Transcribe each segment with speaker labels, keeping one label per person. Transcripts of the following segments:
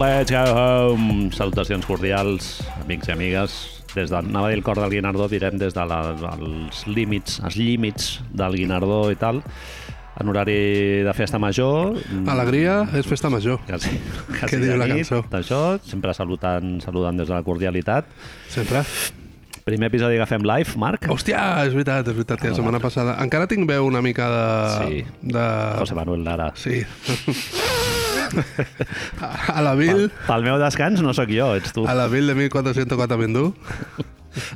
Speaker 1: Let's go home. Salutacions cordials, amics i amigues. Des de, anava a dir el cor del Guinardó, direm des dels de la- els límits, els límits del Guinardó i tal, en horari de festa major.
Speaker 2: Mm. Alegria és festa major.
Speaker 1: Quasi, quasi
Speaker 2: Ah, Què
Speaker 1: de
Speaker 2: diu la
Speaker 1: nit,
Speaker 2: cançó?
Speaker 1: D'això, sempre salutant, saludant des de la cordialitat.
Speaker 2: Sempre.
Speaker 1: Primer episodi que fem live, Marc.
Speaker 2: Hòstia, és veritat, és veritat, que la setmana passada... Encara tinc veu una mica de...
Speaker 1: Sí.
Speaker 2: de...
Speaker 1: José Manuel Lara.
Speaker 2: Sí. a, a la Vil,
Speaker 1: Pel meu descans no sóc jo, ets tu.
Speaker 2: a la Vil de 1404 Bindú,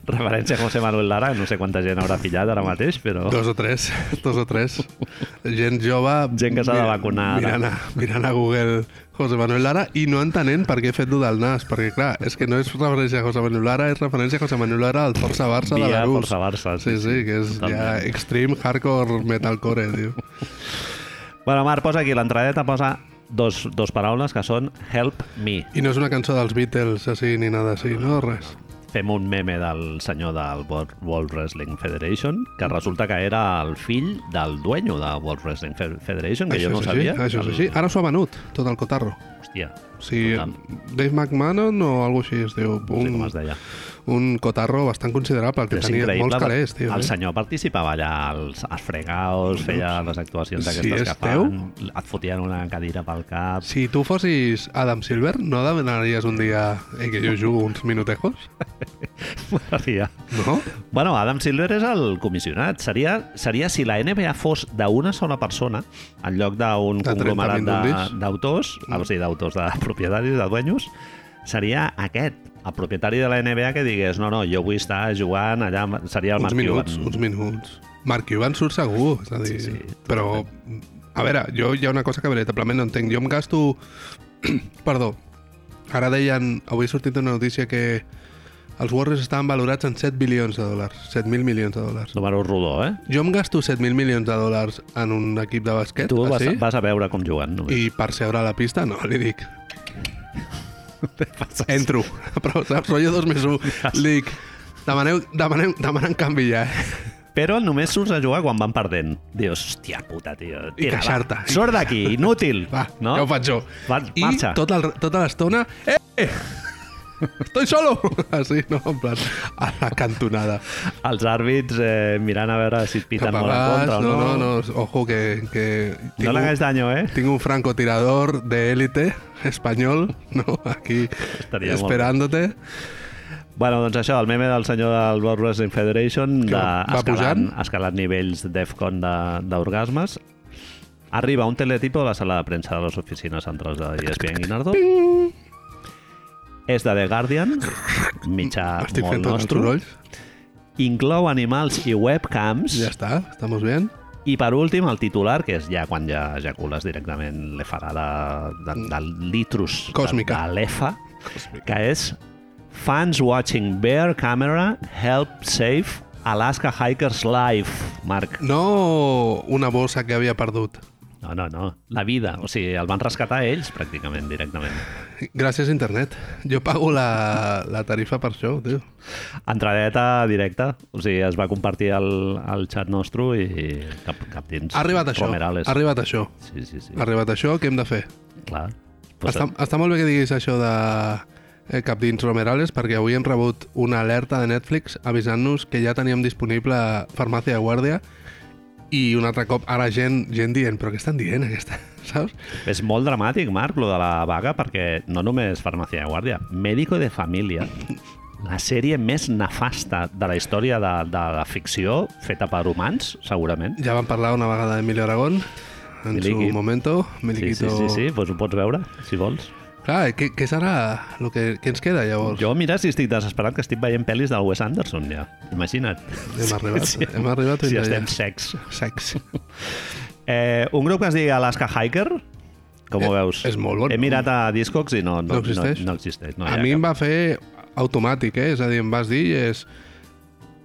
Speaker 1: Referència a José Manuel Lara, no sé quanta gent haurà pillat ara mateix, però...
Speaker 2: dos o tres, dos o tres. Gent jove...
Speaker 1: Gent que s'ha de
Speaker 2: mira-
Speaker 1: vacunar ara.
Speaker 2: Mirant a, mirant a Google José Manuel Lara i no entenent per què he fet lo del nas, perquè clar, és que no és referència a José Manuel Lara, és referència a José Manuel Lara al Força Barça de
Speaker 1: Via
Speaker 2: la Rus.
Speaker 1: Força Barça.
Speaker 2: Sí, sí, que és ja
Speaker 1: Totalment.
Speaker 2: extreme hardcore metalcore, tio.
Speaker 1: Bueno, Marc, posa aquí l'entradeta, posa dos, dos paraules que són Help Me.
Speaker 2: I no és una cançó dels Beatles, així, ni nada així, no? Res.
Speaker 1: Fem un meme del senyor del Wor- World Wrestling Federation,
Speaker 2: Mm.
Speaker 1: que resulta que era el fill del dueño de World Wrestling Fe- Federation, que jo no
Speaker 2: és
Speaker 1: ho sabia.
Speaker 2: Així, això és
Speaker 1: El-
Speaker 2: així. Ah. Ara s'ho ha venut, tot el cotarro.
Speaker 1: Hòstia,
Speaker 2: O sigui,
Speaker 1: Total.
Speaker 2: Dave McMahon o alguna així es diu.
Speaker 1: no sé com
Speaker 2: Un,
Speaker 1: es deia.
Speaker 2: un cotarro bastant considerable, el que
Speaker 1: Però és
Speaker 2: tenia molts
Speaker 1: increïble,
Speaker 2: calés, tio.
Speaker 1: el
Speaker 2: eh?
Speaker 1: senyor participava allà als, als fregaos, feia les actuacions
Speaker 2: Si
Speaker 1: aquestes
Speaker 2: és
Speaker 1: que fan, et fotien una cadira pel cap,
Speaker 2: Si tu fossis Adam Silver, no demanaries un dia eh, que jo jugo uns minutejos?
Speaker 1: Maria.
Speaker 2: No?
Speaker 1: Bueno, Adam Silver és el comissionat. Seria, seria si la NBA fos d'una sola persona, en lloc d'un
Speaker 2: De 30
Speaker 1: conglomerat de-
Speaker 2: mindundis.
Speaker 1: d'autors, mm. o sigui, d'autors, de propietaris, de dueños, seria aquest, el propietari de la NBA que digués no, no, jo vull estar jugant allà, amb-" seria el
Speaker 2: uns
Speaker 1: Mark
Speaker 2: minuts,
Speaker 1: Cuban.
Speaker 2: uns minuts. Mark Cuban surt segur, és a dir...
Speaker 1: Sí,
Speaker 2: Sí,
Speaker 1: sí,
Speaker 2: sí, però, a veure, jo hi ha una cosa que veritablement no entenc. Jo em gasto... Perdó. Ara deien... Avui ha sortit una notícia que els Warriors estaven valorats en 7 bilions de dòlars. 7.000 milions de dòlars.
Speaker 1: Número rodó, eh?
Speaker 2: Jo em gasto 7.000 milions de dòlars en un equip de basquet,
Speaker 1: Tu vas,
Speaker 2: així,
Speaker 1: vas a veure com juguen, només.
Speaker 2: i per seure a la pista, no, li dic...
Speaker 1: Passes-
Speaker 2: Entro. Però, saps, rotllo 2 més 1. Li dic... Demaneu, demaneu, demanen canvi ja, eh?
Speaker 1: Però només surts a jugar quan van perdent. Dius, hòstia puta, tio. Tira,
Speaker 2: I
Speaker 1: va.
Speaker 2: queixar-te.
Speaker 1: Surt d'aquí, inútil.
Speaker 2: Va,
Speaker 1: no?
Speaker 2: no? ja ho faig jo.
Speaker 1: Va,
Speaker 2: I
Speaker 1: marxa.
Speaker 2: tota, el, tota l'estona... Eh! Estoy solo! Així, no? En plan, a la cantonada.
Speaker 1: Els àrbits eh, mirant a veure si et piten molt en
Speaker 2: Capabàs,
Speaker 1: contra o no.
Speaker 2: no, no, no, ojo que... que
Speaker 1: No le hagáis daño, ¿eh?
Speaker 2: Tinc un francotirador de élite español, ¿no? Aquí
Speaker 1: Estaria molt
Speaker 2: esperándote.
Speaker 1: Bueno, doncs això, el meme del senyor del World Wrestling Federation de,
Speaker 2: Que va- va
Speaker 1: escalant,
Speaker 2: pujant.
Speaker 1: escalant nivells d'EFCON de- d'orgasmes. Arriba un teletipo a la sala de premsa de les oficines centrals de E ESPN Guinardó. És de The Guardian, mitjà
Speaker 2: Estic fent
Speaker 1: Ah, molt
Speaker 2: tots els
Speaker 1: nostre.
Speaker 2: sorolls.
Speaker 1: Inclou animals i webcams.
Speaker 2: Ja està, estamos bien.
Speaker 1: I per últim, el titular, que és ja quan ja ejacules directament l'efarada de, del litrus
Speaker 2: Mm. Còsmica.
Speaker 1: de, de l'EFA, que és Fans watching Bear Camera help save Alaska Hikers Life, Marc.
Speaker 2: No una bossa que havia perdut.
Speaker 1: No, no, no. La vida. O sigui, el van rescatar ells, pràcticament, directament.
Speaker 2: Gràcies, internet. Jo pago la, la tarifa per això, tio.
Speaker 1: Entradeta directa. O sigui, es va compartir el, el xat nostre i, i cap, cap dins.
Speaker 2: Ha arribat això.
Speaker 1: Romerales.
Speaker 2: Ha arribat això.
Speaker 1: Sí, sí, sí.
Speaker 2: Ha arribat això, què hem de fer?
Speaker 1: Clar. Pues, eh.
Speaker 2: Està, està molt bé que diguis això de eh, cap dins Romerales perquè avui hem rebut una alerta de Netflix avisant-nos que ja teníem disponible Farmàcia de Guàrdia i un altre cop ara gent, gent dient però què estan dient aquesta, saps?
Speaker 1: És molt dramàtic, Marc, lo de la vaga, perquè no només farmàcia de guàrdia, médico de família. La sèrie més nefasta de la història de, de la ficció, feta per humans, segurament.
Speaker 2: Ja vam parlar una vegada d'Emilio Aragón en
Speaker 1: Miliqui.
Speaker 2: su momento,
Speaker 1: Sí, sí,
Speaker 2: Miliquito...
Speaker 1: sí, sí, pues ho pots veure, si vols.
Speaker 2: Clar, eh, què, què serà el que, què ens queda llavors?
Speaker 1: Jo, mira, si estic desesperat, que estic veient pel·lis del Wes Anderson, ja. Imagina't.
Speaker 2: Hem arribat, hem arribat
Speaker 1: Si
Speaker 2: fins
Speaker 1: estem
Speaker 2: allà.
Speaker 1: secs.
Speaker 2: Sex.
Speaker 1: Eh, un grup que es digui Alaska Hiker, com ho
Speaker 2: Eh,
Speaker 1: veus?
Speaker 2: és molt bon.
Speaker 1: He mirat a Discogs i no, no,
Speaker 2: No existeix?
Speaker 1: No, no existeix. No hi
Speaker 2: a
Speaker 1: ha
Speaker 2: mi
Speaker 1: Ah, cap.
Speaker 2: em va fer automàtic, eh? És a dir, em vas dir, és,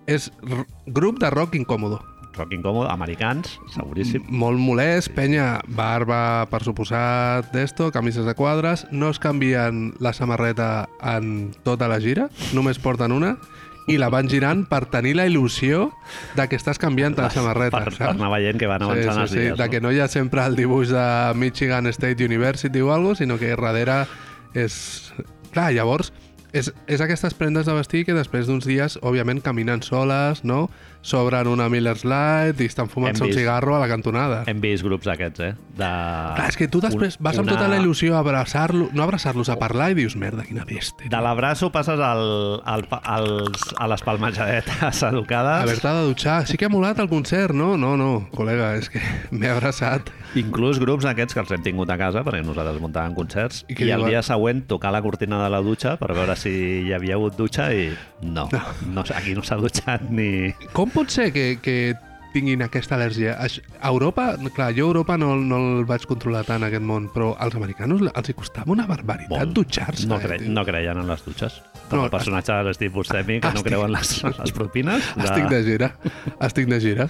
Speaker 2: és r- grup de rock incòmodo.
Speaker 1: Rock incòmode, americans, seguríssim.
Speaker 2: Molt molest, penya, barba, per suposat, d'esto, camises de quadres, no es canvien la samarreta en tota la gira, només porten una, i la van girant per tenir la il·lusió de que estàs canviant la samarreta,
Speaker 1: per, per
Speaker 2: saps?
Speaker 1: anar veient que van avançant
Speaker 2: sí,
Speaker 1: els
Speaker 2: sí,
Speaker 1: dies.
Speaker 2: de
Speaker 1: no?
Speaker 2: que no hi ha sempre el dibuix de Michigan State University o algo, sinó que darrere És... Clar, llavors, és, és aquestes prendes de vestir que després d'uns dies, òbviament, caminen soles, no? S'obren una Miller's Light i estan fumant-se un
Speaker 1: vist.
Speaker 2: cigarro a la cantonada.
Speaker 1: Hem vist grups aquests, eh? De...
Speaker 2: Clar, és que tu després
Speaker 1: un-
Speaker 2: vas amb
Speaker 1: una-
Speaker 2: tota la il·lusió a abraçar-lo, no a abraçar-los, a parlar i dius, merda, quina bèstia.
Speaker 1: De l'abraço passes al, al, pa- als, a les palmejadetes educades.
Speaker 2: Haver-te de dutxar. Sí que ha molat el concert, no? No, no, col·lega, és que m'he abraçat.
Speaker 1: Inclús grups aquests que els hem tingut a casa, perquè nosaltres muntàvem concerts,
Speaker 2: I
Speaker 1: i,
Speaker 2: què
Speaker 1: i el
Speaker 2: diuen?
Speaker 1: dia següent tocar la cortina de la dutxa per veure si hi havia hagut dutxa i no, no aquí no s'ha dutxat ni...
Speaker 2: Com pot ser que, que tinguin aquesta al·lèrgia? Aix- A Europa, clar, jo a Europa no, no el vaig controlar tant, aquest món, però als americanos els hi costava una barbaritat
Speaker 1: Molt.
Speaker 2: dutxar-se.
Speaker 1: No,
Speaker 2: eh,
Speaker 1: cre
Speaker 2: tio.
Speaker 1: no creien en les dutxes. Com
Speaker 2: No,
Speaker 1: no, el personatge de l'Steve Buscemi, que no
Speaker 2: estic-
Speaker 1: creu en les, en les propines. De...
Speaker 2: Estic de gira, estic de gira.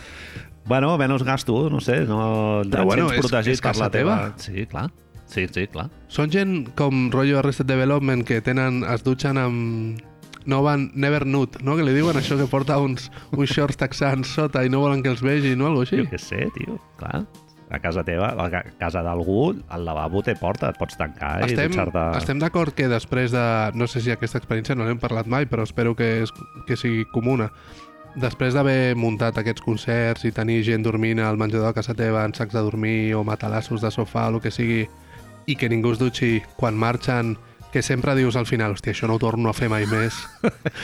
Speaker 1: Bueno, menys gasto, no sé. No...
Speaker 2: Però
Speaker 1: et
Speaker 2: bueno,
Speaker 1: sents
Speaker 2: és-
Speaker 1: protegit
Speaker 2: és
Speaker 1: per la
Speaker 2: casa teva.
Speaker 1: Sí, clar. Sí, sí, clar.
Speaker 2: Són gent com rotllo Arrested Development que tenen, es dutxen amb... No van Never Nude, no? Que li diuen això que porta uns, uns shorts texans sota i no volen que els vegin, no? Algo així.
Speaker 1: Jo què sé, tio, clar. A casa teva, a ca- casa d'algú, el lavabo té porta, et pots tancar i
Speaker 2: estem
Speaker 1: dutxar-te...
Speaker 2: estem d'acord que després de... No sé si aquesta experiència no l'hem parlat mai, però espero que, és, que sigui comuna. Després d'haver muntat aquests concerts i tenir gent dormint al menjador de casa teva en sacs de dormir o matalassos de sofà o el que sigui, i que ningú es dutxi quan marxen, que sempre dius al final, hòstia, això no ho torno a fer mai més.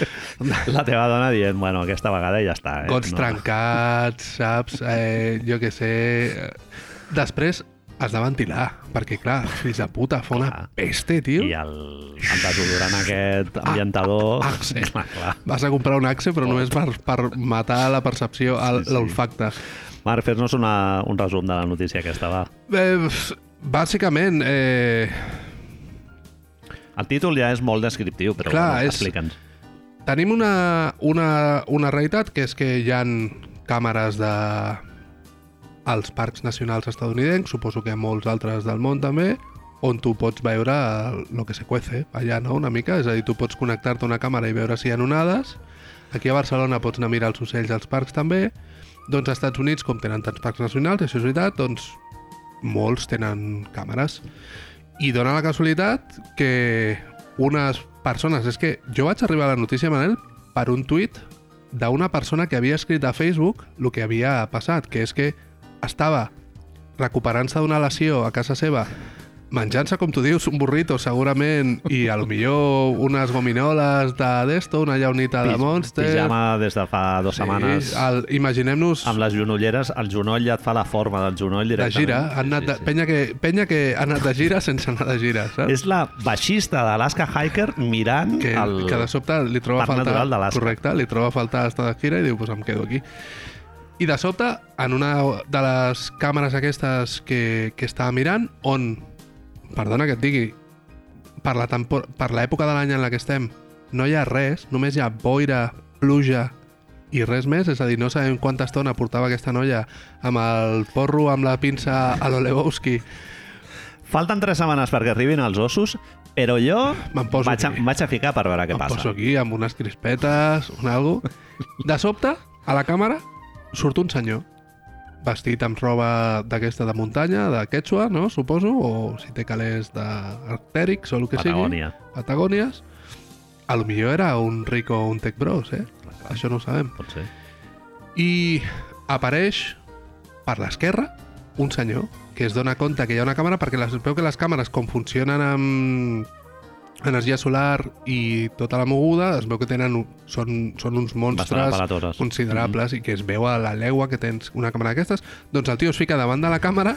Speaker 1: La teva dona dient, bueno, aquesta vegada ja està. Eh?
Speaker 2: Gots trencats, saps? Eh, jo que sé... Després has de ventilar, perquè, clar, fills de puta, fa una
Speaker 1: Clar.
Speaker 2: peste, tio.
Speaker 1: I el, el desodorant aquest ambientador...
Speaker 2: ah, sí.
Speaker 1: clar, clar.
Speaker 2: Vas a comprar un axe, però només per, per matar la percepció, el-
Speaker 1: Oh. Sí, sí.
Speaker 2: l'olfacte.
Speaker 1: Marc, fes-nos una- un resum de la notícia aquesta, va.
Speaker 2: Eh, bàsicament, eh,
Speaker 1: El títol ja és molt descriptiu, però
Speaker 2: Clar,
Speaker 1: bueno,
Speaker 2: és-
Speaker 1: explica'ns.
Speaker 2: tenim una, una, una realitat, que és que hi han càmeres de als parcs nacionals estadounidencs, suposo que a molts altres del món també, on tu pots veure el que se cuece allà, no?, una mica. És a dir, tu pots connectar-te a una càmera i veure si hi ha onades. Aquí a Barcelona pots anar a mirar els ocells als parcs també. Doncs als Estats Units, com tenen tants parcs nacionals, això és veritat, doncs molts tenen càmeres. I dona la casualitat que unes persones... És que jo vaig arribar a la notícia, Manel, per un tuit d'una persona que havia escrit a Facebook el que havia passat, que és que estava recuperant-se d'una lesió a casa seva, menjant-se, com tu dius, un burrito, segurament, i a lo millor unes gominoles de d'esto, una llaunita de
Speaker 1: Pis-
Speaker 2: Monster...
Speaker 1: Pijama des de fa dues setmanes.
Speaker 2: Sí, el- Imaginem-nos
Speaker 1: Amb les genolleres, el genoll ja et fa la forma del genoll
Speaker 2: de
Speaker 1: directament.
Speaker 2: gira, han anat de, penya, que, penya que ha anat de gira sense anar de gira, saps?
Speaker 1: És la baixista d'Alaska Hiker mirant
Speaker 2: que,
Speaker 1: el...
Speaker 2: que de sobte li troba
Speaker 1: parc
Speaker 2: a
Speaker 1: natural
Speaker 2: faltar...
Speaker 1: d'Alaska.
Speaker 2: Correcte, li troba a faltar estar de gira i diu, pues em quedo aquí. I de sobte, en una de les càmeres aquestes que, que estava mirant, on, perdona que et digui, per la tempor- per l'època de l'any en la que estem, no hi ha res, només hi ha boira, pluja i res més, és a dir, no sabem quanta estona portava aquesta noia amb el porro, amb la pinça a l'Olebowski,
Speaker 1: Falten tres setmanes perquè arribin els ossos, però jo
Speaker 2: Me'n poso
Speaker 1: vaig, a,
Speaker 2: aquí.
Speaker 1: vaig a ficar per veure què
Speaker 2: em
Speaker 1: passa.
Speaker 2: poso aquí amb unes crispetes, un algo. De sobte, a la càmera, surt un senyor vestit amb roba d'aquesta de muntanya, de quechua, no? Suposo, o si té calés d'artèrics o el que
Speaker 1: Patagònia.
Speaker 2: sigui. Patagònies. A lo millor era un rico o un tech bros, eh? Això no ho sabem.
Speaker 1: Pot ser.
Speaker 2: I apareix per l'esquerra un senyor que es dona compte que hi ha una càmera perquè les, veu que les càmeres com funcionen amb energia solar i tota la moguda es veu que tenen, un- són, són uns
Speaker 1: Bastant
Speaker 2: monstres
Speaker 1: aparatoses.
Speaker 2: considerables i que es veu a la legua que tens una càmera d'aquestes doncs el tio es fica davant de la càmera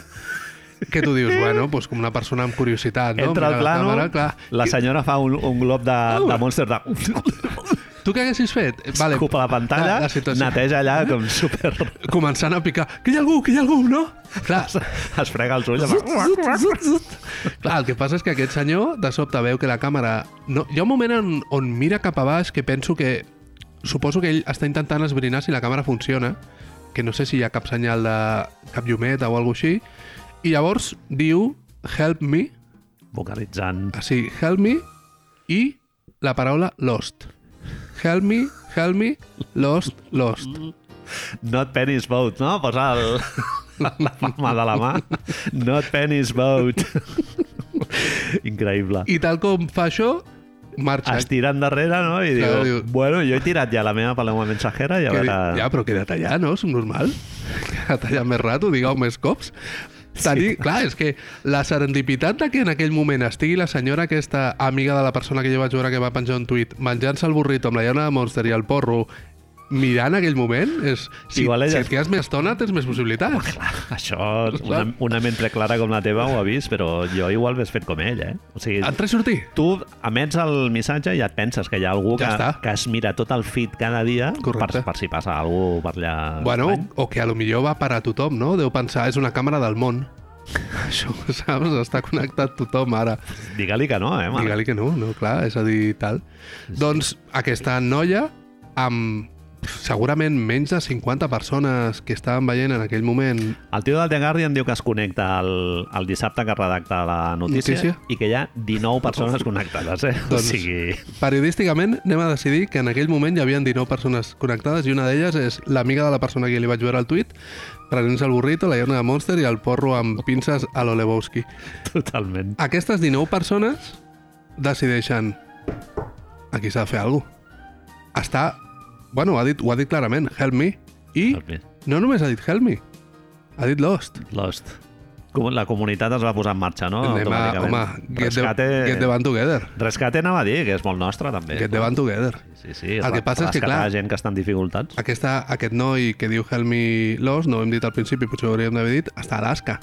Speaker 2: que tu dius, bueno, doncs com una persona amb curiositat, no?
Speaker 1: Entra al
Speaker 2: Mira la
Speaker 1: plano,
Speaker 2: càmera, clar. Ah,
Speaker 1: la senyora fa un, un glob de, de Monster de...
Speaker 2: Tu què haguessis fet?
Speaker 1: Vale. Escupa la pantalla,
Speaker 2: la, la situació.
Speaker 1: neteja allà com super...
Speaker 2: Començant a picar, que hi ha algú, que hi ha algú, no? Clar,
Speaker 1: es frega els ulls. amb-
Speaker 2: Clar, el que passa és que aquest senyor de sobte veu que la càmera... No, hi ha un moment on, on mira cap a baix que penso que... Suposo que ell està intentant esbrinar si la càmera funciona, que no sé si hi ha cap senyal de cap llumeta o alguna així, i llavors diu help me,
Speaker 1: Vocalitzant.
Speaker 2: o sigui, help me i la paraula lost. Help me, help me, lost, lost.
Speaker 1: Not penis boat, no? Posa el, la palma de la mà. Not penis boat. Increïble.
Speaker 2: I tal com fa això, marxa.
Speaker 1: Es tira endarrere, no? I
Speaker 2: Clar,
Speaker 1: diu,
Speaker 2: diu-
Speaker 1: bueno, jo he tirat ja la meva paloma mensajera i a
Speaker 2: Que
Speaker 1: veure...
Speaker 2: di- Ja, però queda't allà, no? És normal. Queda't allà més rato, digueu més cops. Tenir, sí. Clar, és que la serendipitat de que en aquell moment estigui la senyora aquesta amiga de la persona que jo vaig veure que va penjar un tuit menjant-se el burrito amb la llana de Monster i el porro mirant aquell moment, és, si,
Speaker 1: Igual ella-
Speaker 2: si et quedes més estona tens més possibilitats.
Speaker 1: Clar, això, una, una ment preclara com la teva ho ha vist, però jo igual ho fet com ell, eh? O sigui,
Speaker 2: Et tres sortir?
Speaker 1: tu emets el missatge i et penses que hi ha algú
Speaker 2: Ja
Speaker 1: que,
Speaker 2: està.
Speaker 1: que es mira tot el feed cada dia
Speaker 2: Correcte.
Speaker 1: per, per si passa alguna per allà.
Speaker 2: Bueno,
Speaker 1: Ah, estrany.
Speaker 2: o que a lo millor va per a tothom, no? Deu pensar, és una càmera del món. Això, saps? Està connectat tothom ara.
Speaker 1: Digue-li que no, eh? Digue
Speaker 2: Digue-li que no, no, clar, és a dir, tal. Doncs aquesta noia, amb segurament menys de 50 persones que estaven veient en aquell moment...
Speaker 1: El tio del The Guardian diu que es connecta el, el dissabte que redacta la notícia,
Speaker 2: Notícia?
Speaker 1: i que hi ha 19 persones connectades, eh?
Speaker 2: Doncs-
Speaker 1: O sigui,
Speaker 2: Periodísticament anem a decidir que en aquell moment hi havia 19 persones connectades i una d'elles és l'amiga de la persona que li vaig veure al tuit prenent-se el burrito, la llana de Monster i el porro amb pinces a l'Olebowski.
Speaker 1: totalment.
Speaker 2: Aquestes 19 persones decideixen aquí s'ha de fer alguna cosa. Està... Bueno, ho ha dit, ho ha dit clarament, help me. I No només ha dit Help Me, ha dit Lost.
Speaker 1: Lost. Com- La comunitat es va posar en marxa, no?
Speaker 2: Anem a, home, get the,
Speaker 1: Ah, Rescate... Eh,
Speaker 2: get the band together.
Speaker 1: Rescate anava a dir, que és molt nostre, també.
Speaker 2: Get the band together.
Speaker 1: Sí, sí.
Speaker 2: El que passa és que, clar- Ah.
Speaker 1: Rescatar gent que està en dificultats.
Speaker 2: Aquesta, aquest noi que diu Help Me Lost, no ho hem dit al principi, potser ho hauríem d'haver dit, està a Alaska.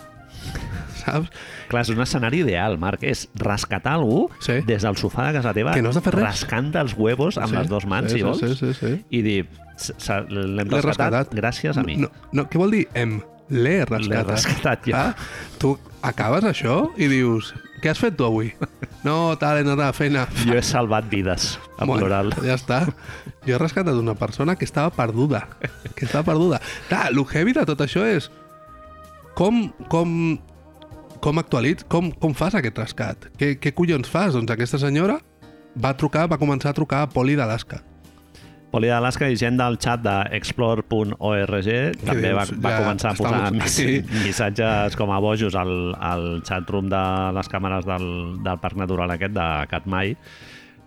Speaker 2: Saps?
Speaker 1: Clar, és un escenari ideal, Marc. És rescatar algú
Speaker 2: Sí.
Speaker 1: des del sofà de casa teva,
Speaker 2: Que no has de fer res.
Speaker 1: rascant els huevos amb
Speaker 2: Sí,
Speaker 1: les dues mans,
Speaker 2: sí,
Speaker 1: si
Speaker 2: sí,
Speaker 1: vols,
Speaker 2: sí, sí, sí.
Speaker 1: i dir, "S- s- l'hem
Speaker 2: L'he
Speaker 1: rescatat,
Speaker 2: rescatat.
Speaker 1: gràcies a mi.
Speaker 2: No, no, què vol dir em? L'he rescatat.
Speaker 1: rescatat jo.
Speaker 2: Ah, tu acabes això i dius, què has fet tu avui? No, tal, he anat a la feina.
Speaker 1: Jo he salvat vides, en
Speaker 2: Bueno,
Speaker 1: plural.
Speaker 2: Ja està. Jo he rescatat una persona que estava perduda. Que estava perduda. Clar, el heavy de tot això és com, com, com actualitz, com, com fas aquest rescat? Què, què collons fas? Doncs aquesta senyora va trucar, va començar a trucar a Poli d'Alaska.
Speaker 1: Poli d'Alaska i gent del xat d'explore.org també va,
Speaker 2: dius?
Speaker 1: va
Speaker 2: Ja
Speaker 1: començar a
Speaker 2: estamos
Speaker 1: posar mis,
Speaker 2: aquí.
Speaker 1: missatges com a bojos al, al xat room de les càmeres del, del Parc Natural aquest de Katmai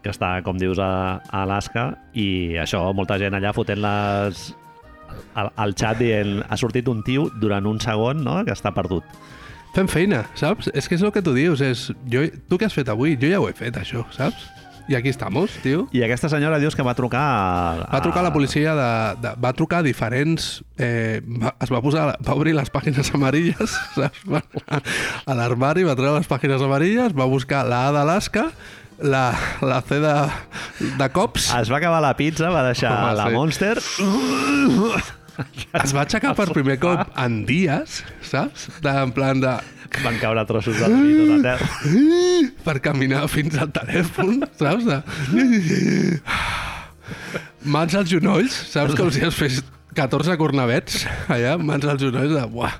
Speaker 1: que està, com dius, a, a Alaska i això, molta gent allà fotent les al, al xat dient ha sortit un tio durant un segon no? que està perdut.
Speaker 2: Fem feina, saps? És que és el que tu dius. És, jo, tu què has fet avui? Jo ja ho he fet, això, saps? I aquí estamos, tio.
Speaker 1: I aquesta senyora dius que va trucar a,
Speaker 2: Va trucar a la policia de, de va trucar a diferents eh, va, es va posar va obrir les pàgines amarilles, saps? Va anar a l'armari va treure les pàgines amarilles, va buscar la A d'Alaska, la, la C de, de cops,
Speaker 1: Es va acabar la pizza, va deixar
Speaker 2: Home,
Speaker 1: la
Speaker 2: sí.
Speaker 1: Monster
Speaker 2: es va aixecar per primer cop en dies, saps? De, en plan de
Speaker 1: Van caure trossos de la a terra.
Speaker 2: per caminar fins al telèfon, saps? De... Mans als genolls, saps? Com si has fet 14 cornavets allà, mans als genolls de... Buah.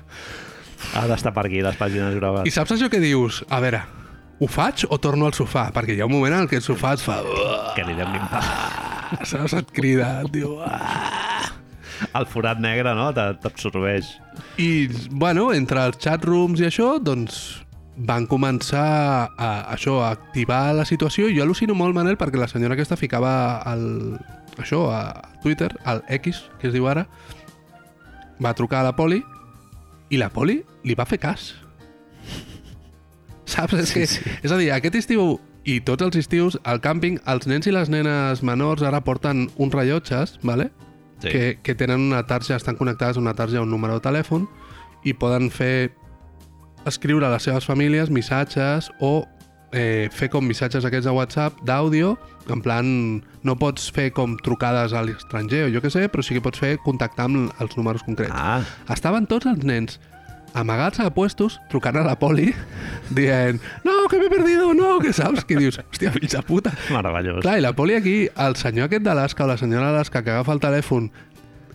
Speaker 1: Ha d'estar per aquí, les pàgines
Speaker 2: I
Speaker 1: gravades.
Speaker 2: saps això que dius? A veure, ho faig o torno al sofà? Perquè hi ha un moment en què el sofà et fa...
Speaker 1: Que li diem l'impacte.
Speaker 2: Saps? Et crida, et diu... "Ah".
Speaker 1: El forat negre, no?, Te- t'absorbeix.
Speaker 2: I, bueno, entre els chatrooms i això, doncs van començar a, això, a activar la situació i jo al·lucino molt, Manel, perquè la senyora aquesta ficava al, això a Twitter, al X, que es diu ara, va trucar a la Poli i la Poli li va fer cas. Saps? És, que, és a dir, aquest estiu i tots els estius al càmping els nens i les nenes menors ara porten uns rellotges, vale?
Speaker 1: Sí.
Speaker 2: que, que tenen una tarja, estan connectades a una tarja a un número de telèfon i poden fer escriure a les seves famílies missatges o eh, fer com missatges aquests de WhatsApp d'àudio, en plan no pots fer com trucades a l'estranger o jo que sé, però sí que pots fer contactar amb els números concrets.
Speaker 1: Ah,
Speaker 2: Estaven tots els nens amagats a puestos, trucant a la poli, dient, no, que m'he perdido, no, que saps? Que dius, hòstia, fills de puta.
Speaker 1: meravellós.
Speaker 2: Clar, i la poli aquí, el senyor aquest d'Alaska o la senyora d'Alaska que agafa el telèfon,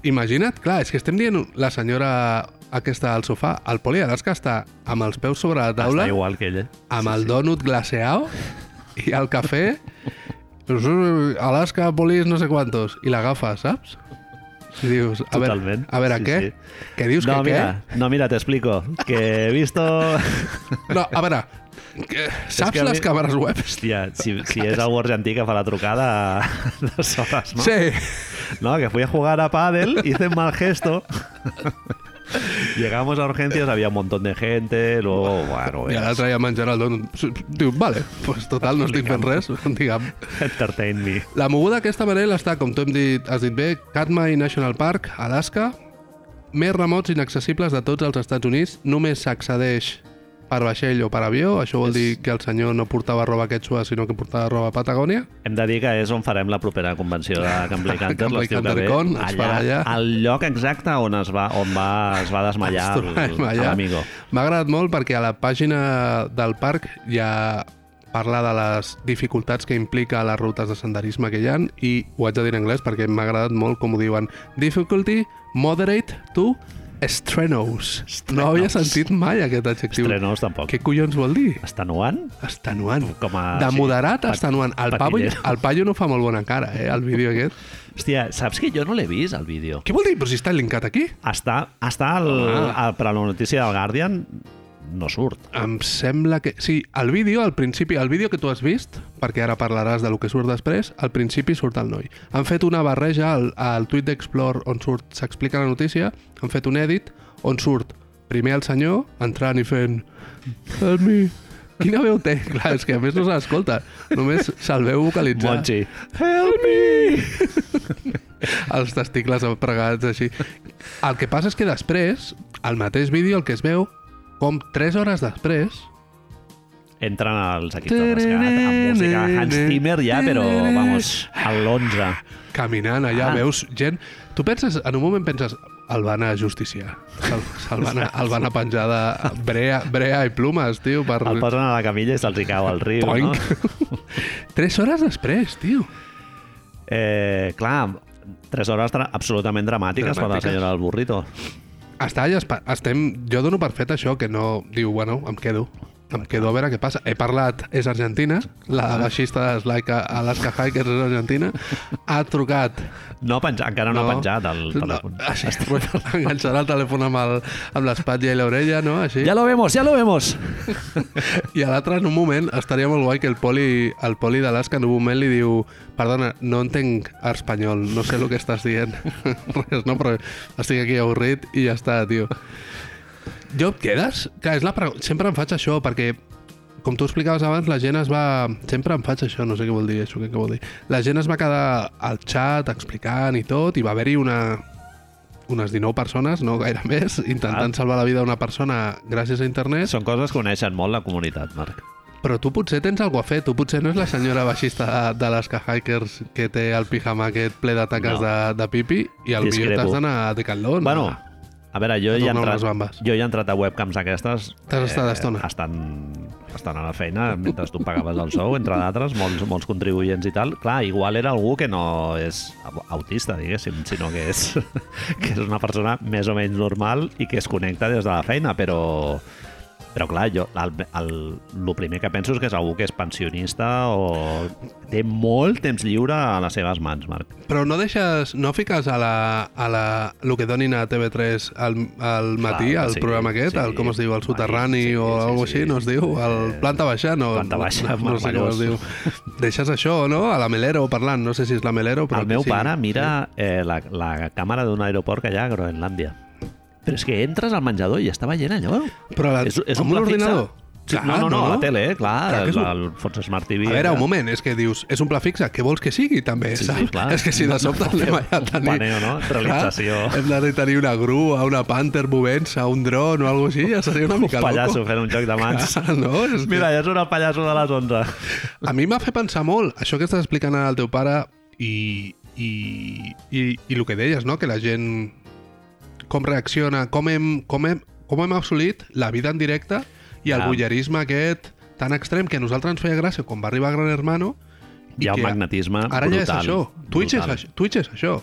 Speaker 2: imagina't, clar, és que estem dient la senyora aquesta al sofà, el poli d'Alaska està amb els peus sobre la taula,
Speaker 1: Està igual que ell, eh?
Speaker 2: amb el donut glaceado i el cafè, Alaska, polis, no sé quantos, i l'agafa, saps? I dius, a veure,
Speaker 1: Totalment,
Speaker 2: a veure
Speaker 1: sí,
Speaker 2: què?
Speaker 1: sí.
Speaker 2: Què dius
Speaker 1: no,
Speaker 2: que
Speaker 1: mira, no, mira, t'explico. Que he visto...
Speaker 2: què? No, a veure, Que, saps
Speaker 1: que a
Speaker 2: les
Speaker 1: mi-
Speaker 2: càmeres web?
Speaker 1: Hòstia, si, si és algú argentí que fa la trucada de soles, no?
Speaker 2: Sí.
Speaker 1: No, que fui a jugar a pádel, hice un mal gesto. Llegamos a urgencias, había un montón de gente, luego, bueno,
Speaker 2: I
Speaker 1: veas,
Speaker 2: l'altre ja menjant el don. Diu, vale, pues total, no estic fent res. Digue'm.
Speaker 1: entertain me.
Speaker 2: La moguda aquesta manera està, com tu hem dit, has dit bé, Katmai National Park, Alaska, més remots i inaccessibles de tots els Estats Units, només s'accedeix per vaixell o per avió, això vol dir que el senyor no portava roba quechua, sinó que portava roba Patagònia.
Speaker 1: Hem de dir que és on farem la propera convenció de Can Blake Hunter,
Speaker 2: Can Blake
Speaker 1: l'estiu que
Speaker 2: Hunter
Speaker 1: ve.
Speaker 2: Con, es farà allà.
Speaker 1: Al lloc exacte on es va, on va, es va desmallar
Speaker 2: Es torna a
Speaker 1: el-
Speaker 2: desmallar.
Speaker 1: l'amigo.
Speaker 2: M'ha agradat molt perquè a la pàgina del parc ja parla de les dificultats que implica les rutes de senderisme que hi ha i ho haig de dir en anglès perquè m'ha agradat molt com ho diuen Difficulty moderate to strenuous. No havia sentit mai aquest adjectiu.
Speaker 1: Estrenos tampoc.
Speaker 2: Què collons vol dir?
Speaker 1: Estanuant?
Speaker 2: Estanuant.
Speaker 1: Com a-
Speaker 2: De
Speaker 1: sí,
Speaker 2: moderat a
Speaker 1: pat-
Speaker 2: estanuant. El paio,
Speaker 1: patillero.
Speaker 2: el paio no fa molt bona cara, eh, el vídeo aquest.
Speaker 1: Hòstia, saps que jo no l'he vist, el vídeo?
Speaker 2: Què vol dir? Però si està linkat aquí.
Speaker 1: Està, està el,
Speaker 2: Ah.
Speaker 1: el, per a la notícia del Guardian, no surt.
Speaker 2: Em sembla que... Sí, el vídeo, al principi, el vídeo que tu has vist, perquè ara parlaràs de lo que surt després, al principi surt el noi. Han fet una barreja al, al tuit d'Explore on surt s'explica la notícia, han fet un edit on surt primer el senyor entrant i fent... Help me. Quina veu té? Clar, és que a més no se l'escolta. Només se'l veu vocalitzar.
Speaker 1: Monchi. Help me!
Speaker 2: els testicles pregats així. El que passa és que després, al mateix vídeo, el que es veu, com 3 hores després,
Speaker 1: Entren els equips de rescat amb música Hans Zimmer ja, però, vamos, a l'11.
Speaker 2: caminant allà,
Speaker 1: Ah.
Speaker 2: ah. veus gent... Tu penses, en un moment penses, el van a justiciar. Se'l se van, a- el van a penjar de brea, brea i plumes, tio, per...
Speaker 1: El posen a la camilla i se'ls hi cau al riu,
Speaker 2: Poink.
Speaker 1: no?
Speaker 2: Tres hores després, tio.
Speaker 1: Eh, clar, tres hores dra- absolutament dramàtiques per la
Speaker 2: Dramàtiques.
Speaker 1: senyora del burrito.
Speaker 2: Està allà, espa- estem... Jo dono per fet això, que no... Diu, bueno, em quedo. Em quedo a veure què passa. He parlat, és argentina, la baixista de Slaika, Alaska Hikers és argentina, ha trucat...
Speaker 1: No ha penjat, encara no, no ha penjat el telèfon.
Speaker 2: No, així, enganxarà el telèfon amb, el, amb l'espatlla i l'orella, no? Així.
Speaker 1: Ja lo vemos, ja lo vemos!
Speaker 2: I a l'altre, en un moment, estaria molt guai que el poli, el poli d'Alaska en un moment li diu perdona, no entenc espanyol, no sé el que estàs dient. Res, no, però estic aquí avorrit i ja està, tio. Jo et quedes? Clar, és la pregu- Sempre em faig això, perquè com tu explicaves abans, la gent es va... Sempre em faig això, no sé què vol dir, això què, què vol dir. La gent es va quedar al xat explicant i tot, i va haver-hi una unes 19 persones, no gaire més, intentant salvar la vida d'una persona gràcies a internet.
Speaker 1: Són coses que uneixen molt la comunitat, Marc.
Speaker 2: Però tu potser tens alguna a fer, tu potser no és la senyora baixista de, de l'Alaska Hikers que té el pijama aquest ple de taques
Speaker 1: No.
Speaker 2: de, de pipi i al millor
Speaker 1: Discrepo.
Speaker 2: t'has d'anar a Decathlon.
Speaker 1: Bueno, a veure, jo
Speaker 2: A
Speaker 1: ja he
Speaker 2: tornar
Speaker 1: entrat,
Speaker 2: unes bambes.
Speaker 1: jo ja he entrat a webcams aquestes. eh,
Speaker 2: T'has estat estona.
Speaker 1: Estan, estan a la feina, mentre tu em pagaves el sou, entre d'altres, molts, molts contribuents i tal. Clar, igual era algú que no és au- autista, diguéssim, sinó que és, que és una persona més o menys normal i que es connecta des de la feina, però... Però clar, jo el, el, el primer que penso és que és algú que és pensionista o té molt temps lliure a les seves mans, Marc.
Speaker 2: Però no deixes, no fiques a la, a la, el que donin a TV3 al, al matí,
Speaker 1: Clar,
Speaker 2: al
Speaker 1: sí,
Speaker 2: programa aquest,
Speaker 1: sí.
Speaker 2: el, com es diu, el
Speaker 1: Aquí,
Speaker 2: soterrani
Speaker 1: sí,
Speaker 2: o
Speaker 1: sí,
Speaker 2: alguna
Speaker 1: sí.
Speaker 2: així, no es diu? El
Speaker 1: Eh,
Speaker 2: planta baixa, no?
Speaker 1: Planta Baixa,
Speaker 2: no, no sé com es diu. Deixes això, no? A la Melero parlant, no sé si és la Melero, però...
Speaker 1: el meu
Speaker 2: sí.
Speaker 1: pare mira eh, la, la càmera d'un aeroport que hi ha a Groenlàndia. Però és que entres al menjador i està veient allò.
Speaker 2: Però la, amb un
Speaker 1: pla fixe.
Speaker 2: ordinador?
Speaker 1: Sí,
Speaker 2: Clar,
Speaker 1: no, no, no,
Speaker 2: no.
Speaker 1: la tele, eh, clar,
Speaker 2: Clar que és
Speaker 1: la, el
Speaker 2: un-
Speaker 1: fons Smart TV.
Speaker 2: A veure, un
Speaker 1: eh,
Speaker 2: moment, és que dius, és un pla fixe, què vols que sigui, també,
Speaker 1: Sí, sí,
Speaker 2: saps?
Speaker 1: clar.
Speaker 2: És que si de sobte anem allà a
Speaker 1: Un
Speaker 2: tenir...
Speaker 1: paneo, no?
Speaker 2: Clar,
Speaker 1: Realització.
Speaker 2: Hem de tenir una grua, una panther movent-se, un dron o alguna cosa així, ja seria una mica
Speaker 1: Un pallasso
Speaker 2: loco.
Speaker 1: fent un joc de mans.
Speaker 2: Clar, no? És
Speaker 1: Mira, ja surt el pallasso de les 11.
Speaker 2: que... A mi m'ha fet pensar molt, això que estàs explicant ara al teu pare i, i, i, i el que deies, no? Que la gent com reacciona, com hem, com hem, com hem assolit la vida en directe i el
Speaker 1: Clar.
Speaker 2: bullerisme aquest tan extrem que a nosaltres ens feia gràcia quan va arribar Gran Hermano
Speaker 1: Hi ha un
Speaker 2: que
Speaker 1: magnetisme
Speaker 2: Ara
Speaker 1: Ah, brutal.
Speaker 2: ja és això. Twitch és
Speaker 1: brutal.
Speaker 2: això. Twitch és això.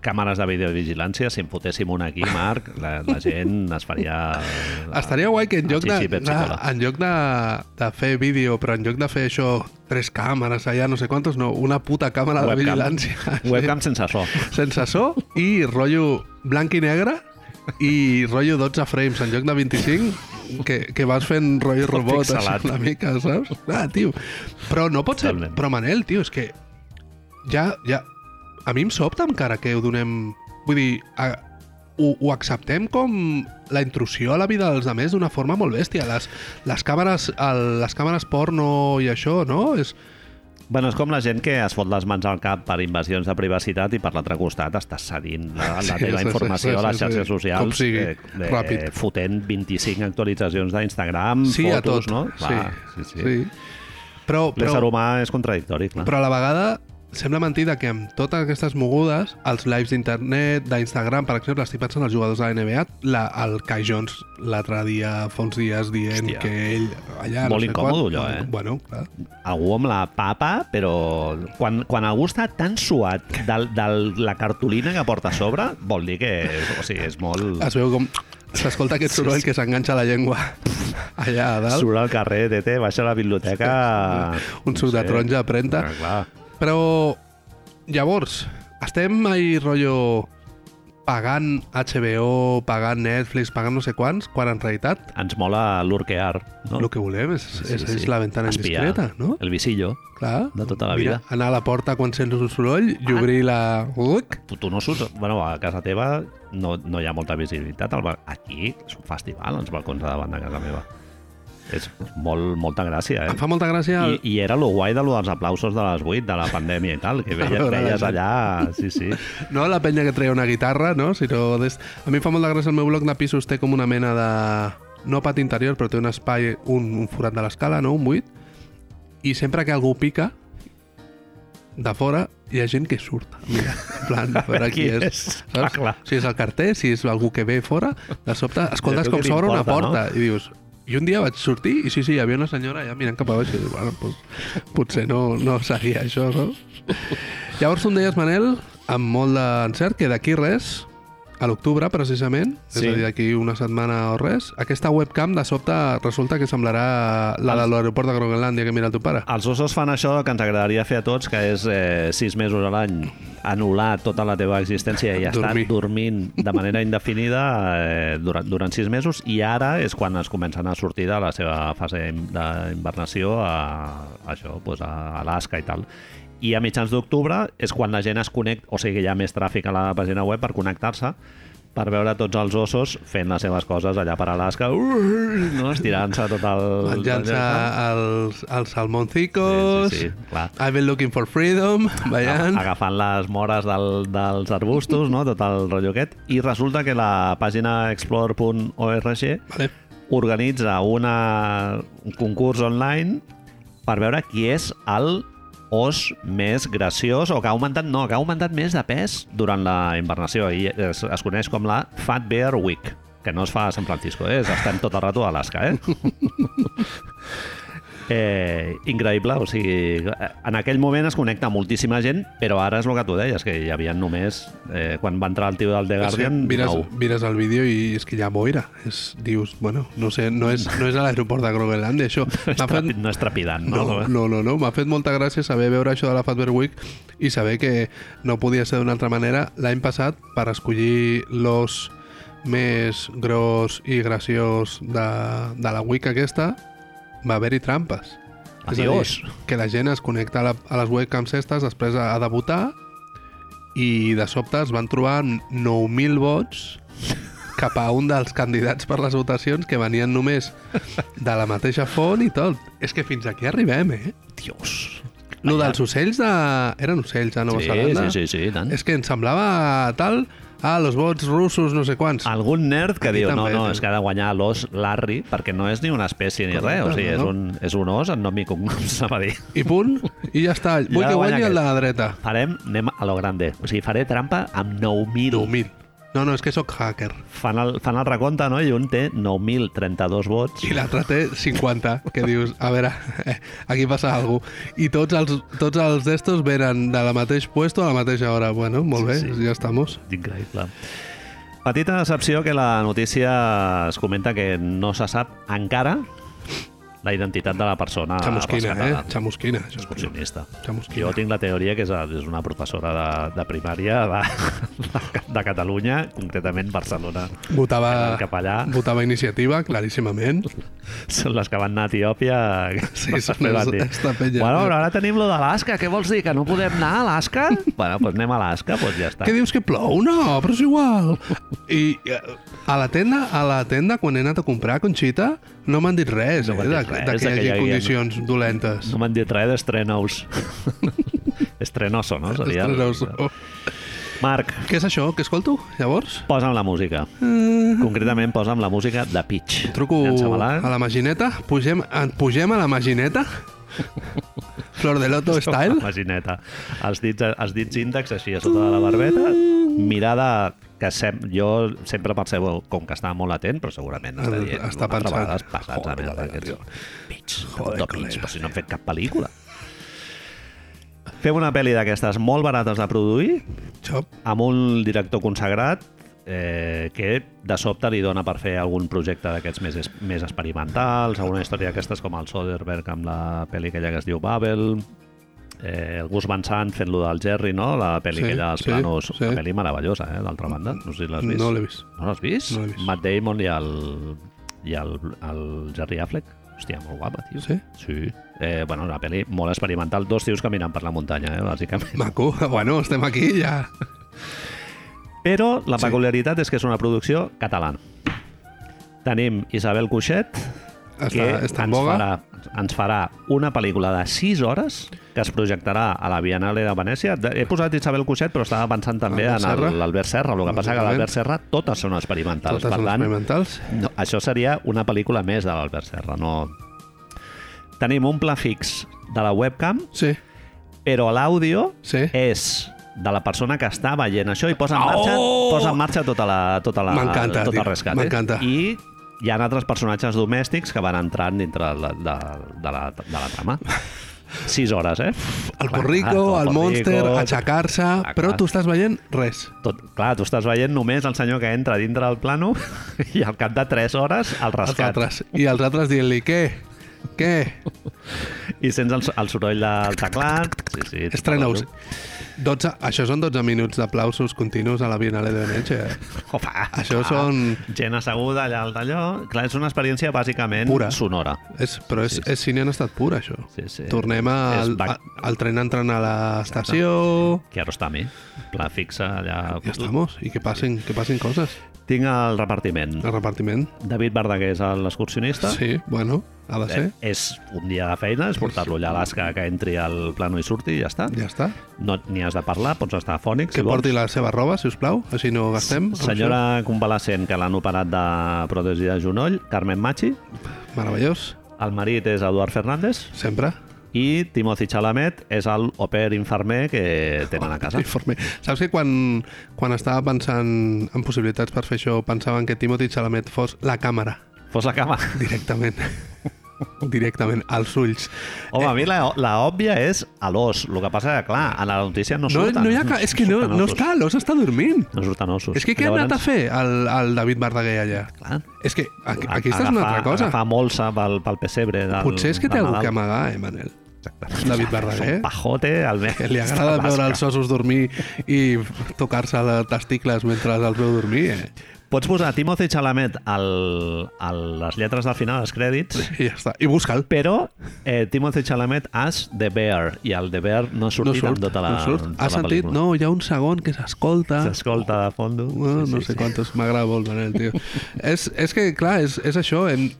Speaker 1: Càmeres de videovigilància, si en fotéssim una aquí, Marc, la, la gent es faria...
Speaker 2: Estaria guai que en lloc, de,
Speaker 1: Xixi, Ah, Pepsi,
Speaker 2: de,
Speaker 1: Cola.
Speaker 2: en lloc de, de fer vídeo, però en lloc de fer això, tres càmeres allà, no sé quantos, no, una puta càmera de vigilància.
Speaker 1: Webcam sense so.
Speaker 2: Sense so i rotllo blanc i negre i rotllo 12 frames en lloc de 25 que, que vas fent rotllo robot,
Speaker 1: Pixelat.
Speaker 2: així, una mica, saps? Ah, tio. Però no pot ser...
Speaker 1: Totalment.
Speaker 2: Però Manel, tio, és que ja, ja... A mi em sobta encara que ho donem... Vull dir, a, ho, ho acceptem com la intrusió a la vida dels altres d'una forma molt bèstia. Les, les, càmeres, el, les càmeres porno i això, no? És,
Speaker 1: Bueno, és com la gent que es fot les mans al cap per invasions de privacitat i per l'altre costat estàs cedint la, la
Speaker 2: Sí,
Speaker 1: teva
Speaker 2: sí, sí,
Speaker 1: informació
Speaker 2: sí,
Speaker 1: a les
Speaker 2: sí,
Speaker 1: xarxes
Speaker 2: sí.
Speaker 1: socials. eh,
Speaker 2: Com sigui, ràpid.
Speaker 1: Fotent 25 actualitzacions d'Instagram,
Speaker 2: sí,
Speaker 1: Mm, fotos,
Speaker 2: a tot.
Speaker 1: no?
Speaker 2: sí,
Speaker 1: sí, sí. sí.
Speaker 2: sí. Però,
Speaker 1: L'ésser
Speaker 2: però,
Speaker 1: humà és contradictori, clar.
Speaker 2: però a la vegada sembla mentida que amb totes aquestes mogudes, els lives d'internet, d'Instagram, per exemple, estic pensant en els jugadors de la NBA, la, el Kai Jones l'altre dia, fa uns dies, dient
Speaker 1: Hòstia.
Speaker 2: Hòstia. que ell allà...
Speaker 1: Molt
Speaker 2: no sé
Speaker 1: incòmode,
Speaker 2: quan,
Speaker 1: allò, eh?
Speaker 2: Bueno, clar.
Speaker 1: algú amb la papa, però quan, quan algú està tan suat de, de la cartolina que porta a sobre, vol dir que és, o sigui, és molt...
Speaker 2: Es veu com... S'escolta aquest soroll que s'enganxa a la llengua allà a dalt.
Speaker 1: Surt al carrer, tete, baixa a la biblioteca...
Speaker 2: Un suc de taronja aprenta.
Speaker 1: Ah, clar.
Speaker 2: Però, llavors, estem ahí rotllo pagant HBO, pagant Netflix, pagant no sé quants, quan en realitat
Speaker 1: Ens mola l'urquear, no?
Speaker 2: el que volem és, sí, és, és la ventana
Speaker 1: Espiar.
Speaker 2: indiscreta, no?
Speaker 1: El visillo.
Speaker 2: Clar.
Speaker 1: de tota la vida.
Speaker 2: Anar a la porta quan sents un soroll i obrir la... Uc,
Speaker 1: Tu, tu no surts... Bueno, a casa teva no, no hi ha molta visibilitat. Al bar- Aquí és un festival, els balcons de davant de casa meva. És molt, molta gràcia, eh?
Speaker 2: em fa molta gràcia...
Speaker 1: I,
Speaker 2: El...
Speaker 1: I era lo guai de lo dels aplausos de les 8 de la pandèmia i tal, que veies,
Speaker 2: veure la
Speaker 1: veies
Speaker 2: gent.
Speaker 1: allà... Sí, sí.
Speaker 2: No la penya que treia una guitarra, no? Sinó des... A mi em fa molta gràcia el meu bloc de pisos té com una mena de... No pati interior, però té un espai, un, un forat de l'escala, no? Un buit. I sempre que algú pica, de fora, hi ha gent que surt. Mira, en plan, a veure qui, és.
Speaker 1: Ah,
Speaker 2: Saps?
Speaker 1: clar.
Speaker 2: Si és el carter, si és algú que ve fora, de sobte escoltes
Speaker 1: tu
Speaker 2: com
Speaker 1: què
Speaker 2: s'obre una
Speaker 1: t'importa,
Speaker 2: porta no? i dius... I un dia vaig sortir i sí, sí, hi havia una senyora ja mirant cap a baix i dius, bueno, pues, potser no, no seria això, no? Llavors tu em deies, Manel, amb molt d'encert, que d'aquí res, a l'octubre, precisament, sí.
Speaker 1: Sí.
Speaker 2: és a dir, d'aquí una setmana o res, aquesta webcam, de sobte, resulta que semblarà la de l'aeroport de Groenlàndia que mira el teu pare.
Speaker 1: Els ossos fan això que ens agradaria fer a tots, que és eh, sis mesos a l'any anul·lar tota la teva existència i estar
Speaker 2: Dormir.
Speaker 1: dormint de manera indefinida eh, durant, durant sis mesos i ara és quan es comencen a sortir de la seva fase in- d'invernació a, a això, doncs a Alaska i tal. I a mitjans d'octubre és quan la gent es connecta, o sigui que hi ha més tràfic a la pàgina web per connectar-se, per veure tots els ossos fent les seves coses allà per Alaska, uh, no? estirant-se tot el...
Speaker 2: Menjant-se els, els salmoncicos...
Speaker 1: Sí, sí, sí, clar.
Speaker 2: I've been looking for freedom, ballant...
Speaker 1: agafant les mores del, dels arbustos, no? tot el rotllo aquest, i resulta que la pàgina explore.org
Speaker 2: Vale.
Speaker 1: organitza una, un concurs online per veure qui és el os més graciós o que ha augmentat, no, que ha augmentat més de pes durant la invernació i es, es coneix com la Fat Bear Week que no es fa a San Francisco, eh? estem tot el rato a Alaska, eh? Eh, increïble, o sigui, en aquell moment es connecta moltíssima gent, però ara és el que tu deies, que hi havia només, eh, quan va entrar el tio del The
Speaker 2: És que
Speaker 1: Guardian,
Speaker 2: mires,
Speaker 1: nou.
Speaker 2: mires el vídeo i és que hi ha boira. És, dius, bueno, no sé, no és, no és a l'aeroport de Groenlàndia, això. M'ha fet...
Speaker 1: Estrapid, no és trepidant, no?
Speaker 2: No, no, no, no. m'ha fet molta gràcia saber veure això de la Fatber Week i saber que no podia ser d'una altra manera. L'any passat, per escollir l'os més gros i graciós de, de la Week aquesta, va haver-hi trampes. És a dir,
Speaker 1: Adiós.
Speaker 2: que la gent es connecta a, la, a les webcams estes, després ha de votar i de sobte es van trobar amb 9.000 vots cap a un dels candidats per les votacions que venien només de la mateixa font i tot. És que fins aquí arribem, eh?
Speaker 1: Dios.
Speaker 2: Lo dels ocells de... Eren ocells a Nova
Speaker 1: Sí,
Speaker 2: Zelanda?
Speaker 1: sí, sí, sí, i tant.
Speaker 2: És que em semblava tal... Ah, los vots russos, no sé quants.
Speaker 1: Algun nerd que
Speaker 2: Aquí
Speaker 1: diu, no,
Speaker 2: també,
Speaker 1: no,
Speaker 2: també.
Speaker 1: és que ha de guanyar l'os Larry, perquè no és ni una espècie ni
Speaker 2: Correcte,
Speaker 1: res, o sigui, és
Speaker 2: no, no.
Speaker 1: un, és un os en nom i cognom, s'ha dir.
Speaker 2: I punt, i ja està. Vull
Speaker 1: ha de guanyar
Speaker 2: que guanyi el de
Speaker 1: aquest.
Speaker 2: la dreta.
Speaker 1: Farem, anem a lo grande, o sigui, faré trampa amb 9.000.
Speaker 2: 9.000. No, no, és que sóc hacker.
Speaker 1: Fan el, fan el recompte, no?, i un té 9.032 vots.
Speaker 2: I l'altre té 50, que dius, a veure, eh, aquí passa alguna cosa. I tots els, tots els d'estos venen de la mateix puesto a la mateixa hora. Bueno, molt bé,
Speaker 1: Sí, sí.
Speaker 2: ja estamos.
Speaker 1: Increïble. Petita decepció que la notícia es comenta que no se sap encara la identitat de la persona
Speaker 2: Xamusquina, eh?
Speaker 1: rescatada.
Speaker 2: Xamusquina, això és possible.
Speaker 1: Excursionista.
Speaker 2: Xamusquina.
Speaker 1: Jo tinc la teoria que és, és una professora de, de primària de, de, de Catalunya, concretament Barcelona.
Speaker 2: Votava,
Speaker 1: Cap allà.
Speaker 2: votava iniciativa, claríssimament.
Speaker 1: Són les que van anar a Etiòpia. que
Speaker 2: Sí,
Speaker 1: les
Speaker 2: són
Speaker 1: que van
Speaker 2: les-
Speaker 1: dir,
Speaker 2: esta penya.
Speaker 1: Bueno, però ara tenim lo d'Alaska. Què vols dir? Que no podem anar a Alaska? bueno, doncs anem a Alaska, doncs ja està.
Speaker 2: Què dius que plou? No, però és igual. I eh, a la tenda, a la tenda quan he anat a comprar Conxita, no m'han dit res,
Speaker 1: No
Speaker 2: eh,
Speaker 1: m'han
Speaker 2: de,
Speaker 1: dit res, de
Speaker 2: de que hi
Speaker 1: que hi
Speaker 2: hagi
Speaker 1: haguien-
Speaker 2: condicions dolentes.
Speaker 1: No m'han dit res d'estrenos. Estrenoso, no? Seria el-
Speaker 2: Estrenos. Oh.
Speaker 1: Marc,
Speaker 2: Què és això? Què escolto, llavors?
Speaker 1: posa'm la música. Concretament, posa'm la música de Pitch.
Speaker 2: Eh. Truco
Speaker 1: Llança-me-la.
Speaker 2: a la magineta? Pugem, en- pugem a la magineta? Flor de Loto
Speaker 1: La
Speaker 2: style?
Speaker 1: Magineta. Els dits, els dits índex així a sota de la barbeta, mirada que sem jo sempre percebo com que estava molt atent, però segurament està
Speaker 2: El-
Speaker 1: dient
Speaker 2: està
Speaker 1: una altra
Speaker 2: pensant.
Speaker 1: vegada, has passat
Speaker 2: Joder,
Speaker 1: Joder,
Speaker 2: colega,
Speaker 1: merda,
Speaker 2: tio.
Speaker 1: aquests pits,
Speaker 2: Joder,
Speaker 1: Joder, pits,
Speaker 2: colega.
Speaker 1: però si no han fet cap pel·lícula. Fem una pel·li d'aquestes molt barates de produir,
Speaker 2: Xop.
Speaker 1: amb un director consagrat eh, que de sobte li dona per fer algun projecte d'aquests més, es- més experimentals, alguna història d'aquestes com el Soderbergh amb la pel·li aquella que es diu Babel, eh, el Gus Van Sant fent-lo del Jerry, no? La pel·li
Speaker 2: Sí,
Speaker 1: sí, aquella dels
Speaker 2: sí,
Speaker 1: sí, planos, sí.
Speaker 2: sí. Mm.
Speaker 1: una pel·li meravellosa, eh? D'altra banda, no sé si l'has vist.
Speaker 2: No l'he vist.
Speaker 1: No l'has vist?
Speaker 2: No l'he vist.
Speaker 1: Matt Damon i el, i el, el Jerry Affleck. Hòstia, molt guapa, tio.
Speaker 2: Sí?
Speaker 1: Sí. Eh, bueno, una pel·li molt experimental. Dos tios caminant per la muntanya, eh, bàsicament.
Speaker 2: Maco. Bueno, estem aquí ja.
Speaker 1: Però la peculiaritat és que és una producció catalana. Tenim Isabel Cuixet, que
Speaker 2: Està, està en
Speaker 1: ens,
Speaker 2: boga.
Speaker 1: farà, ens farà una pel·lícula de 6 hores que es projectarà a la Biennale de Venècia. De- He posat Isabel Cuixet, però estava pensant també
Speaker 2: Ah, Albert
Speaker 1: en el-
Speaker 2: Serra.
Speaker 1: l'Albert Serra. El que passa que
Speaker 2: Lògicament.
Speaker 1: l'Albert Serra totes són experimentals.
Speaker 2: Totes
Speaker 1: per
Speaker 2: són
Speaker 1: tant,
Speaker 2: experimentals.
Speaker 1: no, això seria una pel·lícula més de l'Albert Serra. No... Tenim un pla fix de la webcam,
Speaker 2: Sí,
Speaker 1: però l'àudio
Speaker 2: sí.
Speaker 1: és de la persona que està veient això i posa en marxa,
Speaker 2: Oh!
Speaker 1: posa en marxa tota la, tota la,
Speaker 2: M'encanta,
Speaker 1: tot
Speaker 2: tio,
Speaker 1: el rescat.
Speaker 2: m'encanta.
Speaker 1: Eh? I hi ha altres personatges domèstics que van entrant dintre la, de, de, la, de la trama. Sis hores, eh?
Speaker 2: El
Speaker 1: Clar,
Speaker 2: borrico,
Speaker 1: clar,
Speaker 2: el monster,
Speaker 1: borrico.
Speaker 2: aixecar-se... Però
Speaker 1: clar.
Speaker 2: tu estàs veient res.
Speaker 1: Tot, clar, tu estàs veient només el senyor que entra dintre del plano i al cap de tres hores el
Speaker 2: Els
Speaker 1: rescat.
Speaker 2: altres. I els altres dient-li, què? Què?
Speaker 1: I sents el, el soroll del teclat. Sí, sí,
Speaker 2: Estrena-us. 12, això són 12 minuts d'aplausos continus a la Biennale de Venècia. eh?
Speaker 1: Opa,
Speaker 2: Això
Speaker 1: clar.
Speaker 2: són-
Speaker 1: Gent asseguda allà al d'allò. Clar, és una experiència bàsicament
Speaker 2: Pura.
Speaker 1: sonora.
Speaker 2: És, però és, és cine en estat pur, això.
Speaker 1: Sí, sí.
Speaker 2: Tornem
Speaker 1: És
Speaker 2: al,
Speaker 1: back-
Speaker 2: a- al tren entrant a l'estació...
Speaker 1: Kiarostami, pla fixa allà...
Speaker 2: Ja estamos. I que passin, que passin coses.
Speaker 1: Tinc el repartiment.
Speaker 2: El repartiment.
Speaker 1: David Verdaguer és l'excursionista.
Speaker 2: Ah. Sí, bueno, ha de ser.
Speaker 1: Eh, és un dia de feina, és portar-lo allà a Alaska que entri al plano i surti i ja està.
Speaker 2: Ja està.
Speaker 1: No n'hi has de parlar, pots estar afònic.
Speaker 2: Que
Speaker 1: si vols.
Speaker 2: porti la seva roba, si us plau, així no gastem. amb
Speaker 1: Senyora convalescent que l'han operat de pròtesi de genoll, Carmen Machi.
Speaker 2: això. Meravellós,
Speaker 1: El marit és Eduard Fernández
Speaker 2: sempre.
Speaker 1: i Timothy Chalamet és el au pair infermer que tenen a casa.
Speaker 2: Informe. Saps que quan, quan estava pensant en possibilitats per fer això, pensaven que Timothy Chalamet fos la càmera,
Speaker 1: Fos la cama.
Speaker 2: directament. directament, als ulls.
Speaker 1: Home, a mi la, la òbvia és a l'os. El que passa és que, clar, a la notícia no
Speaker 2: No,
Speaker 1: surten.
Speaker 2: no hi ha ca... És que no,
Speaker 1: surten
Speaker 2: no
Speaker 1: ossos.
Speaker 2: està, l'os està dormint.
Speaker 1: No surten ossos.
Speaker 2: És que què ha anat a fer el, el David Verdaguer allà?
Speaker 1: Clar,
Speaker 2: És que aquí, aquesta és una altra cosa.
Speaker 1: Agafar molsa pel, pel pessebre. Del,
Speaker 2: Potser és que té
Speaker 1: del
Speaker 2: algú que
Speaker 1: Nadal.
Speaker 2: amagar, eh, Manel?
Speaker 1: Exacte.
Speaker 2: David
Speaker 1: És
Speaker 2: Verdaguer.
Speaker 1: un pajote al mes.
Speaker 2: Que li agrada veure els ossos dormir i tocar-se de testicles mentre els veu dormir, eh?
Speaker 1: Pots posar Timothy Chalamet al, a les lletres del final dels crèdits,
Speaker 2: I ja està. I busca'l.
Speaker 1: però eh, Timothy Chalamet as The Bear, i el The Bear no ha
Speaker 2: No
Speaker 1: sortit
Speaker 2: surt,
Speaker 1: amb tota la,
Speaker 2: no surt.
Speaker 1: tota la
Speaker 2: Has sentit?
Speaker 1: pel·lícula.
Speaker 2: No, hi ha un segon que s'escolta.
Speaker 1: S'escolta de fondo.
Speaker 2: Bueno, no sé quantos. M'agrada molt, Manel, tio. és, és que, clar, és, és això. Hem,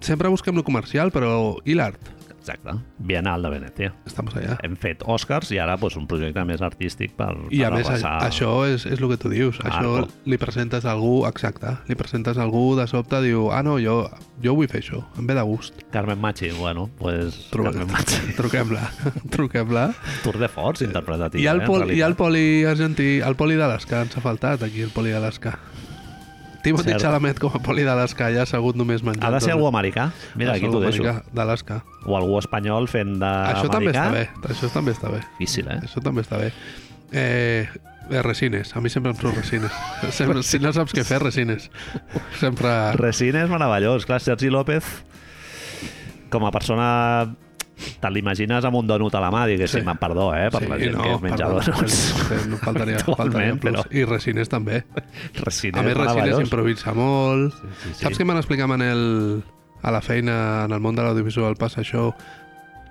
Speaker 2: sempre busquem lo comercial, però i l'art?
Speaker 1: Exacte. Bienal de Venècia.
Speaker 2: Estamos allà.
Speaker 1: hem fet Oscars i ara doncs, un projecte més artístic per,
Speaker 2: I a
Speaker 1: per
Speaker 2: més, a,
Speaker 1: arrasar.
Speaker 2: això és, és el que tu dius. Això
Speaker 1: Arco.
Speaker 2: li presentes a algú, exacte, li presentes a algú de sobte, diu, ah, no, jo, jo vull fer això, em ve de gust.
Speaker 1: Carmen Machi, bueno, pues,
Speaker 2: Truca-
Speaker 1: Carmen Machi.
Speaker 2: Truquem-la, truquem-la.
Speaker 1: Tour de force interpretatiu.
Speaker 2: I el,
Speaker 1: eh, en
Speaker 2: pol, I
Speaker 1: realitat.
Speaker 2: el poli argentí, el poli d'Alaska, ens ha faltat aquí el poli d'Alaska. Timothy
Speaker 1: Cert.
Speaker 2: Chalamet com a poli d'Alaska ja ha segut només menjar.
Speaker 1: Ha de ser algú americà. Mira, aquí t'ho deixo.
Speaker 2: D'Alaska.
Speaker 1: O algú espanyol fent
Speaker 2: Això també
Speaker 1: d'americà.
Speaker 2: està bé, això també està bé.
Speaker 1: Difícil, eh?
Speaker 2: Això també està bé. Eh, eh, resines, a mi sempre em surt resines. Sempre, si no saps què fer, resines. Sempre...
Speaker 1: Resines meravellós. Clar, Sergi López com a persona te l'imagines amb un donut a la mà, diguéssim,
Speaker 2: Sí.
Speaker 1: sí. perdó, eh, per sí, la gent no, que es menja donuts.
Speaker 2: No faltaria,
Speaker 1: Actualment,
Speaker 2: faltaria plus.
Speaker 1: però-
Speaker 2: I resines també.
Speaker 1: Resiner,
Speaker 2: A més, resines
Speaker 1: meravellós.
Speaker 2: improvisa molt.
Speaker 1: sí, sí.
Speaker 2: Saps què m'han explicat, Manel, a la feina, en el món de l'audiovisual, passa això?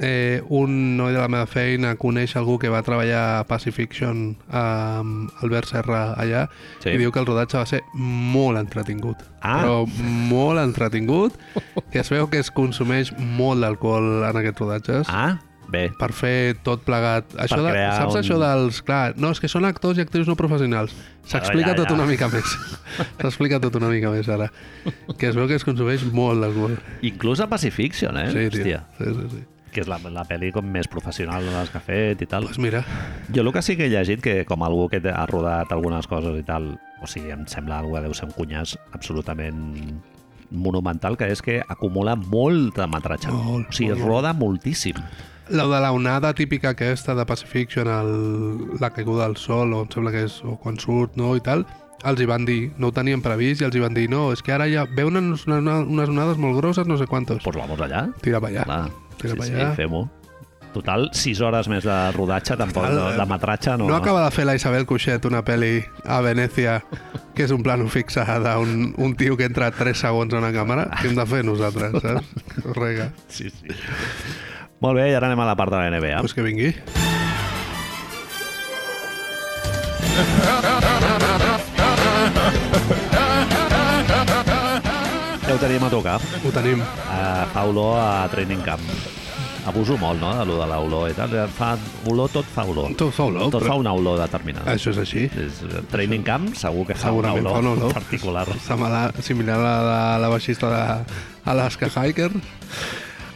Speaker 2: Eh, un noi de la meva feina coneix algú que va treballar a Pacifiction amb Albert Serra allà
Speaker 1: Sí.
Speaker 2: i diu que el rodatge va ser molt entretingut.
Speaker 1: Ah.
Speaker 2: Però molt entretingut, que es veu que es consumeix molt d'alcohol en aquests rodatges
Speaker 1: Ah, bé,
Speaker 2: per fer tot plegat. Això de,
Speaker 1: crear
Speaker 2: saps
Speaker 1: un-
Speaker 2: això dels... Clar, no, és que són actors i actrius no professionals. S'explica
Speaker 1: ja,
Speaker 2: tot
Speaker 1: ja.
Speaker 2: una mica més. S'explica tot una mica més, ara. Que es veu que es consumeix molt l'alcohol.
Speaker 1: inclús a Pacifiction, eh?
Speaker 2: Sí, tio.
Speaker 1: Hòstia,
Speaker 2: Sí, sí, sí.
Speaker 1: que és la, la pel·li com més professional de les que ha fet i tal.
Speaker 2: Pues mira,
Speaker 1: Jo el que sí que he llegit, que com algú que ha rodat algunes coses i tal, o sigui, em sembla algú que deu ser un cunyàs absolutament monumental, que és que acumula molt de metratge.
Speaker 2: Molt,
Speaker 1: o sigui,
Speaker 2: molt, molt.
Speaker 1: roda moltíssim.
Speaker 2: la de la onada típica aquesta de Pacifiction, el, la caiguda del sol, o em sembla que és o quan surt, no, i tal, els hi van dir, no ho tenien previst, i els hi van dir, no, és que ara ja veuen unes, unes onades molt grosses, no sé quantos.
Speaker 1: Pues vamos allà.
Speaker 2: Tira per allà.
Speaker 1: Clar.
Speaker 2: tira
Speaker 1: sí,
Speaker 2: pa
Speaker 1: sí,
Speaker 2: allà.
Speaker 1: fem-ho. Total, 6 hores més de rodatge, tampoc,
Speaker 2: Total,
Speaker 1: no,
Speaker 2: eh,
Speaker 1: de metratge, no.
Speaker 2: No acaba de fer la Isabel Cuixet una pel·li a Venècia que és un plano fixe d'un un tio que entra 3 segons a una càmera? Què hem de fer nosaltres, saps? Rega.
Speaker 1: Sí, sí. Molt bé, i ara anem a la part de la NBA.
Speaker 2: Pues que vingui.
Speaker 1: Ja ho teníem a tocar.
Speaker 2: Ho tenim.
Speaker 1: eh, fa olor a training camp. Abuso molt, no?, de lo de l'olor i tal. Fa olor, tot fa olor.
Speaker 2: Tot fa olor,
Speaker 1: Tot
Speaker 2: però-
Speaker 1: fa una olor determinada.
Speaker 2: Això és així.
Speaker 1: És, eh, training camp segur que fa una
Speaker 2: Segurament
Speaker 1: olor,
Speaker 2: fa una olor.
Speaker 1: particular.
Speaker 2: Similar, similar a la, de la baixista d'Alaska Hiker.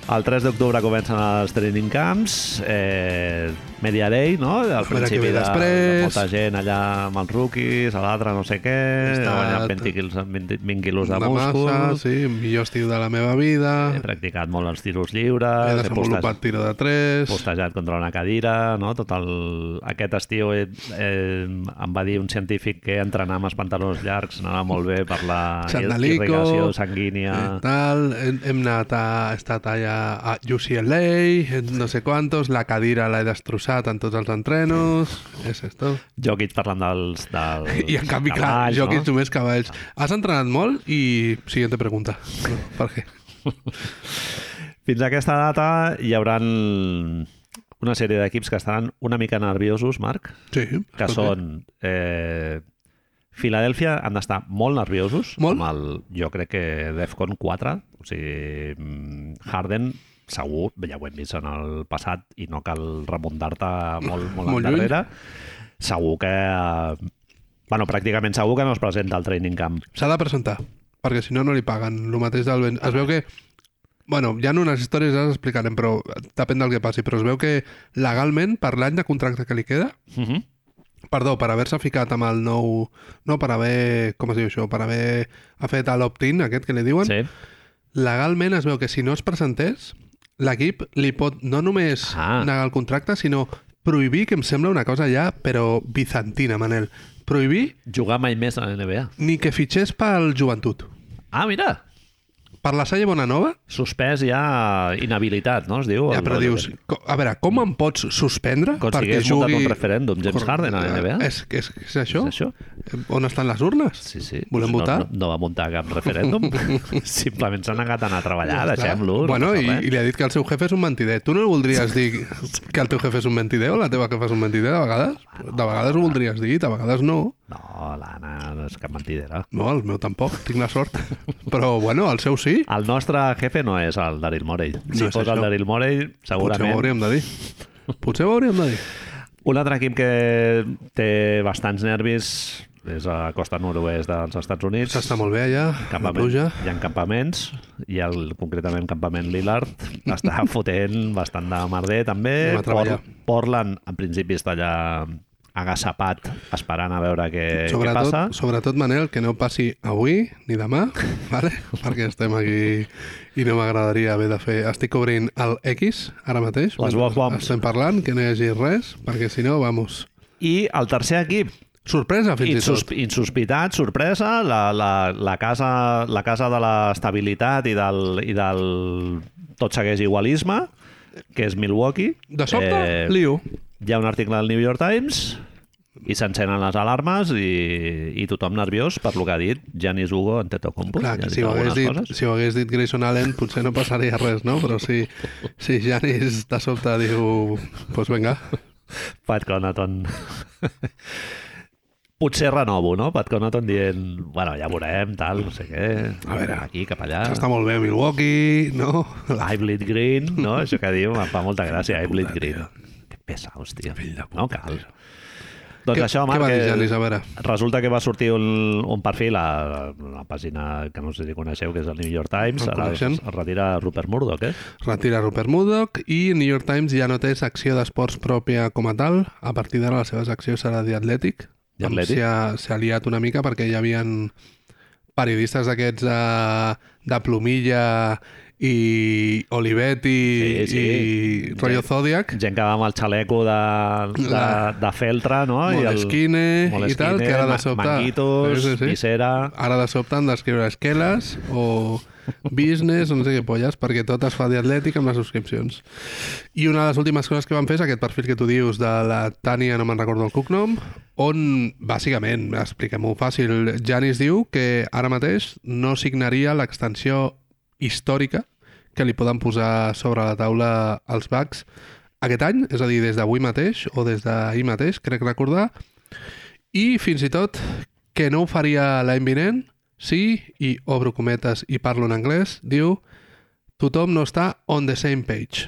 Speaker 1: El 3 d'octubre comencen els training camps, eh, Media Day, no? Al
Speaker 2: veure què
Speaker 1: principi
Speaker 2: ve
Speaker 1: de,
Speaker 2: després.
Speaker 1: de molta gent allà amb els rookies, a l'altre no sé què,
Speaker 2: Està-
Speaker 1: guanyant 20 quilos, 20, 20 quilos de
Speaker 2: una
Speaker 1: múscul.
Speaker 2: massa, sí, millor estiu de la meva vida.
Speaker 1: He practicat molt els tiros
Speaker 2: He
Speaker 1: lliures, he postat
Speaker 2: desenvolupat tiro de 3.
Speaker 1: postejat contra una cadira, no? Tot el... Aquest estiu eh, eh, em va dir un científic que entrenar amb els pantalons llargs anava molt bé per la
Speaker 2: Xandalico.
Speaker 1: irrigació sanguínia.
Speaker 2: Eh, tal, hem, hem anat a, he estat allà a UCLA, no sé quantos, la cadira l'he destrossat en tots els entrenos, és esto.
Speaker 1: Jokic parlant dels, dels
Speaker 2: I en canvi, clar,
Speaker 1: cavalls,
Speaker 2: jo que ets
Speaker 1: Pues no?
Speaker 2: només cavalls. Has entrenat molt i... Siguiente pregunta. No, per què?
Speaker 1: Fins a aquesta data hi haurà una sèrie d'equips que estaran una mica nerviosos, Marc,
Speaker 2: Sí.
Speaker 1: que
Speaker 2: escolta.
Speaker 1: són... Eh, Filadèlfia han d'estar molt nerviosos.
Speaker 2: Molt.
Speaker 1: Amb el, jo crec que Defcon 4, o sigui, mm, Harden segur, ja ho hem vist en el passat i no cal remuntar-te molt, molt,
Speaker 2: Molt
Speaker 1: molt
Speaker 2: lluny.
Speaker 1: endarrere. Segur que... eh, Bueno, pràcticament segur que no es presenta al training camp.
Speaker 2: S'ha de presentar, perquè si no, no li paguen. El mateix del... Ben... Es veu que... Bueno, hi ha unes històries, ja les explicarem, però depèn del que passi. Però es veu que legalment, per l'any de contracte que li queda,
Speaker 1: Uh -huh.
Speaker 2: Perdó, per haver-se ficat amb el nou... No, per haver... Com es diu això? Per haver ha fet l'opt-in, aquest que li diuen.
Speaker 1: Sí.
Speaker 2: Legalment es veu que si no es presentés, l'equip li pot no només
Speaker 1: Ah.
Speaker 2: negar el contracte, sinó prohibir, que em sembla una cosa ja, però bizantina, Manel. Prohibir
Speaker 1: Jugar mai més a la NBA.
Speaker 2: ni que fitxés pel joventut.
Speaker 1: Ah, mira!
Speaker 2: Per la Salle Bonanova,
Speaker 1: Suspès ja inhabilitat, no? Es diu.
Speaker 2: ja,
Speaker 1: el-
Speaker 2: però dius, co- a veure, com em pots suspendre
Speaker 1: Com si
Speaker 2: perquè
Speaker 1: hagués muntat
Speaker 2: jugui...
Speaker 1: un referèndum, James Harden, a la NBA.
Speaker 2: És, és, és, això?
Speaker 1: És això?
Speaker 2: On estan les urnes?
Speaker 1: Sí, sí.
Speaker 2: Volem
Speaker 1: no,
Speaker 2: votar?
Speaker 1: No, no va muntar cap referèndum. Simplement s'ha negat a anar a treballar,
Speaker 2: Clar.
Speaker 1: deixem-lo. no
Speaker 2: Bueno,
Speaker 1: passa
Speaker 2: i,
Speaker 1: res.
Speaker 2: i li ha dit que el seu jefe és un mentider. Tu no el voldries dir que el teu jefe és un mentider o la teva jefa és un mentider de vegades? De vegades ho voldries dir, de vegades no.
Speaker 1: No, l'Anna no és cap mentidera.
Speaker 2: No, el meu tampoc, tinc la sort. Però, bueno, el seu sí.
Speaker 1: El nostre jefe no és el Daryl Morey. Si
Speaker 2: és
Speaker 1: fos
Speaker 2: això.
Speaker 1: el Daryl Morey,
Speaker 2: Potser ho
Speaker 1: segurament...
Speaker 2: hauríem de dir. Potser ho hauríem de dir.
Speaker 1: Un altre equip que té bastants nervis és a costa nord-oest dels Estats Units.
Speaker 2: S'està molt bé allà, amb la
Speaker 1: Campament.
Speaker 2: pluja.
Speaker 1: Hi ha campaments, i el, concretament campament Lillard està fotent bastant de merder també.
Speaker 2: Anem a treballar.
Speaker 1: Portland, en principi, està allà agassapat, esperant a veure Eh, què, què
Speaker 2: Sobretot,
Speaker 1: passa.
Speaker 2: sobretot, Manel, que no passi avui ni demà, vale? perquè estem aquí i no m'agradaria haver de fer... Estic cobrint el X ara mateix,
Speaker 1: Les
Speaker 2: mentre
Speaker 1: Bob Bombs.
Speaker 2: estem parlant, que no hi hagi res, perquè si no, vamos...
Speaker 1: I el tercer equip,
Speaker 2: Sorpresa, fins i tot.
Speaker 1: insus insospitat, sorpresa, la, la, la, casa, la casa de l'estabilitat i del, i del tot segueix igualisme, que és Milwaukee. Eh,
Speaker 2: De sobte, liu.
Speaker 1: Hi ha un article del New York Times i s'encenen les alarmes i, i tothom nerviós per lo que ha dit Janis Hugo en Tetocompo.
Speaker 2: Clar, que si ho, hagués dit, si ho hagués dit Grayson Allen potser no passaria res, no? Però si, si Janis de sobte diu... Doncs vinga.
Speaker 1: Pat Conaton. Potser renovo, no? Pat Conaton dient, bueno, ja veurem, tal, no sé què.
Speaker 2: A veure,
Speaker 1: aquí, cap allà.
Speaker 2: Està molt bé Milwaukee, no?
Speaker 1: I bleed green, no? Això que diu, em fa molta gràcia, I bleed green. Que pesaos, tio.
Speaker 2: Fill de puta,
Speaker 1: No cal. Doncs
Speaker 2: Què-
Speaker 1: això,
Speaker 2: què
Speaker 1: Marc,
Speaker 2: va dir
Speaker 1: que-
Speaker 2: Janis? A veure.
Speaker 1: resulta que va sortir un, un perfil a la pàgina que no sé si coneixeu, que és el New York Times,
Speaker 2: El
Speaker 1: ara es,
Speaker 2: coneixem.
Speaker 1: es retira Rupert Murdoch, eh?
Speaker 2: Retira Rupert Murdoch i New York Times ja no té secció d'esports pròpia com a tal. A partir d'ara la seva secció serà The Athletic.
Speaker 1: The
Speaker 2: Amb
Speaker 1: Athletic.
Speaker 2: S'ha s'ha liat una mica perquè hi havien periodistes d'aquests de, de plomilla i Olivetti
Speaker 1: Sí, sí.
Speaker 2: i Rollo Zodiac.
Speaker 1: Gent que va amb el xaleco de, de,
Speaker 2: La-
Speaker 1: de feltre, no? I el-
Speaker 2: Moleskine i tal, que ara de
Speaker 1: ma-
Speaker 2: sobte-
Speaker 1: Manguitos,
Speaker 2: Sí, sí, sí.
Speaker 1: visera...
Speaker 2: Ara de sobte han d'escriure esqueles o business o no sé què polles, perquè tot es fa d'Atlètic amb les subscripcions. I una de les últimes coses que van fer és aquest perfil que tu dius de la Tània, no me'n recordo el cognom, on, bàsicament, expliquem-ho fàcil, Janis diu que ara mateix no signaria l'extensió històrica que li poden posar sobre la taula els Bucks aquest any, és a dir, des d'avui mateix o des d'ahir mateix, crec recordar, i fins i tot que no ho faria l'any vinent, sí, i obro cometes i parlo en anglès, diu tothom no està on the same page.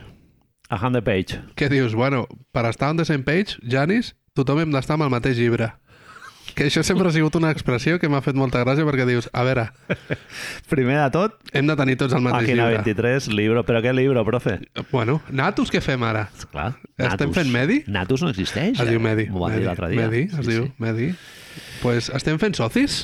Speaker 1: A hand the page.
Speaker 2: Què dius? Bueno, per estar on the same page, Janis, tothom hem d'estar amb el mateix llibre. Que això sempre ha sigut una expressió que m'ha fet molta gràcia perquè dius, a veure,
Speaker 1: Primer de tot,
Speaker 2: hem de tenir tots el mateix
Speaker 1: Pàgina
Speaker 2: llibre.
Speaker 1: 23, libro. Però què libro, profe?
Speaker 2: Bueno, natos què fem ara?
Speaker 1: Clar,
Speaker 2: Estem fent medi?
Speaker 1: Natus no existeix.
Speaker 2: Es
Speaker 1: eh?
Speaker 2: diu Medi.
Speaker 1: M'ho va dir l'altre dia.
Speaker 2: Medi, es diu Medi. Pues estem fent socis?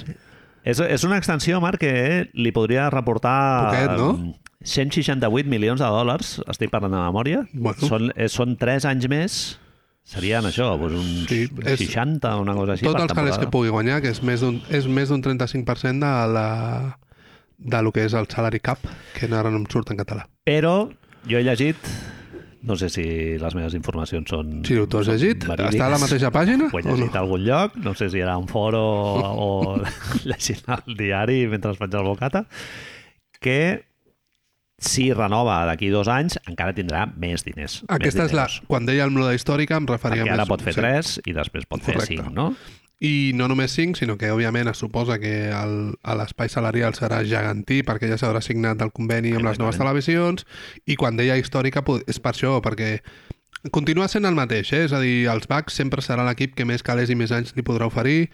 Speaker 1: És, és una extensió, Marc, que li podria reportar...
Speaker 2: Poquet, no?
Speaker 1: 168 milions de dòlars, estic parlant de memòria.
Speaker 2: Bueno.
Speaker 1: Són, eh, són 3 anys més, serien això, doncs uns
Speaker 2: Sí, és-
Speaker 1: 60 o una cosa així
Speaker 2: tot
Speaker 1: per
Speaker 2: els calés
Speaker 1: temporada.
Speaker 2: que pugui guanyar, que és més d'un és més d'un 35% de la de lo que és el salary cap, que ara no em surt en català.
Speaker 1: Però jo he llegit, no sé si les meves informacions són...
Speaker 2: Si ho has
Speaker 1: són
Speaker 2: llegit,
Speaker 1: verídiques.
Speaker 2: està a la mateixa pàgina
Speaker 1: Ho he
Speaker 2: o no?
Speaker 1: llegit a algun lloc, no sé si era un foro o, o llegint el diari mentre es faig el bocata, que si renova d'aquí dos anys encara tindrà més diners. més
Speaker 2: Aquesta és la...
Speaker 1: diners.
Speaker 2: Quan deia el Mloda històrica em referia
Speaker 1: Perquè ara
Speaker 2: més...
Speaker 1: pot fer
Speaker 2: sí.
Speaker 1: 3 i després pot fer
Speaker 2: Correcte.
Speaker 1: 5, no?
Speaker 2: I no només 5, sinó que, òbviament, es suposa que el- a l'espai salarial serà gegantí perquè ja s'haurà signat el conveni amb les noves televisions i quan deia històrica po- és per això, perquè continua sent el mateix, eh? és a dir, els Bucks sempre serà l'equip que més calés i més anys li podrà oferir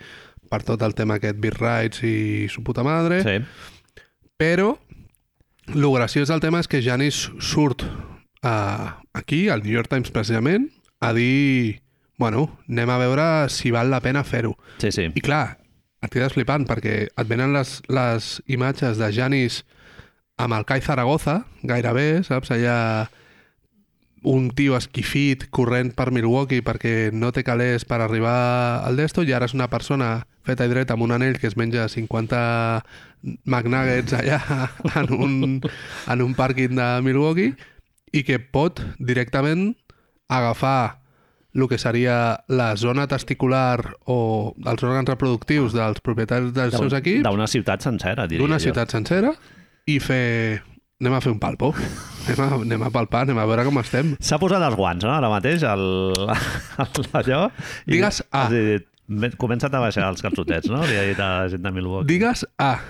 Speaker 2: per tot el tema aquest Beat Rights i su puta madre,
Speaker 1: Sí.
Speaker 2: però el graciós del tema és que Janis surt a, aquí, al New York Times precisament, a dir, bueno, anem a veure si val la pena fer-ho.
Speaker 1: Sí, sí.
Speaker 2: I clar, et quedes flipant perquè et venen les, les imatges de Janis amb el Cai Zaragoza, gairebé, saps? Allà un tio esquifit corrent per Milwaukee perquè no té calés per arribar al desto i ara és una persona feta i dreta amb un anell que es menja 50 McNuggets allà en un, en un pàrquing de Milwaukee i que pot directament agafar el que seria la zona testicular o els òrgans reproductius dels propietaris dels
Speaker 1: D'un-
Speaker 2: seus equips
Speaker 1: D'una ciutat sencera, diria
Speaker 2: d'una
Speaker 1: jo.
Speaker 2: ciutat sencera i fer... Anem a fer un palpo. Anem a, anem a palpar, anem a veure com estem.
Speaker 1: S'ha posat els guants, no?, ara mateix, el, el allò. i
Speaker 2: Digues A.
Speaker 1: has dit, "Ven, Comença't a baixar els calçotets, no?, li ha dit a la gent de Milwaukee.
Speaker 2: Digues A.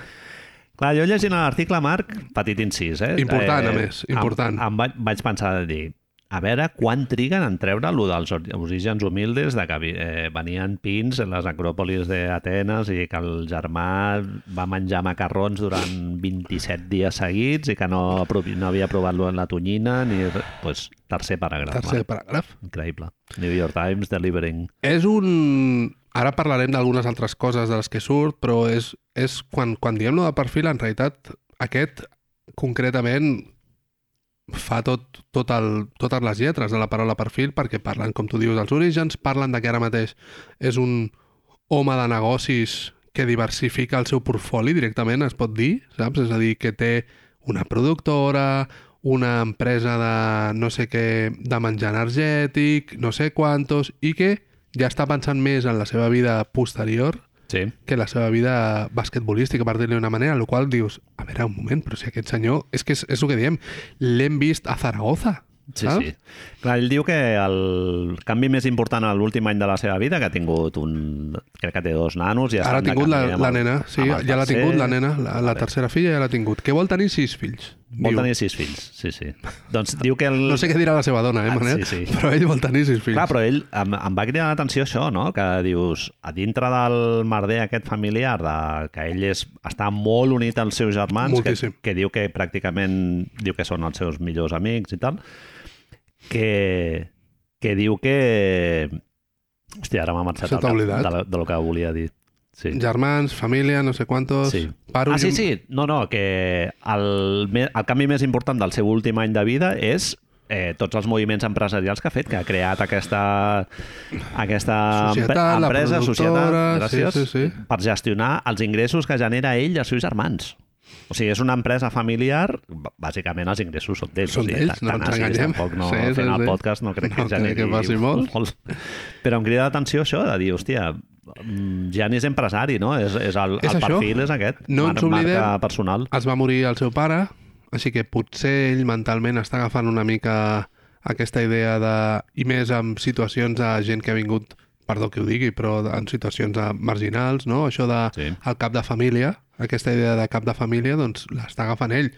Speaker 1: Clar, jo llegint l'article, Marc, petit incís, eh?
Speaker 2: Important, a més, important.
Speaker 1: Em, em vaig, vaig pensar de dir, a veure quan triguen en treure lo dels ori- orígens humildes de que vi- eh, venien pins en les acròpolis d'Atenes i que el germà va menjar macarrons durant 27 dies seguits i que no, provi- no havia provat lo en la tonyina ni... re- Pues, tercer paràgraf.
Speaker 2: Tercer
Speaker 1: Marc.
Speaker 2: paràgraf.
Speaker 1: Increïble. New York Times delivering.
Speaker 2: És un... Ara parlarem d'algunes altres coses de les que surt, però és, és quan, quan diem lo de perfil, en realitat, aquest concretament fa tot, tot el, totes les lletres de la paraula perfil perquè parlen, com tu dius, dels orígens, parlen de que ara mateix és un home de negocis que diversifica el seu portfoli directament, es pot dir, saps? És a dir, que té una productora, una empresa de no sé què, de menjar energètic, no sé quantos, i que ja està pensant més en la seva vida posterior
Speaker 1: Sí.
Speaker 2: que la seva vida basquetbolística, per dir-li d'una manera, el qual dius, a veure, un moment, però si aquest senyor, és que és, és el que diem, l'hem vist a Zaragoza,
Speaker 1: Sí,
Speaker 2: saps?
Speaker 1: sí. Clar, ell diu que el canvi més important a l'últim any de la seva vida, que ha tingut un... crec que té dos nanos... I
Speaker 2: Ara ha tingut
Speaker 1: eh,
Speaker 2: la, la nena, sí, ja l'ha tingut la nena, la, la
Speaker 1: Vale.
Speaker 2: tercera filla ja l'ha tingut, que vol tenir sis fills,
Speaker 1: Vol
Speaker 2: diu.
Speaker 1: tenir sis fills, sí, sí. Doncs diu que... El...
Speaker 2: No sé què dirà la seva dona, eh,
Speaker 1: Ah,
Speaker 2: Manel?
Speaker 1: sí, sí.
Speaker 2: Però ell vol tenir sis fills.
Speaker 1: Clar, però ell em, em va cridar l'atenció això, no? Que dius, a dintre del merder aquest familiar, de, que ell és, està molt unit als seus germans, que,
Speaker 2: Moltíssim.
Speaker 1: que diu que pràcticament diu que són els seus millors amics i tal, que, que diu que... Hòstia, ara m'ha marxat
Speaker 2: Se
Speaker 1: el
Speaker 2: t'ha
Speaker 1: cap
Speaker 2: oblidat?
Speaker 1: de, la- de lo que volia dir. Sí.
Speaker 2: Germans, família, no sé quantos...
Speaker 1: Sí.
Speaker 2: Paro
Speaker 1: ah, sí,
Speaker 2: jo-
Speaker 1: sí. No, no, que el, me- el canvi més important del seu últim any de vida és eh, tots els moviments empresarials que ha fet, que ha creat aquesta, aquesta empre-
Speaker 2: Societat, la
Speaker 1: empresa, societat,
Speaker 2: productora,
Speaker 1: gràcies,
Speaker 2: sí, sí, sí.
Speaker 1: per gestionar els ingressos que genera ell i els seus germans. O sigui, és una empresa familiar, b- bàsicament els ingressos són d'ells. o
Speaker 2: Són
Speaker 1: sigui,
Speaker 2: d'ells, no
Speaker 1: tant
Speaker 2: ens
Speaker 1: així,
Speaker 2: enganyem.
Speaker 1: Tampoc no,
Speaker 2: Sí, sí,
Speaker 1: fent
Speaker 2: sí.
Speaker 1: el podcast no crec que
Speaker 2: No crec
Speaker 1: generi
Speaker 2: que passi molt.
Speaker 1: molt. Però em crida l'atenció això de dir, hòstia, mm, ja n'és empresari, no? És, és el,
Speaker 2: És
Speaker 1: el
Speaker 2: això.
Speaker 1: perfil és aquest.
Speaker 2: No
Speaker 1: mar-
Speaker 2: ens oblidem-
Speaker 1: Marca personal.
Speaker 2: Es va morir el seu pare, així que potser ell mentalment està agafant una mica aquesta idea de... I més amb situacions de gent que ha vingut, perdó que ho digui, però en situacions de marginals, no? Això de
Speaker 1: Sí.
Speaker 2: el cap de família, aquesta idea de cap de família, doncs l'està agafant ell.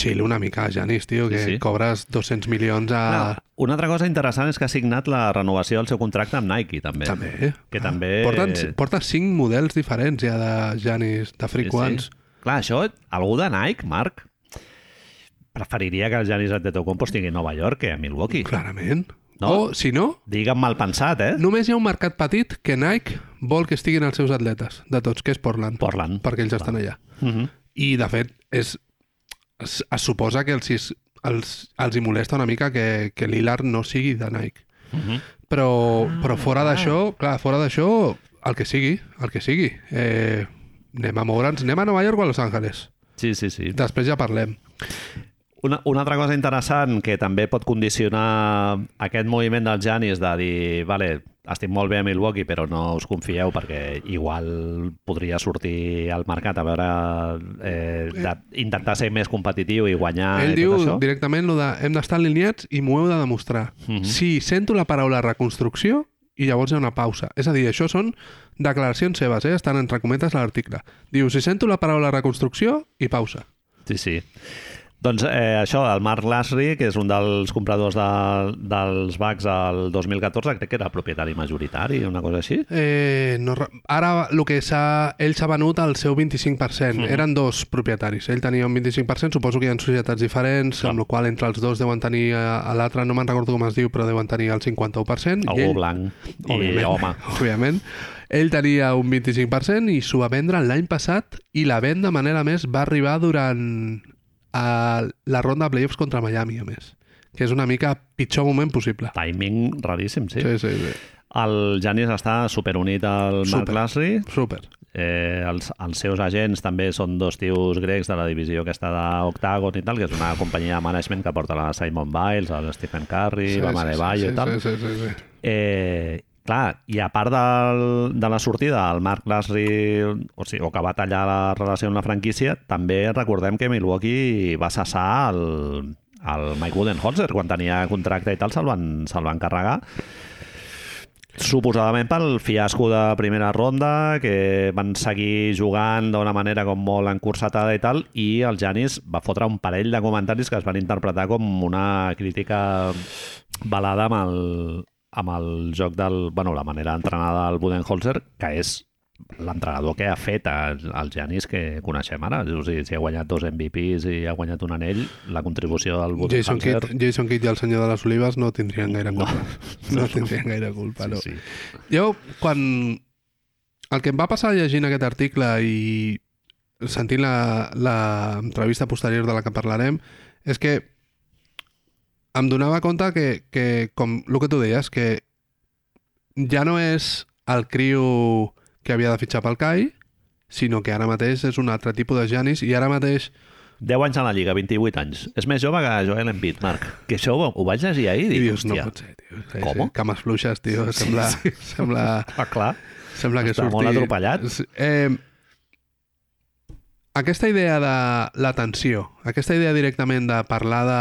Speaker 2: Xil una mica, Janis, tio, que
Speaker 1: Sí, sí.
Speaker 2: cobres 200 milions a...
Speaker 1: Clar, una altra cosa interessant és que ha signat la renovació del seu contracte amb Nike, també.
Speaker 2: També.
Speaker 1: Que també-
Speaker 2: Porten, porta cinc models diferents ja de Janis, de Free Quants.
Speaker 1: Clar, això, algú de Nike, Marc, preferiria que el Giannis Antetokounmpo estigui a Nova York que a Milwaukee.
Speaker 2: Clarament.
Speaker 1: No?
Speaker 2: O, si no,
Speaker 1: Digue'm mal pensat, eh?
Speaker 2: només hi ha un mercat petit que Nike vol que estiguin els seus atletes, de tots, que és Portland.
Speaker 1: Portland.
Speaker 2: Perquè ells estan allà.
Speaker 1: Uh -huh.
Speaker 2: I, de fet, és, es, es suposa que els, sis- els, els hi molesta una mica que, que Lillard no sigui de Nike.
Speaker 1: Uh -huh.
Speaker 2: Però, però fora d'això, clar, fora d'això, el que sigui, el que sigui. Eh, anem a moure'ns, anem a Nova York o a Los Angeles.
Speaker 1: Sí, sí, sí.
Speaker 2: Després ja parlem.
Speaker 1: Una, una altra cosa interessant que també pot condicionar aquest moviment del Janis de dir, vale, estic molt bé a Milwaukee, però no us confieu perquè igual podria sortir al mercat a veure, eh, de, intentar ser més competitiu i guanyar
Speaker 2: Ell
Speaker 1: Ah, i
Speaker 2: diu
Speaker 1: tot això.
Speaker 2: directament lo de hem d'estar alineats i m'ho heu de demostrar.
Speaker 1: Mhm.
Speaker 2: Si sento la paraula reconstrucció i llavors hi ha una pausa. És a dir, això són declaracions seves, eh? estan entre cometes a l'article. Diu, si sento la paraula reconstrucció i pausa.
Speaker 1: Sí, sí. Doncs eh, això, el Mark Lasry, que és un dels compradors de, dels Bucks el 2014, crec que era propietari majoritari, una cosa així.
Speaker 2: Eh, no, re- ara el que s'ha... Ell s'ha venut al seu 25%.
Speaker 1: Mhm.
Speaker 2: Eren dos propietaris. Ell tenia un 25%, suposo que hi ha societats diferents, amb la qual cosa entre els dos deuen tenir... eh, L'altre no me'n recordo com es diu, però deuen tenir el 51%.
Speaker 1: Algú
Speaker 2: i ell,
Speaker 1: blanc i
Speaker 2: Òbviament.
Speaker 1: home.
Speaker 2: Òbviament. Ell tenia un 25% i s'ho va vendre l'any passat i la venda, Manel, a més, va arribar durant a la ronda de playoffs contra Miami, a més. Que és una mica pitjor moment possible.
Speaker 1: Timing raríssim, sí.
Speaker 2: Sí, sí, sí.
Speaker 1: El Janis està superunit al Mark
Speaker 2: Super.
Speaker 1: Lasry.
Speaker 2: Super.
Speaker 1: Eh, els, els seus agents també són dos tios grecs de la divisió que està d'Octagon i tal, que és una companyia de management que porta la Simon Biles, el Stephen Curry, sí, Bama de Bayo
Speaker 2: sí,
Speaker 1: i tal.
Speaker 2: Sí, sí, sí, sí.
Speaker 1: Eh, clar, i a part del, de la sortida del Mark Lasry, o, sigui, o que va tallar la relació amb la franquícia, també recordem que Milwaukee va cessar el, el Mike Budenholzer quan tenia contracte i tal, se'l van, se van carregar suposadament pel fiasco de primera ronda que van seguir jugant d'una manera com molt encursatada i tal i el Janis va fotre un parell de comentaris que es van interpretar com una crítica balada amb el, amb el joc del... Bueno, la manera d'entrenar del Budenholzer, que és l'entrenador que ha fet el Janis que coneixem ara. O sigui, si ha guanyat dos MVPs i ha guanyat un anell, la contribució del
Speaker 2: Jason
Speaker 1: Budenholzer...
Speaker 2: Kidd, Jason Kidd i el senyor de les olives no tindrien gaire culpa. No, no tindrien gaire culpa, no.
Speaker 1: Sí, sí.
Speaker 2: Jo, quan... El que em va passar llegint aquest article i sentint la- l'entrevista posterior de la que parlarem és que em donava compte que, que com el que tu deies, que ja no és el criu que havia de fitxar pel CAI, sinó que ara mateix és un altre tipus de Janis i ara mateix
Speaker 1: 10 anys a la Lliga, 28 anys. És més jove que Joel Embiid, Marc. Que això ho, ho vaig llegir ahir i
Speaker 2: I
Speaker 1: dic,
Speaker 2: dius, no
Speaker 1: hòstia,
Speaker 2: pot ser, tio. Sí,
Speaker 1: ¿Cómo?
Speaker 2: Sí, cames fluixes, tio. Sembla, sí, sí. sembla,
Speaker 1: Ah, clar.
Speaker 2: sembla que
Speaker 1: Està
Speaker 2: surti...
Speaker 1: molt atropellat.
Speaker 2: Sí, Eh, aquesta idea de l'atenció, aquesta idea directament de parlar de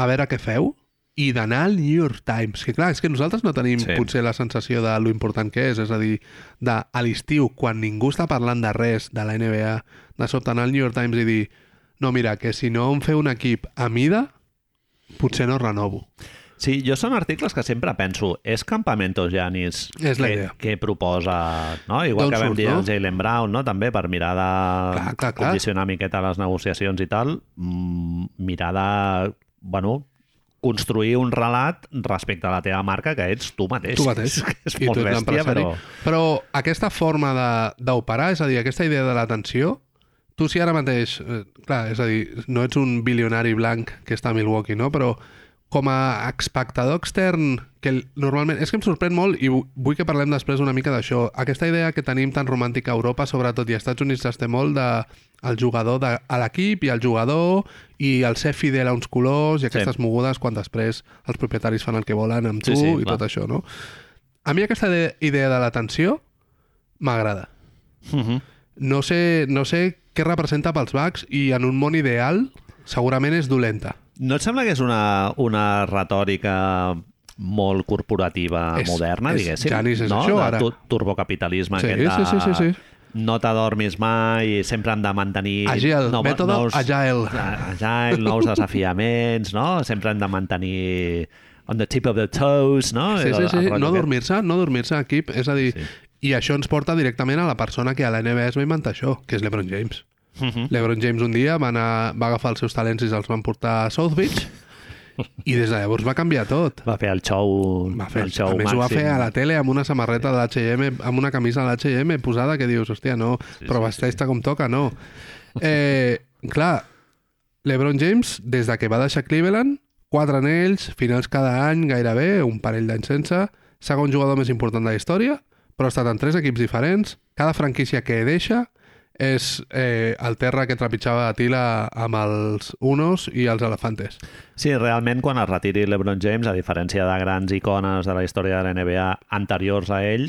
Speaker 2: a veure què feu i d'anar al New York Times, que clar, és que nosaltres no tenim
Speaker 1: Sí.
Speaker 2: sí. potser la sensació de lo important que és, és a dir, de a l'estiu, quan ningú està parlant de res de la NBA, de sobte anar al New York Times i dir no, mira, que si no em feu un equip a mida, potser no renovo.
Speaker 1: Sí, jo són articles que sempre penso, és Campamento Giannis
Speaker 2: És la
Speaker 1: que,
Speaker 2: idea.
Speaker 1: que proposa, no? igual
Speaker 2: D'on
Speaker 1: que vam
Speaker 2: surt,
Speaker 1: dir
Speaker 2: no?
Speaker 1: el Jalen Brown, no? també per mirar de
Speaker 2: Clar, clar, clar.
Speaker 1: condicionar una miqueta les negociacions i tal, mm, mirar de, bueno, construir un relat respecte a la teva marca que ets tu mateix.
Speaker 2: Tu mateix.
Speaker 1: És, és
Speaker 2: I
Speaker 1: molt
Speaker 2: tu ets
Speaker 1: bèstia,
Speaker 2: l'empresari.
Speaker 1: però...
Speaker 2: Però aquesta forma de- d'operar, és a dir, aquesta idea de l'atenció, tu si ara mateix, eh, clar, és a dir, no ets un bilionari blanc que està a Milwaukee, no? Però com a espectador extern, que l- normalment... És que em sorprèn molt, i vu- vull que parlem després una mica d'això, aquesta idea que tenim tan romàntica a Europa, sobretot, i als Estats Units es té molt, de el jugador de, a l'equip i el jugador i el ser fidel a uns colors i aquestes sí. mogudes quan després els propietaris fan el que volen amb
Speaker 1: Sí,
Speaker 2: tu sí,
Speaker 1: sí,
Speaker 2: sí, i
Speaker 1: clar.
Speaker 2: tot això, no? A mi aquesta de- idea de l'atenció m'agrada.
Speaker 1: Uh -huh.
Speaker 2: No sé, no sé què representa pels Bucks i en un món ideal segurament és dolenta.
Speaker 1: No et sembla que és una, una retòrica molt corporativa
Speaker 2: És-
Speaker 1: moderna,
Speaker 2: és-
Speaker 1: diguéssim?
Speaker 2: Janis, és
Speaker 1: no?
Speaker 2: això,
Speaker 1: De
Speaker 2: ara.
Speaker 1: tu- Turbocapitalisme
Speaker 2: Sí,
Speaker 1: aquest de...
Speaker 2: sí, sí, sí, sí.
Speaker 1: No t'adormis mai, sempre hem de mantenir...
Speaker 2: Agile,
Speaker 1: no,
Speaker 2: mètode agile.
Speaker 1: Agile, nous desafiaments, no? Sempre hem de mantenir on the tip of the toes, no?
Speaker 2: Sí,
Speaker 1: El-
Speaker 2: sí,
Speaker 1: el
Speaker 2: sí.
Speaker 1: rotllo
Speaker 2: No
Speaker 1: aquest.
Speaker 2: dormir-se, no dormir-se, equip. És a dir,
Speaker 1: Sí.
Speaker 2: sí. i això ens porta directament a la persona que a la NBA es va inventar això, que és l'Ebron James.
Speaker 1: Mhm.
Speaker 2: L'Ebron James un dia va, anar, va agafar els seus talents i els van portar a South Beach i des de llavors va canviar tot.
Speaker 1: Va fer el show,
Speaker 2: Va fer,
Speaker 1: el show
Speaker 2: a més, ho va
Speaker 1: màxim.
Speaker 2: fer a la tele amb una samarreta de l'H&M, amb una camisa de l'H&M posada que dius, hòstia, no, sí, però vesteix-te com toca, no. Eh, clar, l'Ebron James, des de que va deixar Cleveland, quatre anells, finals cada any, gairebé, un parell d'anys sense, segon jugador més important de la història, però ha estat en tres equips diferents, cada franquícia que deixa és eh, el terra que trepitjava Atila amb els Unos i els Elefantes.
Speaker 1: Sí, realment quan es retiri LeBron James, a diferència de grans icones de la història de la NBA anteriors a ell,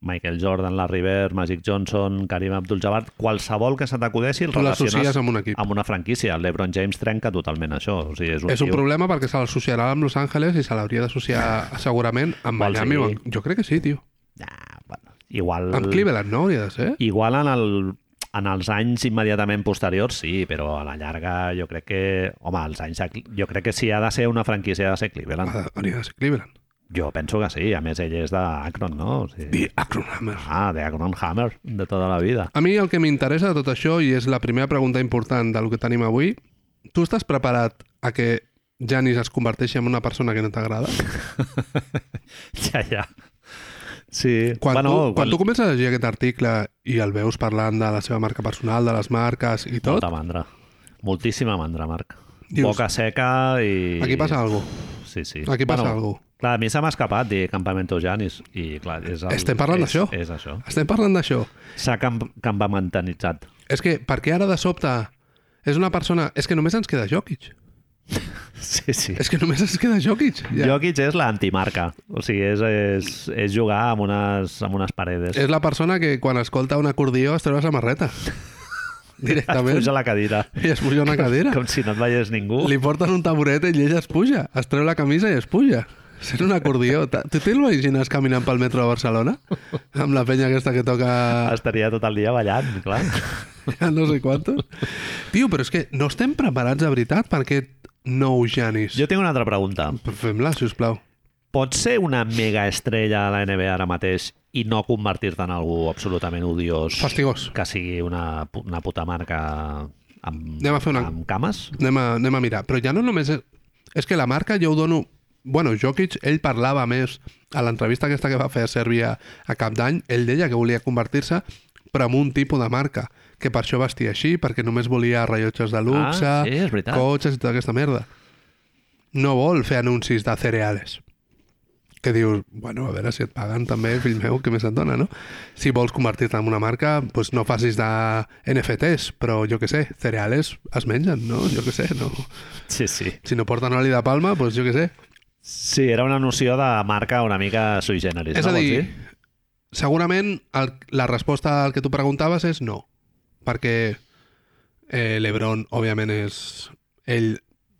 Speaker 1: Michael Jordan, la River, Magic Johnson, Karim Abdul-Jabbar, qualsevol que se t'acudeixi el
Speaker 2: Tu l'associes
Speaker 1: relaciones
Speaker 2: amb un equip.
Speaker 1: amb una franquícia. El LeBron James trenca totalment això. O sigui, és un,
Speaker 2: És un
Speaker 1: tio-
Speaker 2: problema perquè se l'associarà amb Los Angeles i se l'hauria d'associar segurament amb
Speaker 1: Vols
Speaker 2: Miami.
Speaker 1: dir?
Speaker 2: Sí. Jo crec que sí, tio.
Speaker 1: Ah, bueno, igual...
Speaker 2: Amb Cleveland, no? Hauria de ser.
Speaker 1: Igual en, el, en els anys immediatament posteriors, sí, però a la llarga jo crec que... Home, els anys... de Cle- Jo crec que si ha de ser una franquícia ha de ser Cleveland.
Speaker 2: Ha de- Hauria de ser Cleveland.
Speaker 1: Jo penso que sí. A més, ell és d'Akron, no? O sigui...
Speaker 2: I Akron Hammer.
Speaker 1: Ah, de Agron Hammer, de tota la vida.
Speaker 2: A mi el que m'interessa de tot això, i és la primera pregunta important del que tenim avui, tu estàs preparat a que Janis es converteixi en una persona que no t'agrada?
Speaker 1: Ja, ja. Sí.
Speaker 2: Quan, bueno, tu, quan...
Speaker 1: quan-
Speaker 2: quan tu comences a llegir aquest article i el veus parlant de la seva marca personal, de les marques i tot,
Speaker 1: Molta tota mandra. Moltíssima mandra, Marc.
Speaker 2: Dius-
Speaker 1: Boca seca i...
Speaker 2: aquí passa alguna
Speaker 1: Sí, sí.
Speaker 2: Aquí passa algú.
Speaker 1: Clar, a mi se m'ha escapat dir Campamento Janis. I clar, és el...
Speaker 2: Estem parlant
Speaker 1: és-
Speaker 2: d'això.
Speaker 1: És això.
Speaker 2: Estem parlant d'això.
Speaker 1: S'ha camp campamentanitzat.
Speaker 2: És que, per què ara de sobte és una persona... És que només ens queda Jokic.
Speaker 1: Sí, sí.
Speaker 2: És que només es queda Jokic. Ja.
Speaker 1: Jokic és l'antimarca. O sigui, és, és, és jugar amb unes, amb unes paredes.
Speaker 2: És la persona que quan escolta un acordió es treu la samarreta. Directament.
Speaker 1: Es puja a la cadira.
Speaker 2: I es puja a una cadera.
Speaker 1: Com si no et veiés ningú.
Speaker 2: Li porten un taburet i ell ja es puja. Es treu la camisa i es puja. Sent un acordió. Ta- Tu te'l imagines caminant pel metro de Barcelona? Amb la penya aquesta que toca
Speaker 1: Estaria tot el dia ballant, clar.
Speaker 2: a no sé quantos. Tio, però és que no estem preparats de veritat per aquest nou Janis.
Speaker 1: Jo tinc una altra pregunta.
Speaker 2: Fem-la, sisplau.
Speaker 1: Pots ser una mega estrella a la NBA ara mateix i no convertir-te en algú absolutament odiós
Speaker 2: Fastigós.
Speaker 1: que sigui una, pu- una puta marca amb,
Speaker 2: Anem a fer una-
Speaker 1: amb cames?
Speaker 2: anem a, anem a mirar. Però ja no només... És, és que la marca jo ho dono... Bueno, Jokic, ell parlava més a l'entrevista aquesta que va fer a Sèrbia a cap d'any, ell deia que volia convertir-se però amb un tipus de marca, que per això vestia així, perquè només volia rellotges de luxe,
Speaker 1: Ah, sí, és veritat.
Speaker 2: cotxes i tota aquesta merda. No vol fer anuncis de cereales. que dius, bueno, a veure si et paguen també, fill meu, que més et dona, no? Si vols convertir-te en una marca, doncs no facis de NFTs, però jo que sé, cereales es mengen, no? Jo que sé, no?
Speaker 1: Sí, sí.
Speaker 2: Si no porten oli de palma, doncs jo que sé.
Speaker 1: Sí, era una noció de marca una mica sui generis,
Speaker 2: És
Speaker 1: no?
Speaker 2: a
Speaker 1: Vols
Speaker 2: dir, segurament el, la resposta al que tu preguntaves és no, perquè eh, l'Ebron, òbviament, és... Ell,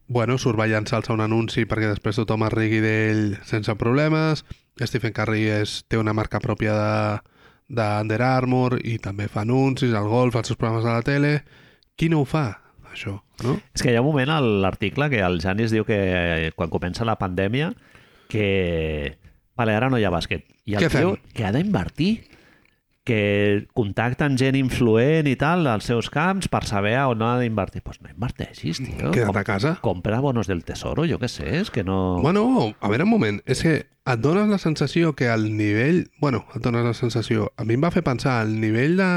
Speaker 2: bueno, surt ballant-se un anunci perquè després tothom es rigui d'ell sense problemes. Stephen Curry és, té una marca pròpia de, de Under Armour i també fa anuncis al golf, als seus programes de la tele. Qui no ho fa, això, no?
Speaker 1: És que hi ha un moment a l'article que el Janis diu que eh, quan comença la pandèmia que... Vale, ara no hi ha bàsquet. I el
Speaker 2: Què fem?
Speaker 1: tio que ha d'invertir que contacten gent influent i tal als seus camps per saber a on ha d'invertir. Doncs pues no inverteixis, tio.
Speaker 2: Mm, Queda't
Speaker 1: Com-
Speaker 2: a casa.
Speaker 1: Compra bonos del tesoro, jo què sé, és que no...
Speaker 2: Bueno, a veure un moment, és que et dones la sensació que el nivell... Bueno, et dones la sensació... A mi em va fer pensar el nivell de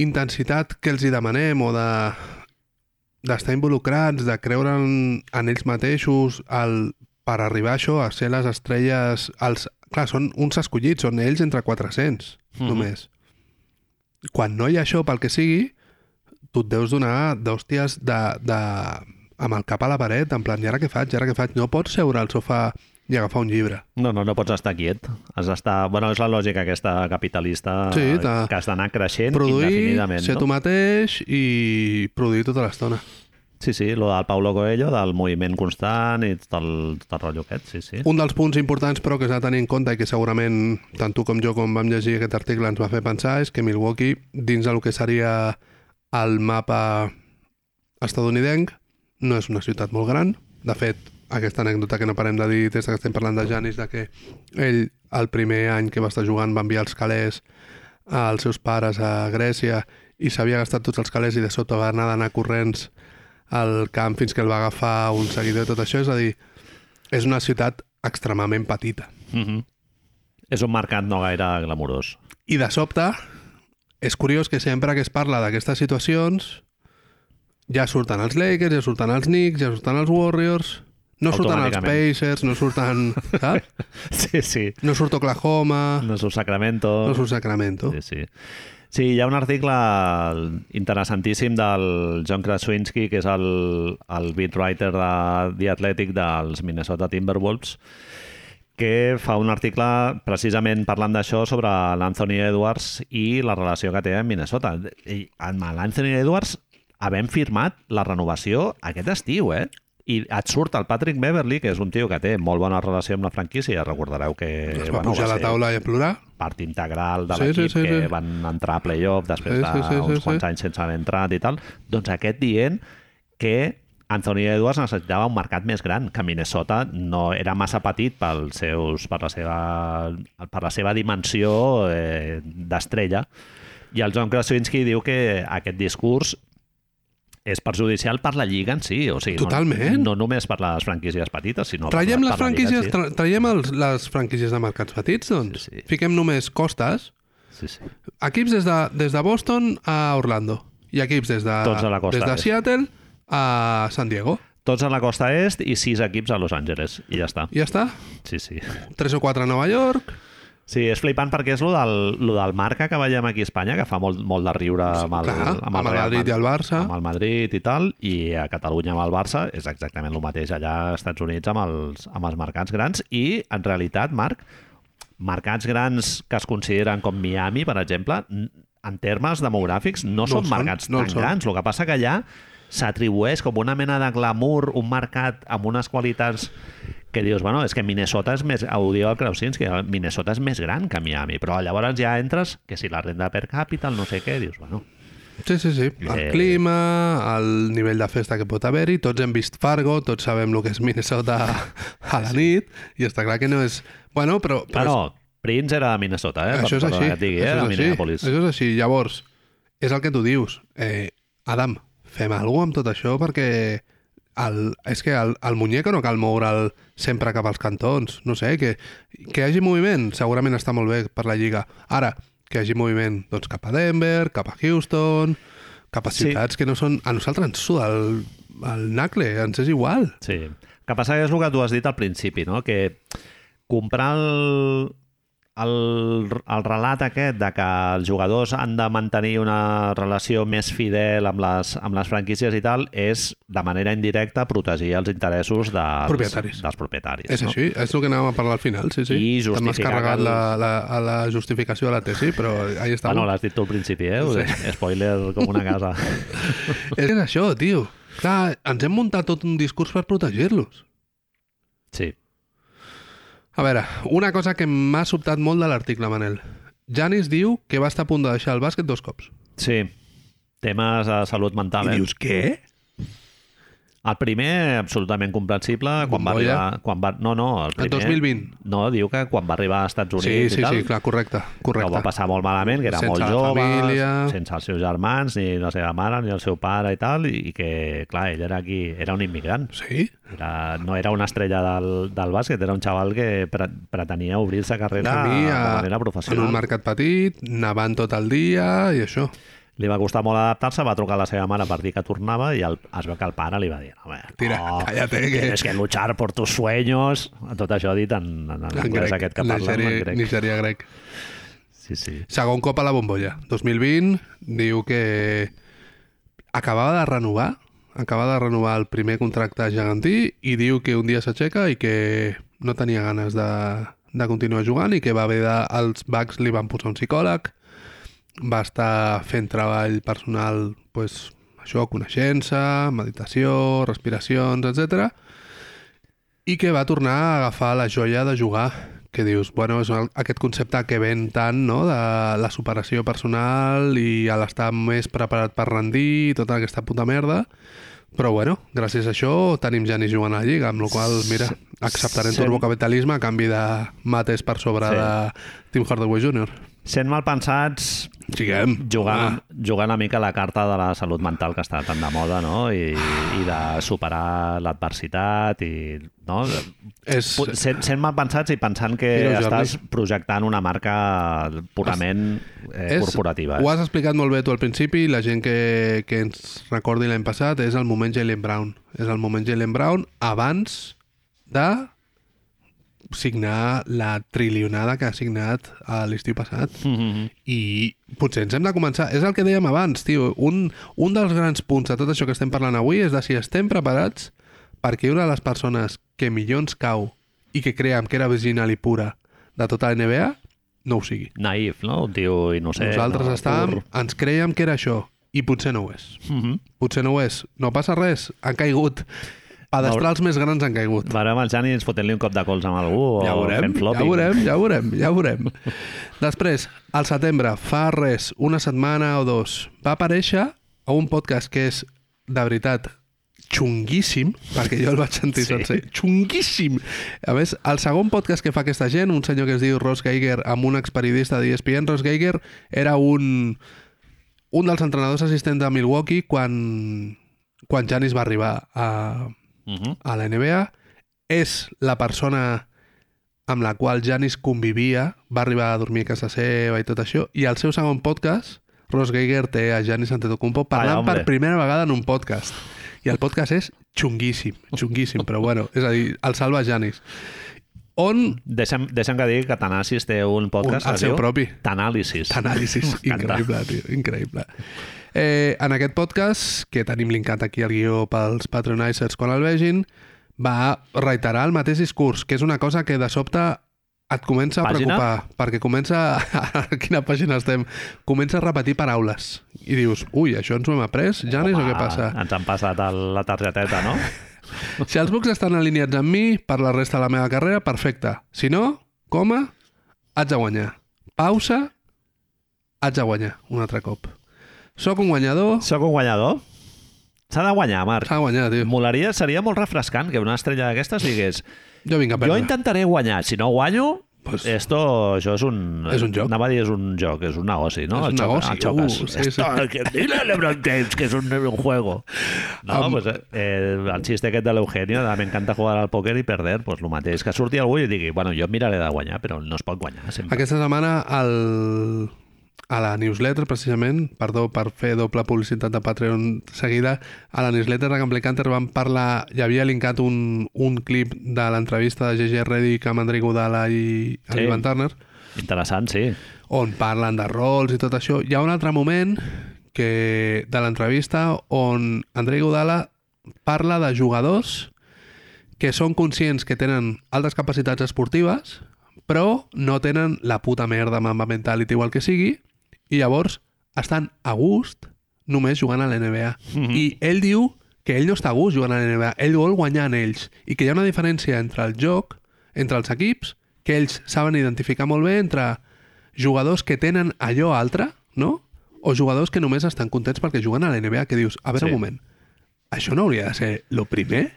Speaker 2: intensitat que els hi demanem o de d'estar involucrats, de creure en, en ells mateixos el, per arribar a això, a ser les estrelles... Els, clar, són uns escollits, són ells entre 400, mm
Speaker 1: Mhm.
Speaker 2: -hmm. només. Quan no hi ha això, pel que sigui, tu et deus donar d'hòsties de, de, amb el cap a la paret, en plan, i ara què faig, i ara què faig? No pots seure al sofà i agafar un llibre.
Speaker 1: No, no, no pots estar quiet. Has d'estar... Bueno, és la lògica aquesta capitalista
Speaker 2: Sí,
Speaker 1: eh,
Speaker 2: de-
Speaker 1: que has d'anar creixent
Speaker 2: Produir,
Speaker 1: indefinidament.
Speaker 2: ser
Speaker 1: no?
Speaker 2: tu mateix i produir tota l'estona.
Speaker 1: Sí, sí, lo del Paulo Coelho, del moviment constant i tot el, tot el rotllo aquest, sí, sí.
Speaker 2: Un dels punts importants, però, que s'ha de tenir en compte i que segurament tant tu com jo, quan vam llegir aquest article, ens va fer pensar, és que Milwaukee, dins del que seria el mapa estatunidenc, no és una ciutat molt gran. De fet, aquesta anècdota que no parem de dir des que estem parlant de Janis, de que ell, el primer any que va estar jugant, va enviar els calés als seus pares a Grècia i s'havia gastat tots els calés i de sota va anar d'anar corrents al camp fins que el va agafar un seguidor i tot això. És a dir, és una ciutat extremament petita.
Speaker 1: Mm -hmm. És un mercat no gaire glamurós.
Speaker 2: I de sobte, és curiós que sempre que es parla d'aquestes situacions ja surten els Lakers, ja surten els Knicks, ja surten els Warriors, no surten els
Speaker 1: Automàticament.
Speaker 2: Pacers, no surten... Saps?
Speaker 1: Sí, sí.
Speaker 2: No surt Oklahoma,
Speaker 1: No és un Sacramento.
Speaker 2: no surt Sacramento.
Speaker 1: Sí, sí. Sí, hi ha un article interessantíssim del John Krasinski, que és el, el beat writer de The Athletic dels Minnesota Timberwolves, que fa un article precisament parlant d'això sobre l'Anthony Edwards i la relació que té amb Minnesota. I amb l'Anthony Edwards havent firmat la renovació aquest estiu, eh? I et surt el Patrick Beverly, que és un tio que té molt bona relació amb la franquícia. Recordareu que...
Speaker 2: Es va pujar a la
Speaker 1: ser-
Speaker 2: taula i a plorar.
Speaker 1: part integral de
Speaker 2: Sí,
Speaker 1: l'equip
Speaker 2: sí, sí,
Speaker 1: que
Speaker 2: sí.
Speaker 1: van entrar a playoff després
Speaker 2: Sí,
Speaker 1: sí,
Speaker 2: sí,
Speaker 1: d'uns
Speaker 2: sí, sí, sí.
Speaker 1: quants anys sense haver entrat i tal, doncs aquest dient que Anthony Edwards necessitava un mercat més gran, que Minnesota no era massa petit pels seus, per, la seva, per la seva dimensió eh, d'estrella. I el John Krasinski diu que aquest discurs és perjudicial per la Lliga en si. O sigui, no-
Speaker 2: Totalment.
Speaker 1: No, només per les franquícies petites, sinó per
Speaker 2: Traiem
Speaker 1: la-
Speaker 2: les
Speaker 1: per la Lliga en
Speaker 2: franquícies, tra traiem els, les franquícies de mercats petits, doncs.
Speaker 1: Sí, sí.
Speaker 2: Fiquem només costes,
Speaker 1: si. Sí, sí.
Speaker 2: equips des de, des de Boston a Orlando i equips des de,
Speaker 1: Tots a la costa
Speaker 2: des de
Speaker 1: est.
Speaker 2: Seattle a San Diego.
Speaker 1: Tots a la costa est i sis equips a Los Angeles. I ja està.
Speaker 2: I ja està.
Speaker 1: Sí, sí.
Speaker 2: 3 o 4 a Nova York.
Speaker 1: Sí, és flipant perquè és lo del, lo del marca que veiem aquí a Espanya, que fa molt, molt de riure amb el,
Speaker 2: Clar, amb el
Speaker 1: Real
Speaker 2: Madrid i el Barça.
Speaker 1: Amb el Madrid i tal, i a Catalunya amb el Barça és exactament el mateix allà als Estats Units amb els, amb els mercats grans i, en realitat, Marc, mercats grans que es consideren com Miami, per exemple, n- en termes demogràfics no,
Speaker 2: ho
Speaker 1: són
Speaker 2: són,
Speaker 1: mercats
Speaker 2: no ho
Speaker 1: tan
Speaker 2: són.
Speaker 1: grans. El que passa que allà s'atribueix com una mena de glamour un mercat amb unes qualitats que dius, bueno, és que Minnesota és més... Ho diu el Krausins, que Minnesota és més gran que Miami, però llavors ja entres que si la renda per càpita, el no sé què, dius, bueno...
Speaker 2: Sí, sí, sí. El
Speaker 1: Eh.
Speaker 2: clima, el nivell de festa que pot haver-hi, tots hem vist Fargo, tots sabem el que és Minnesota a la nit, i està clar que no és... Bueno, però...
Speaker 1: Però
Speaker 2: però
Speaker 1: no, Prince era de Minnesota, eh?
Speaker 2: és, això és
Speaker 1: Perdona
Speaker 2: així.
Speaker 1: Que et digui, eh?
Speaker 2: això,
Speaker 1: de
Speaker 2: és així
Speaker 1: Minneapolis.
Speaker 2: això és així. Llavors, és el que tu dius. Eh, Adam, fem alguna amb tot això perquè el, és que el, el muñeco no cal moure'l sempre cap als cantons. No sé, que, que hi hagi moviment segurament està molt bé per la Lliga. Ara, que hi hagi moviment doncs, cap a Denver, cap a Houston, cap a
Speaker 1: Sí.
Speaker 2: ciutats que no són... A nosaltres ens suda el, el nacle, ens és igual.
Speaker 1: Sí. El que passa que és el que tu has dit al principi, no? Que comprar el, el, el relat aquest de que els jugadors han de mantenir una relació més fidel amb les, amb les franquícies i tal és, de manera indirecta, protegir els interessos dels
Speaker 2: Propietaris.
Speaker 1: Dels propietaris
Speaker 2: És
Speaker 1: no?
Speaker 2: així, és el que anàvem a parlar al final, sí, sí.
Speaker 1: I
Speaker 2: Te m'has
Speaker 1: justificar
Speaker 2: carregat
Speaker 1: el-
Speaker 2: la, la, a la justificació de la tesi, però ahí està.
Speaker 1: Ah, no, l'has dit tu al principi, eh?
Speaker 2: Sí.
Speaker 1: Sí. Spoiler com una casa.
Speaker 2: És que és això, tio. Clar, ens hem muntat tot un discurs per protegir-los.
Speaker 1: Sí.
Speaker 2: A veure, una cosa que m'ha sobtat molt de l'article, Manel. Janis diu que va estar a punt de deixar el bàsquet dos cops.
Speaker 1: Sí. Temes de salut mental, eh?
Speaker 2: què?
Speaker 1: El primer, absolutament comprensible, quan va
Speaker 2: Bombolla.
Speaker 1: arribar... Quan va... No, no, el
Speaker 2: El
Speaker 1: primer...
Speaker 2: 2020.
Speaker 1: No, diu que quan va arribar als Estats
Speaker 2: Sí,
Speaker 1: Units
Speaker 2: sí,
Speaker 1: i tal,
Speaker 2: sí, clar, correcte,
Speaker 1: que ho va
Speaker 2: correcte.
Speaker 1: passar molt malament, que era
Speaker 2: Sense
Speaker 1: molt
Speaker 2: la
Speaker 1: jove,
Speaker 2: família.
Speaker 1: sense els seus germans, ni la seva mare, ni el seu pare i tal, i que, clar, ell era aquí, era un immigrant.
Speaker 2: Sí?
Speaker 1: Era, no era una estrella del, del bàsquet, era un xaval que pre pretenia obrir-se carrera
Speaker 2: Camí
Speaker 1: de
Speaker 2: a,
Speaker 1: manera
Speaker 2: en
Speaker 1: professional.
Speaker 2: un mercat petit, nevant tot el dia i això.
Speaker 1: Li va costar molt adaptar-se, va trucar a la seva mare per dir que tornava i el, es veu que el pare li va dir "Home, no,
Speaker 2: Tira, cállate, que-
Speaker 1: tienes Ah, que luchar por tus sueños tot això dit en, en, en anglès aquest que parla en
Speaker 2: Nigèria,
Speaker 1: grec
Speaker 2: Nigèria grec.
Speaker 1: sí, sí.
Speaker 2: Segon cop a la bombolla. 2020 diu que acabava de renovar, acabava de renovar el primer contracte gegantí i diu que un dia s'aixeca i que no tenia ganes de, de continuar jugant i que va haver de... Els Bucks li van posar un psicòleg, va estar fent treball personal, pues, això, coneixença, meditació, respiracions, etc. I que va tornar a agafar la joia de jugar, que dius, bueno, és el- aquest concepte que ven tant, no?, de la superació personal i a l'estar més preparat per rendir i tota aquesta puta merda. Però, bueno, gràcies a això tenim Janis jugant a la Lliga, amb la qual cosa, mira, acceptarem
Speaker 1: Sem-
Speaker 2: turbocapitalisme a canvi de mates per sobre
Speaker 1: Sí.
Speaker 2: de Tim Hardaway Jr.
Speaker 1: sent mal pensats
Speaker 2: Siguem.
Speaker 1: jugant,
Speaker 2: Ah,
Speaker 1: jugant una mica la carta de la salut mental que està tan de moda no? I, i de superar l'adversitat i no?
Speaker 2: és,
Speaker 1: Pu- sent, sent mal pensats i pensant que
Speaker 2: Mira, Jordi.
Speaker 1: estàs projectant una marca purament eh,
Speaker 2: és,
Speaker 1: corporativa
Speaker 2: Ho has explicat molt bé tu al principi, la gent que, que ens recordi l'any passat, és el moment Jalen Brown. És el moment Jalen Brown abans de signar la trilionada que ha signat a l'estiu passat.
Speaker 1: Mm,
Speaker 2: I potser ens hem de començar... És el que dèiem abans, tio. Un, un dels grans punts de tot això que estem parlant avui és de si estem preparats perquè una de les persones que millor ens cau i que creiem que era original i pura de tota la NBA no ho sigui.
Speaker 1: naïf, no? Un tio innocent.
Speaker 2: Nosaltres
Speaker 1: no?
Speaker 2: estàvem,
Speaker 1: Pur.
Speaker 2: ens creiem que era això i potser no ho és.
Speaker 1: Mhm.
Speaker 2: Potser no ho és. No passa res. Han caigut. Pedestrals més grans han caigut.
Speaker 1: Veurem el Janis fotent-li un cop de cols amb algú
Speaker 2: Ja
Speaker 1: o
Speaker 2: ho veurem,
Speaker 1: fent flopping.
Speaker 2: ja ho veurem, ja ho veurem, ja ho veurem. Després, al setembre, fa res, una setmana o dos, va aparèixer a un podcast que és, de veritat, xunguíssim, perquè jo el vaig sentir sí.
Speaker 1: Sí.
Speaker 2: sencer, xunguíssim. A més, el segon podcast que fa aquesta gent, un senyor que es diu Ross Geiger, amb un experiodista d'ESPN, Ross Geiger era un, un dels entrenadors assistents de Milwaukee quan, quan Janis va arribar a,
Speaker 1: Mhm.
Speaker 2: a la NBA és la persona amb la qual Janis convivia, va arribar a dormir a casa seva i tot això, i al seu segon podcast, Ross Geiger té a Janis Antetokounmpo parlant
Speaker 1: hombre.
Speaker 2: per primera vegada en un podcast. I el podcast és xunguíssim, xunguíssim, però bueno, és a dir, el salva Janis. On
Speaker 1: Deixa'm, deixa'm que digui que Tanasis té un podcast
Speaker 2: Un- el
Speaker 1: que es
Speaker 2: seu
Speaker 1: diu
Speaker 2: propi.
Speaker 1: Tanàlisis.
Speaker 2: Anàlisis
Speaker 1: M'encanta.
Speaker 2: increïble, tio, increïble. Eh, en aquest podcast, que tenim linkat aquí al guió pels patronizers quan el vegin, va reiterar el mateix discurs, que és una cosa que de sobte et comença a
Speaker 1: Pàgina?
Speaker 2: preocupar, perquè comença... A quina pàgina estem? Comença a repetir paraules. I dius, ui, això ens ho hem après? Janis, o
Speaker 1: Home,
Speaker 2: què passa?
Speaker 1: Ens han passat el, la targeteta, no?
Speaker 2: Si els bucs estan alineats amb mi per la resta de la meva carrera, perfecte. Si no, coma, haig de guanyar. Pausa, haig de guanyar un altre cop. Soc un guanyador,
Speaker 1: Sóc un guanyador? S'ha de guanyar, Marc.
Speaker 2: s'ha de guanyar, tio.
Speaker 1: Molaria, seria molt refrescant que una estrella d'aquestes digués
Speaker 2: Jo vinc a
Speaker 1: jo
Speaker 2: perdre.
Speaker 1: intentaré guanyar, si no guanyo
Speaker 2: Pues-
Speaker 1: pues... esto, això és un...
Speaker 2: És un joc.
Speaker 1: Anava a dir és un joc, és un negoci, no?
Speaker 2: És un
Speaker 1: El xoc-
Speaker 2: negoci,
Speaker 1: el xoques.
Speaker 2: uh, sí, sí.
Speaker 1: Esto, que dile a LeBron James que és un, un juego. No,
Speaker 2: Am-
Speaker 1: pues, eh, el xiste aquest de l'Eugenio, de m'encanta jugar al pòquer i perder, pues el mateix. Que surti algú i digui, bueno, jo miraré de guanyar, però no es pot guanyar sempre.
Speaker 2: Aquesta setmana el, a la newsletter, precisament, perdó per fer doble publicitat de Patreon seguida, a la newsletter de Gamble Canter vam parlar, hi havia linkat un, un clip de l'entrevista de GG Reddick amb Andrei Godala i
Speaker 1: Sí.
Speaker 2: sí. Ivan Turner,
Speaker 1: Interessant, sí.
Speaker 2: on parlen de rols i tot això. Hi ha un altre moment que de l'entrevista on Andrei Godala parla de jugadors que són conscients que tenen altes capacitats esportives, però no tenen la puta merda mamba mentality o el que sigui, i llavors estan a gust només jugant a la NBA. I ell diu que ell no està a gust jugant a la NBA, ell vol guanyar en ells, i que hi ha una diferència entre el joc, entre els equips, que ells saben identificar molt bé entre jugadors que tenen allò altre, no? O jugadors que només estan contents perquè juguen a la NBA, que dius, a veure
Speaker 1: Sí.
Speaker 2: sí. un moment, això no hauria de ser lo primer?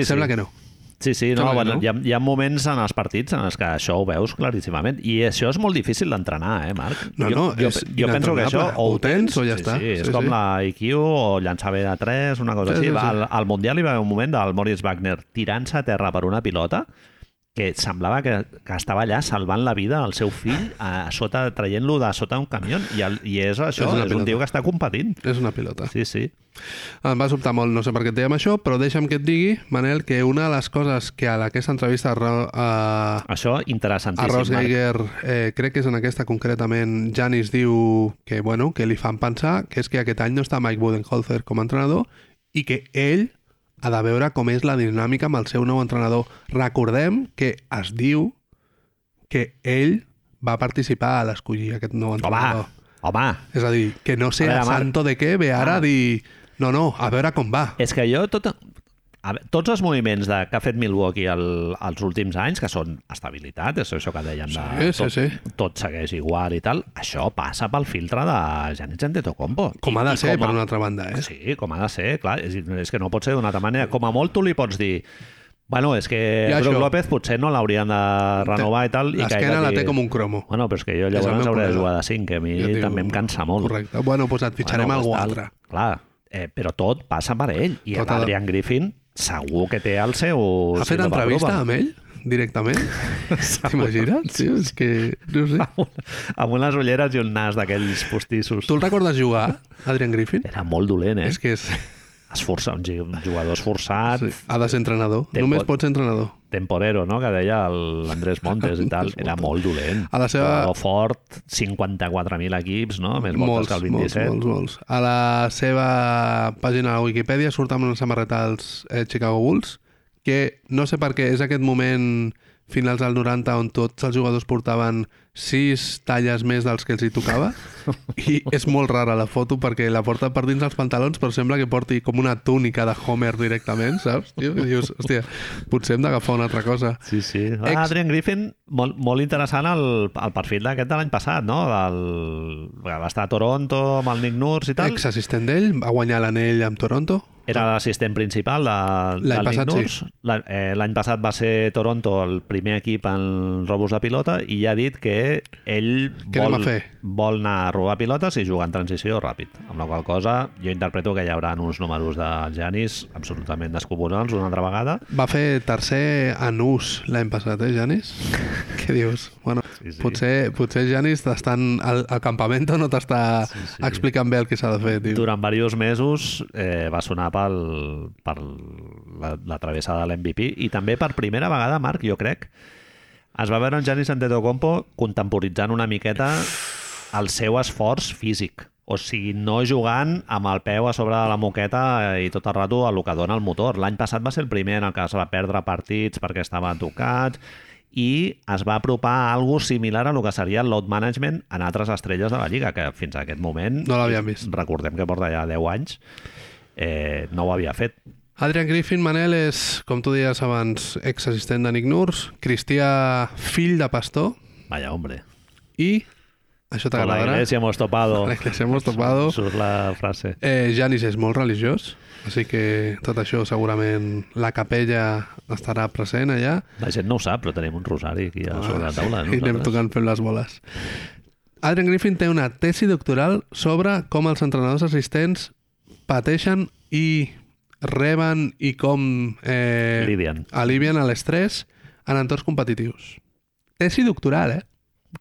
Speaker 1: Sí,
Speaker 2: sí,
Speaker 1: sí.
Speaker 2: sembla sí. que no.
Speaker 1: Sí, sí, no,
Speaker 2: Sembla que
Speaker 1: bueno,
Speaker 2: no.
Speaker 1: hi, ha, hi ha moments en els partits en els que això ho veus claríssimament i això és molt difícil d'entrenar, eh, Marc?
Speaker 2: No, no, és
Speaker 1: jo penso que això
Speaker 2: inentrenable. Ho tens o ja
Speaker 1: sí,
Speaker 2: està.
Speaker 1: Sí, és
Speaker 2: Sí,
Speaker 1: com
Speaker 2: sí.
Speaker 1: la IQ o llançar bé de 3, una cosa
Speaker 2: Sí,
Speaker 1: així.
Speaker 2: sí,
Speaker 1: Va,
Speaker 2: sí.
Speaker 1: Al, al Mundial hi va haver un moment del Moritz Wagner tirant-se a terra per una pilota que semblava que, que estava allà salvant la vida al seu fill a sota traient-lo de sota un camió i, el, i és això,
Speaker 2: És una
Speaker 1: és, és un
Speaker 2: pilota.
Speaker 1: tio que està competint.
Speaker 2: És una pilota.
Speaker 1: Sí, sí.
Speaker 2: Em va sobtar molt, no sé per què et dèiem això, però deixa'm que et digui, Manel, que una de les coses que a aquesta entrevista a, Ro- a,
Speaker 1: Això,
Speaker 2: a Ross
Speaker 1: interessantíssim. Marc.
Speaker 2: Geiger, eh, crec que és en aquesta concretament, Janis diu que, bueno, que li fan pensar que és que aquest any no està Mike Budenholzer com a entrenador i que ell ha de veure com és la dinàmica amb el seu nou entrenador. Recordem que es diu que ell va participar a l'escollir aquest nou
Speaker 1: Home,
Speaker 2: entrenador.
Speaker 1: home,
Speaker 2: És a dir, que no sé
Speaker 1: A
Speaker 2: a,
Speaker 1: veure, Marc.
Speaker 2: santo de què ve
Speaker 1: Ah.
Speaker 2: ara
Speaker 1: Eh,
Speaker 2: a dir... No, no, a veure com va.
Speaker 1: És que jo tot... A veure, tots els moviments de, que ha fet Milwaukee el, els últims anys, que són estabilitat, és això que deien, de,
Speaker 2: Sí, sí, sí.
Speaker 1: tot segueix igual i tal, això passa pel filtre de Giannis Antetokounmpo.
Speaker 2: Com
Speaker 1: I-
Speaker 2: ha de
Speaker 1: i
Speaker 2: ser,
Speaker 1: com
Speaker 2: per una altra banda, eh?
Speaker 1: Sí, com ha de ser, clar. És, a dir, és que no pot ser d'una altra manera. Com a molt tu li pots dir Bueno, és que
Speaker 2: I
Speaker 1: Brook
Speaker 2: això.
Speaker 1: López potser no l'haurien de renovar i tal. i
Speaker 2: L'esquena
Speaker 1: caire
Speaker 2: la
Speaker 1: aquí.
Speaker 2: té com un cromo.
Speaker 1: Bueno, però és que jo
Speaker 2: És el
Speaker 1: llavors
Speaker 2: meu
Speaker 1: hauré de
Speaker 2: problema.
Speaker 1: jugar de 5, que a mi
Speaker 2: Jo et dic,
Speaker 1: també em cansa molt.
Speaker 2: Correcte. Bueno, doncs et fitxarem
Speaker 1: Bueno,
Speaker 2: algú
Speaker 1: està-
Speaker 2: altre.
Speaker 1: Clar, eh, però tot passa per ell. I
Speaker 2: Tot ha de-
Speaker 1: l'Adrian Griffin segur que té el seu...
Speaker 2: Ha fet
Speaker 1: síndrome
Speaker 2: entrevista
Speaker 1: Ruben.
Speaker 2: amb ell, directament? T'imagines? Sí, és que... No ho sé.
Speaker 1: amb unes ulleres i un nas d'aquells postissos.
Speaker 2: Tu el recordes jugar, Adrian Griffin?
Speaker 1: Era molt dolent, eh?
Speaker 2: És que és...
Speaker 1: Esforça, un gi- un jugador esforçat,
Speaker 2: Sí, ha de ser entrenador.
Speaker 1: Té
Speaker 2: Només
Speaker 1: pot-
Speaker 2: pot ser entrenador.
Speaker 1: temporero, no?, que deia el- l'Andrés Montes i tal. Era molt dolent.
Speaker 2: A la seva-
Speaker 1: Jugador fort, 54.000 equips, no?, més voltes
Speaker 2: Molts,
Speaker 1: que el
Speaker 2: molts,
Speaker 1: 27.
Speaker 2: molts, molts. A la seva pàgina de Wikipedia surt amb una samarreta dels eh, Chicago Bulls, que no sé per què és aquest moment finals del 90 on tots els jugadors portaven sis talles més dels que els hi tocava i és molt rara la foto perquè la porta per dins dels pantalons però sembla que porti com una túnica de Homer directament, saps? Tio, que dius, hòstia, potser hem d'agafar una altra cosa.
Speaker 1: Sí, sí. Ah,
Speaker 2: Ex-
Speaker 1: Adrian Griffin, molt, molt interessant el, el perfil d'aquest de l'any passat, no? Del, que va estar a Toronto amb el Nick Nurse i tal.
Speaker 2: Ex-assistent d'ell, va guanyar l'anell amb Toronto.
Speaker 1: Era l'assistent principal de,
Speaker 2: L'any
Speaker 1: del
Speaker 2: passat,
Speaker 1: Nick Nurse. La- eh, L'any passat va ser Toronto el primer equip en robos de pilota i ja ha dit que ell
Speaker 2: Què anem
Speaker 1: vol,
Speaker 2: a fer?
Speaker 1: vol anar a robar pilotes i jugar en transició ràpid. Amb la qual cosa jo interpreto que hi haurà uns números de Janis absolutament descomunals una altra vegada.
Speaker 2: Va fer tercer en ús l'any passat, eh, Janis? Què dius? Bueno,
Speaker 1: Sí, sí.
Speaker 2: potser, potser Janis t'estan al, al campament no t'està sí,
Speaker 1: sí.
Speaker 2: sí. explicant bé el que s'ha de fer, tio.
Speaker 1: Durant diversos mesos eh, va sonar pel, per la, la travessa de l'MVP i també per primera vegada, Marc, jo crec, es va veure en Giannis Antetokounmpo contemporitzant una miqueta el seu esforç físic. O sigui, no jugant amb el peu a sobre de la moqueta i tot el rato el que dona el motor. L'any passat va ser el primer en el que es va perdre partits perquè estava tocat i es va apropar a algo similar a lo que seria el load management en altres estrelles de la Lliga, que fins a aquest moment
Speaker 2: No l'havíem vist.
Speaker 1: recordem que porta ja 10 anys, eh, no ho havia fet.
Speaker 2: Adrian Griffin Manel és, com tu deies abans, ex-assistent de Nick Nurse, cristià fill de pastor
Speaker 1: Vaya, hombre.
Speaker 2: i, això
Speaker 1: Con la
Speaker 2: t'agradarà,
Speaker 1: iglesia hemos topado.
Speaker 2: eh? la iglesia hemos topado.
Speaker 1: Surt la frase.
Speaker 2: Eh, Janis és molt religiós, així que tot això segurament la capella estarà present allà.
Speaker 1: La gent no ho sap, però tenim un rosari aquí a sobre la taula.
Speaker 2: I anem
Speaker 1: nosaltres.
Speaker 2: tocant fent les boles. Adrian Griffin té una tesi doctoral sobre com els entrenadors assistents pateixen i reben i com eh,
Speaker 1: Lidien.
Speaker 2: alivien l'estrès en entorns competitius. Tesi doctoral, eh?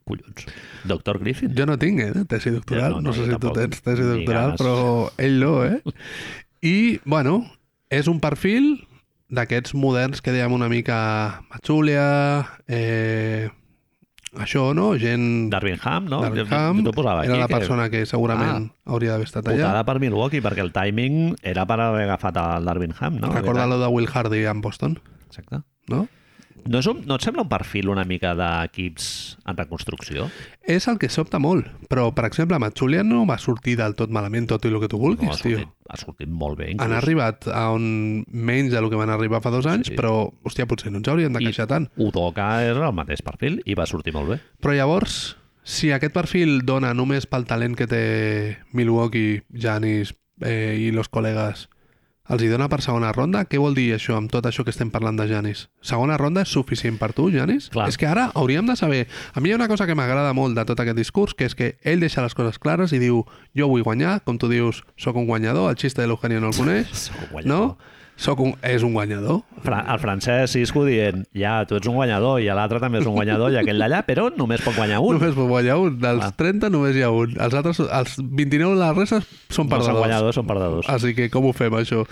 Speaker 1: Collons. Doctor Griffin.
Speaker 2: Jo no tinc, eh, tesi doctoral.
Speaker 1: Jo no, no,
Speaker 2: No, no, sé
Speaker 1: jo
Speaker 2: si tu
Speaker 1: tampoc.
Speaker 2: tens tesi
Speaker 1: Ni
Speaker 2: doctoral,
Speaker 1: ganes.
Speaker 2: però ell no, eh? I, bueno, és un perfil d'aquests moderns que dèiem una mica matxúlia, eh, això, no? Gent
Speaker 1: Darwin Ham, no?
Speaker 2: Darwin
Speaker 1: Jo-
Speaker 2: Ham
Speaker 1: jo t'ho posava
Speaker 2: era
Speaker 1: aquí,
Speaker 2: la
Speaker 1: que- Ah,
Speaker 2: persona que segurament hauria d'haver estat allà.
Speaker 1: Putada per Milwaukee, perquè el timing era per haver agafat el Darwin Ham, no?
Speaker 2: Recorda lo de Will Hardy en Boston,
Speaker 1: Era- Exacte.
Speaker 2: no?
Speaker 1: No, és un, no et sembla un perfil una mica d'equips en reconstrucció?
Speaker 2: És el que sobta molt, però, per exemple, Matxulia no va sortir del tot malament, tot i el que tu vulguis,
Speaker 1: No, ha,
Speaker 2: tio.
Speaker 1: sortit, ha sortit molt bé.
Speaker 2: Han arribat a on menys de lo que van arribar fa dos anys,
Speaker 1: Sí.
Speaker 2: sí. però, hòstia, potser no ens hauríem de
Speaker 1: I-
Speaker 2: queixar tant.
Speaker 1: Udoka era el mateix perfil i va sortir molt bé.
Speaker 2: Però llavors, si aquest perfil dona només pel talent que té Milwaukee, Janis eh, i los col·legues, els hi dona per segona ronda, què vol dir això amb tot això que estem parlant de Janis? Segona ronda és suficient per tu, Janis?
Speaker 1: Clar.
Speaker 2: És que ara hauríem de saber... A mi hi ha una cosa que m'agrada molt de tot aquest discurs, que és que ell deixa les coses clares i diu jo vull guanyar, com tu dius, sóc un guanyador, el xiste de l'Eugenio no el coneix,
Speaker 1: Sóc un
Speaker 2: no? Soc un, és un guanyador,
Speaker 1: Fra el francès Isco dient, ja, tu ets un guanyador i l'altre també és un guanyador i aquell d'allà, però només pot guanyar un.
Speaker 2: Només pot guanyar un. Dels
Speaker 1: Clar.
Speaker 2: 30 només hi ha un. Els altres, els 29 de la resta són
Speaker 1: no són
Speaker 2: perdedors.
Speaker 1: guanyadors, són perdedors.
Speaker 2: Així que com ho fem, això?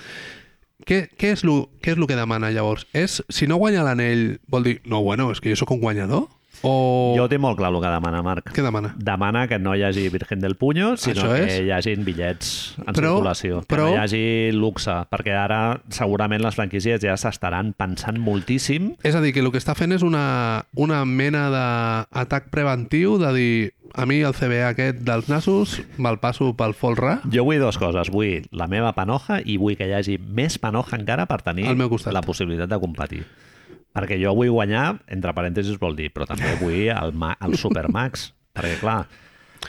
Speaker 2: Què, què, és lo, què és lo que demana, llavors? És, si no guanya l'anell, vol dir, no, bueno, és que jo sóc un guanyador? O
Speaker 1: Jo ho tinc molt clar el que demana Marc.
Speaker 2: què demana?
Speaker 1: demana que no hi hagi Virgen del Puño, sinó
Speaker 2: Això
Speaker 1: que
Speaker 2: és.
Speaker 1: hi hagin bitllets en
Speaker 2: Però-
Speaker 1: circulació, que
Speaker 2: però-
Speaker 1: no hi hagi luxe, perquè ara segurament les franquícies ja s'estaran pensant moltíssim
Speaker 2: És a dir, que el que està fent és una, una mena d'atac preventiu de dir, a mi el CBA aquest dels nassos me'l passo pel folre
Speaker 1: jo vull dues coses, vull la meva panoja i vull que hi hagi més panoja encara per tenir
Speaker 2: Al meu costat.
Speaker 1: la possibilitat de competir. Perquè jo vull guanyar, entre parèntesis vol dir, però també vull el, ma el Supermax, perquè clar,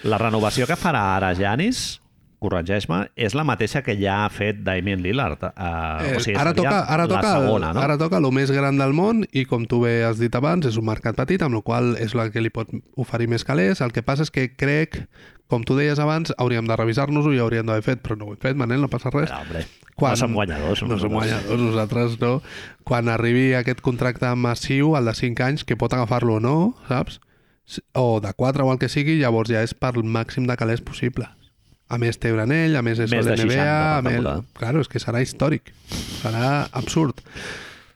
Speaker 1: la renovació que farà ara Janis, corregeix-me, és la mateixa que ja ha fet Damien Lillard. Eh,
Speaker 2: Eh,
Speaker 1: o sigui,
Speaker 2: ara,
Speaker 1: seria
Speaker 2: toca, ara,
Speaker 1: la
Speaker 2: toca
Speaker 1: segona,
Speaker 2: el,
Speaker 1: no?
Speaker 2: ara toca el més gran del món i com tu bé has dit abans és un mercat petit amb el qual és el que li pot oferir més calés el que passa és que crec com tu deies abans hauríem de revisar-nos-ho i hauríem d'haver fet però no ho hem fet Manel no passa res
Speaker 1: Però, hombre,
Speaker 2: Quan-
Speaker 1: no som guanyadors.
Speaker 2: no som guanyadors, nosaltres no. Quan arribi aquest contracte massiu, el de 5 anys, que pot agafar-lo o no, saps? S- O de 4 o el que sigui, llavors ja és pel màxim de calés possible. A més té un anell, a més és
Speaker 1: Més de
Speaker 2: All
Speaker 1: 60
Speaker 2: NBA,
Speaker 1: per
Speaker 2: a més...
Speaker 1: temporada.
Speaker 2: Claro, és que serà històric. Serà absurd.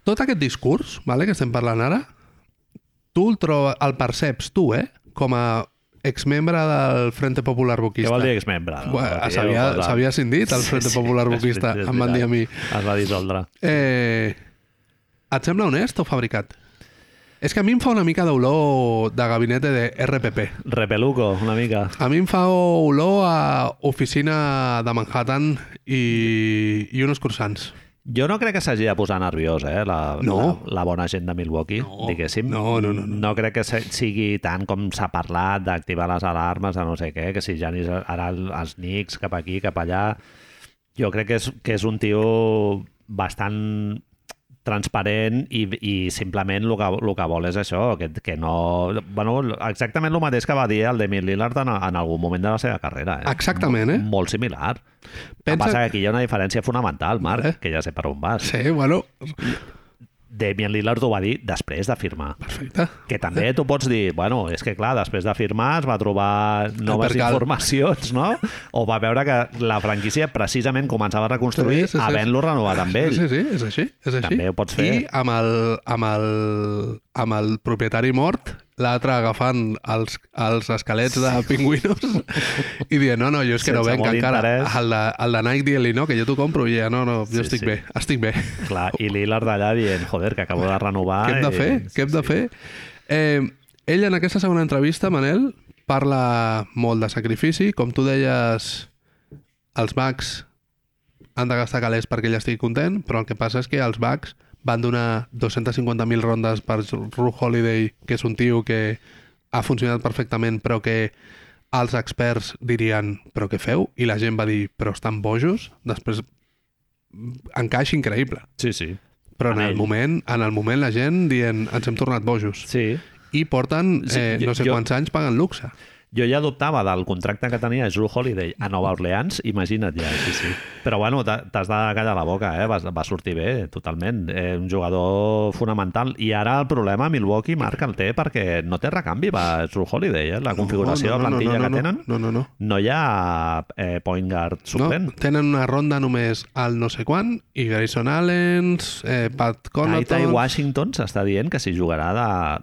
Speaker 2: Tot aquest discurs, vale, que estem parlant ara, tu el, tro... el perceps, tu, eh? Com a exmembre del Frente Popular
Speaker 1: Què
Speaker 2: Boquista.
Speaker 1: vol dir exmembre? No?
Speaker 2: Bueno,
Speaker 1: Perquè
Speaker 2: s'havia-
Speaker 1: jo, clar,
Speaker 2: s'havia cindit el Frente Popular
Speaker 1: és
Speaker 2: Boquista,
Speaker 1: veritat,
Speaker 2: em van dir a mi.
Speaker 1: Es va dissoldre.
Speaker 2: Eh, et sembla honest o fabricat? És que a mi em fa una mica d'olor de gabinete de RPP.
Speaker 1: Repeluco, una mica.
Speaker 2: A mi em fa olor a oficina de Manhattan i, i uns cursants.
Speaker 1: Jo no crec que s'hagi de posar nerviós, eh, la,
Speaker 2: No.
Speaker 1: la, la bona gent de Milwaukee,
Speaker 2: No.
Speaker 1: diguéssim.
Speaker 2: No, no, no, no.
Speaker 1: No crec que se- sigui tant com s'ha parlat d'activar les alarmes de no sé què, que si Janis ara el- els Knicks cap aquí, cap allà... Jo crec que és, que és un tio bastant transparent i, i simplement el que, el que vol és això, que, que no... Bueno, exactament el mateix que va dir el Demi Lillard en, en algun moment de la seva carrera. Eh?
Speaker 2: Exactament, eh?
Speaker 1: Molt similar. Pensa...
Speaker 2: Pensa-
Speaker 1: Passa que aquí hi ha una diferència fonamental, Marc, eh? que ja sé per on vas.
Speaker 2: Sí, bueno,
Speaker 1: Damian Lillard ho va dir després de firmar.
Speaker 2: perfecte.
Speaker 1: Que també tu pots dir, bueno, és que clar, després de firmar es va trobar noves
Speaker 2: percal.
Speaker 1: informacions, no? O va veure que la franquícia precisament començava a reconstruir
Speaker 2: Sí, sí, sí.
Speaker 1: havent-lo renovat amb ell.
Speaker 2: Sí, sí, és així, és així.
Speaker 1: També ho pots fer.
Speaker 2: I amb el, amb el, amb el propietari mort, l'altre agafant els, els esquelets de pingüinos i dient, no, no, jo és que no
Speaker 1: Sense
Speaker 2: venc
Speaker 1: molt
Speaker 2: encara.
Speaker 1: interès.
Speaker 2: El de, el de Nike dient-li, no, que jo t'ho compro, i ja, no, no,
Speaker 1: Sí,
Speaker 2: jo sí, estic
Speaker 1: sí.
Speaker 2: sí. bé, estic bé.
Speaker 1: Clar, i Lillard allà dient, joder, que acabo de renovar...
Speaker 2: Què hem de
Speaker 1: i-
Speaker 2: fer?
Speaker 1: Sí,
Speaker 2: Què hem de fer? Eh, ell en aquesta segona entrevista, Manel, parla molt de sacrifici. Com tu deies, els Bucks han de gastar calés perquè ell estigui content, però el que passa és que els Bucks van donar 250.000 rondes per Ru Holiday, que és un tio que ha funcionat perfectament, però que els experts dirien però què feu? I la gent va dir però estan bojos? Després encaix increïble.
Speaker 1: Sí, sí.
Speaker 2: Però en
Speaker 1: Amb
Speaker 2: el,
Speaker 1: ell.
Speaker 2: moment, en el moment la gent dient ens hem tornat bojos
Speaker 1: Sí.
Speaker 2: i porten
Speaker 1: Sí,
Speaker 2: eh,
Speaker 1: jo-
Speaker 2: no sé
Speaker 1: jo-
Speaker 2: quants anys pagant luxe.
Speaker 1: Jo ja dubtava del contracte que tenia Drew Holiday a Nova Orleans, imagina't ja, sí, sí. Però bueno, t'ha- t'has de callar la boca, eh? va, va sortir bé, totalment. Eh, un jugador fonamental. I ara el problema, Milwaukee, Marc, el té perquè no té recanvi, va Drew Holiday, eh? la configuració de plantilla
Speaker 2: no,
Speaker 1: que tenen.
Speaker 2: No, no, no.
Speaker 1: No hi ha eh, point guard
Speaker 2: No,
Speaker 1: suplent.
Speaker 2: tenen una ronda només al no sé quan i Grayson Allen, eh, Pat
Speaker 1: Taita
Speaker 2: Connaughton...
Speaker 1: i Washington s'està dient que s'hi jugarà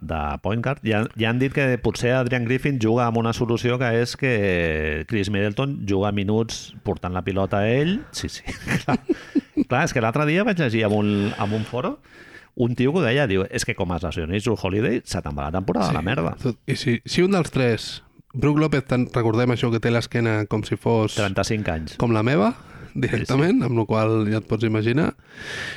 Speaker 1: de, de point guard. Ja, ja han dit que potser Adrian Griffin juga amb una solució que és que Chris Middleton juga minuts portant la pilota a ell. Sí, sí, clar. clar és que l'altre dia vaig llegir amb un, amb un foro un tio que ho deia, diu, és que com es lesioni Drew Holiday, se te'n va la temporada sí. a la merda.
Speaker 2: Tot- I si, si un dels tres, Brook López, tan- recordem això que té l'esquena com si fos
Speaker 1: 35 anys.
Speaker 2: com la meva, directament, amb la qual cosa ja et pots imaginar,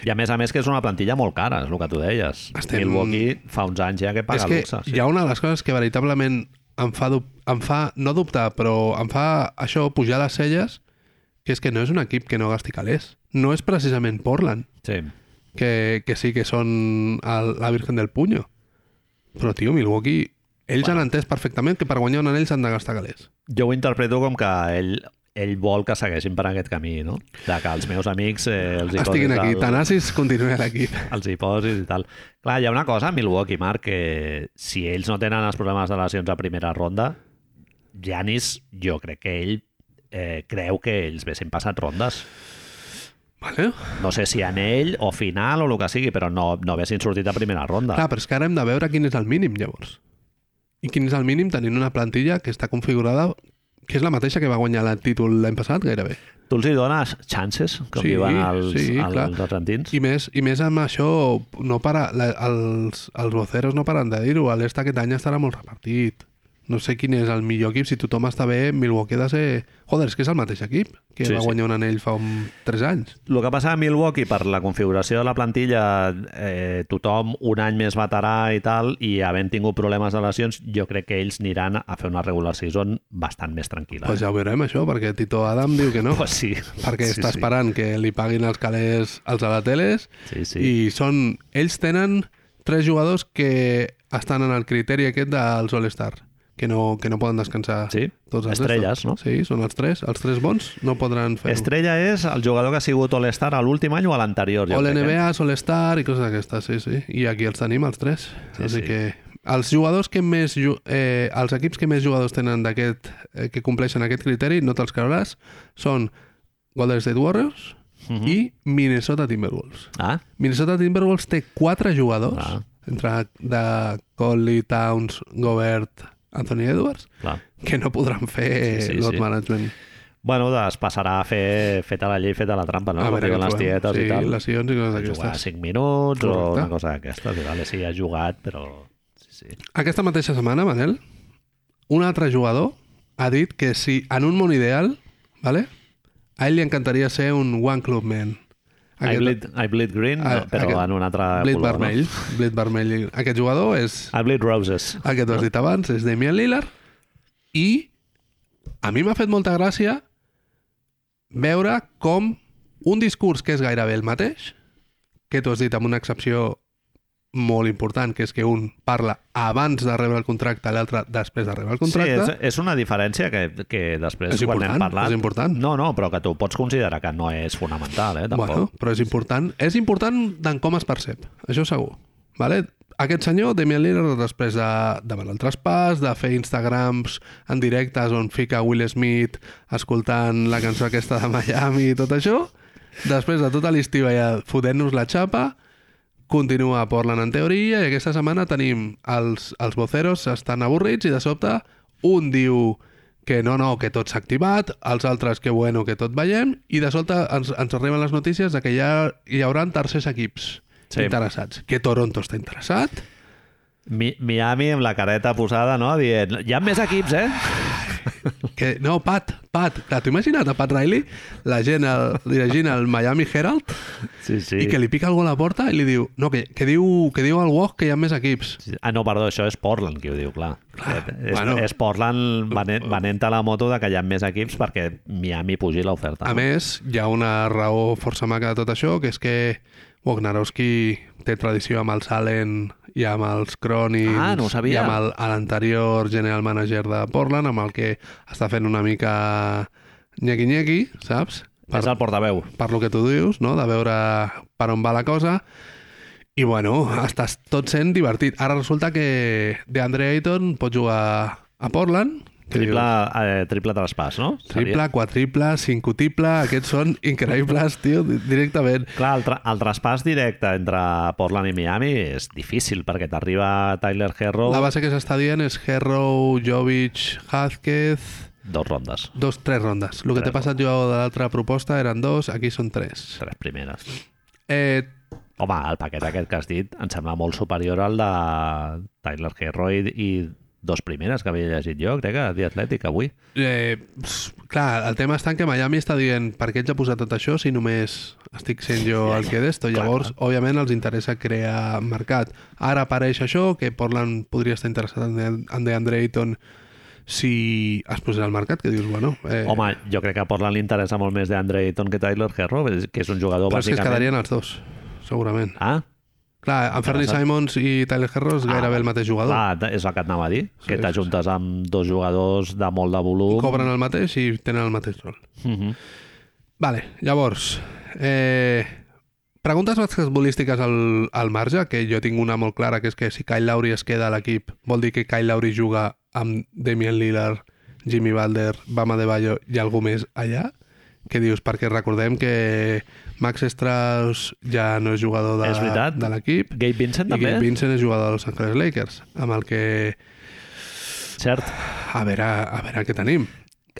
Speaker 1: I a més a més que és una plantilla molt cara, és el que tu deies.
Speaker 2: Estem-
Speaker 1: Milwaukee fa uns anys ja que paga
Speaker 2: és que
Speaker 1: luxe.
Speaker 2: hi ha una de les coses que veritablement em fa, dub- em fa, no dubtar, però em fa això pujar les celles, que és que no és un equip que no gasti calés. No és precisament Portland,
Speaker 1: Sí.
Speaker 2: que, que sí que són el, la Virgen del Puño. Però, tio, Milwaukee, ells bueno. han entès perfectament que per guanyar un anell s'han de gastar calés.
Speaker 1: Jo ho interpreto com que ell, ell vol que segueixin per aquest camí, no? De que els meus amics eh, els hi
Speaker 2: Estiguin
Speaker 1: posis
Speaker 2: aquí. eh?
Speaker 1: el-
Speaker 2: Tanasis continua a l'equip.
Speaker 1: els hi posis i tal. Clar, hi ha una cosa a Milwaukee, Marc, que si ells no tenen els problemes de lesions a primera ronda, Janis, jo crec que ell eh, creu que ells haguessin passat rondes.
Speaker 2: Vale?
Speaker 1: No sé si en ell o final o el que sigui, però no, no haguessin sortit a primera ronda.
Speaker 2: Clar, però és que ara hem de veure quin és el mínim, llavors. I quin és el mínim tenint una plantilla que està configurada que és la mateixa que va guanyar el títol l'any passat, gairebé.
Speaker 1: Tu els hi dones chances, com
Speaker 2: Sí,
Speaker 1: diuen els,
Speaker 2: sí, clar.
Speaker 1: els argentins?
Speaker 2: I més, i més amb això, no para, la, els, els voceros no paren de dir-ho, l'est aquest any estarà molt repartit. No sé quin és el millor equip, si tothom està bé, Milwaukee ha de ser... Joder, és que és el mateix equip que
Speaker 1: Sí,
Speaker 2: sí, va
Speaker 1: sí.
Speaker 2: guanyar un anell fa un 3 anys.
Speaker 1: El que passa a Milwaukee per la configuració de la plantilla, eh, tothom un any més veterà i tal, i havent tingut problemes de lesions, jo crec que ells aniran a fer una regular season bastant més tranquil·la.
Speaker 2: Doncs pues ja ho veurem, això, perquè Tito Adam diu que no.
Speaker 1: pues sí.
Speaker 2: perquè
Speaker 1: sí,
Speaker 2: està esperant que li paguin els calés als a la teles
Speaker 1: Sí, sí.
Speaker 2: i són, ells tenen tres jugadors que estan en el criteri aquest dels All-Star que no, que no poden descansar
Speaker 1: Sí,
Speaker 2: tots els
Speaker 1: estrelles,
Speaker 2: restos.
Speaker 1: no?
Speaker 2: Sí, són els tres. Els tres bons no podran fer-ho.
Speaker 1: Estrella és el jugador que ha sigut All-Star a l'últim any o a l'anterior. jo
Speaker 2: O
Speaker 1: crec, eh?
Speaker 2: l'NBA, All-Star i coses d'aquestes, sí, sí. I aquí els tenim, els tres.
Speaker 1: Sí,
Speaker 2: Sí, Així
Speaker 1: sí.
Speaker 2: que els jugadors que més... ju- Eh, els equips que més jugadors tenen d'aquest... Eh, que compleixen aquest criteri, no te'ls creuràs, són Golden State Warriors
Speaker 1: Mhm.
Speaker 2: i Minnesota Timberwolves.
Speaker 1: Ah,
Speaker 2: Minnesota Timberwolves té quatre jugadors,
Speaker 1: Ah.
Speaker 2: entre de Conley, Towns, Gobert, Anthony Edwards,
Speaker 1: clar.
Speaker 2: que no podran
Speaker 1: Sí,
Speaker 2: fer sí,
Speaker 1: sí,
Speaker 2: sí, lot
Speaker 1: sí.
Speaker 2: management.
Speaker 1: Bueno, es passarà a fer feta la llei, feta la trampa, no? Com diuen
Speaker 2: què
Speaker 1: les
Speaker 2: trobem.
Speaker 1: tietes
Speaker 2: sí,
Speaker 1: i tal.
Speaker 2: lesions i coses
Speaker 1: Jugar
Speaker 2: d'aquestes.
Speaker 1: 5 minuts o
Speaker 2: Correcte.
Speaker 1: una cosa d'aquestes. I vale, sí, ha jugat, però... Sí, sí.
Speaker 2: Aquesta mateixa setmana, Manel, un altre jugador ha dit que si en un món ideal, vale, a ell li encantaria ser un one club man.
Speaker 1: I bleed, I bleed green,
Speaker 2: Ah,
Speaker 1: no, però
Speaker 2: aquest-
Speaker 1: en un altre
Speaker 2: Blit
Speaker 1: color.
Speaker 2: vermell. Blit vermell. Aquest jugador és
Speaker 1: No? I bleed roses.
Speaker 2: el que tu has dit abans, és Damian Lillard, i a mi m'ha fet molta gràcia veure com un discurs que és gairebé el mateix, que tu has dit amb una excepció molt important, que és que un parla abans de rebre el contracte, l'altre després de rebre el contracte.
Speaker 1: Sí, és, és una diferència que, que després
Speaker 2: És
Speaker 1: quan hem
Speaker 2: important,
Speaker 1: parlat...
Speaker 2: és important.
Speaker 1: No, no, però que tu pots considerar que no és fonamental, eh? Tampoc.
Speaker 2: Bueno, però és important. És important d'en com es percep, això segur. Vale? Aquest senyor, Damian Lillard, després de demanar el traspàs, de fer Instagrams en directes on fica Will Smith escoltant la cançó aquesta de Miami i tot això, després de tota l'estiu allà fotent-nos la xapa, continua a Portland en teoria i aquesta setmana tenim els, els voceros estan avorrits i de sobte un diu que no, no, que tot s'ha activat, els altres que bueno, que tot veiem, i de sobte ens, ens arriben les notícies de que hi, ha, hi haurà tercers equips
Speaker 1: Sí.
Speaker 2: sí. interessats. Que Toronto està interessat,
Speaker 1: Mi, Miami amb la careta posada, no? Dient, hi ha més equips, eh?
Speaker 2: que... No, Pat, Pat, clar, t'ho imagina't a Pat Riley, la gent el, llegint el Miami Herald,
Speaker 1: Sí, sí.
Speaker 2: sí. i que li pica algú a la porta i li diu, no, que, que diu, que diu al Woj que hi ha més equips.
Speaker 1: Sí. Ah, no, perdó, això és Portland qui ho diu, clar. clar és, bueno.
Speaker 2: bueno.
Speaker 1: és Portland venent, venent a la moto de que hi ha més equips perquè Miami pugi l'oferta.
Speaker 2: A més, hi ha una raó força maca de tot això, que és que Wagnarowski té tradició amb el Salen i amb els Crònics
Speaker 3: Ah, no ho sabia.
Speaker 2: i amb el- a l'anterior general manager de Portland, amb el que està fent una mica nyequi-nyequi, saps? Per,
Speaker 1: És el portaveu.
Speaker 2: per lo que tu dius, no? de veure per on va la cosa. I bueno, estàs tot sent divertit. Ara resulta que DeAndre Ayton pot jugar a Portland. que
Speaker 1: Triple, eh, triple traspàs, no?
Speaker 2: dius, triple, quadriple, cincotiple, aquests són increïbles, tio, di- directament.
Speaker 1: Clar, el, tra el traspàs directe entre Portland i Miami és difícil perquè t'arriba Tyler Herro
Speaker 2: La base que s'està dient és Herro, Jovic, Hazquez...
Speaker 1: dos rondes,
Speaker 2: Dos, tres rondes. El que t'he passat jo de l'altra proposta eren dos, aquí són tres.
Speaker 1: tres primeres.
Speaker 2: Eh,
Speaker 1: Home, el paquet aquest que has dit em sembla molt superior al de Tyler Herro i, i dos primeres que havia llegit jo, crec que a The Athletic avui.
Speaker 2: eh, ps, clar, el tema està en que Miami està dient per què ets a posar tot això si només estic sent jo el que d'esto. Llavors, òbviament, els interessa crear mercat. Ara apareix això, que Portland podria estar interessat en De- en DeAndre Ayton si es posarà al mercat, que dius, bueno... Eh,
Speaker 1: Home, jo crec que a Portland li interessa molt més d'Andre Ayton que Tyler Herro, que és un jugador
Speaker 2: però és que es
Speaker 1: bàsicament...
Speaker 2: quedarien els dos, segurament.
Speaker 1: Ah,
Speaker 2: Clar, en Fernie Simons i Tyler Herro és gairebé el mateix jugador.
Speaker 1: clar, és el que anava a dir, que
Speaker 2: Sí,
Speaker 1: t'ajuntes amb dos jugadors de molt de volum.
Speaker 2: Cobren el mateix i tenen el mateix rol.
Speaker 1: Mm -hmm.
Speaker 2: Vale, llavors... Eh, preguntes basquetbolístiques al, al marge, que jo tinc una molt clara, que és que si Kyle Lowry es queda a l'equip, vol dir que Kyle Lowry juga amb Damian Lillard, Jimmy Balder, Bama de Bayo i algú més allà? Què dius? Perquè recordem que Max Strauss ja no és jugador de,
Speaker 1: És veritat.
Speaker 2: de l'equip.
Speaker 1: Gabe Vincent
Speaker 2: I
Speaker 1: també?
Speaker 2: Gabe Vincent és jugador dels Angeles Lakers, amb el que...
Speaker 1: Cert,
Speaker 2: A veure, a veure què tenim.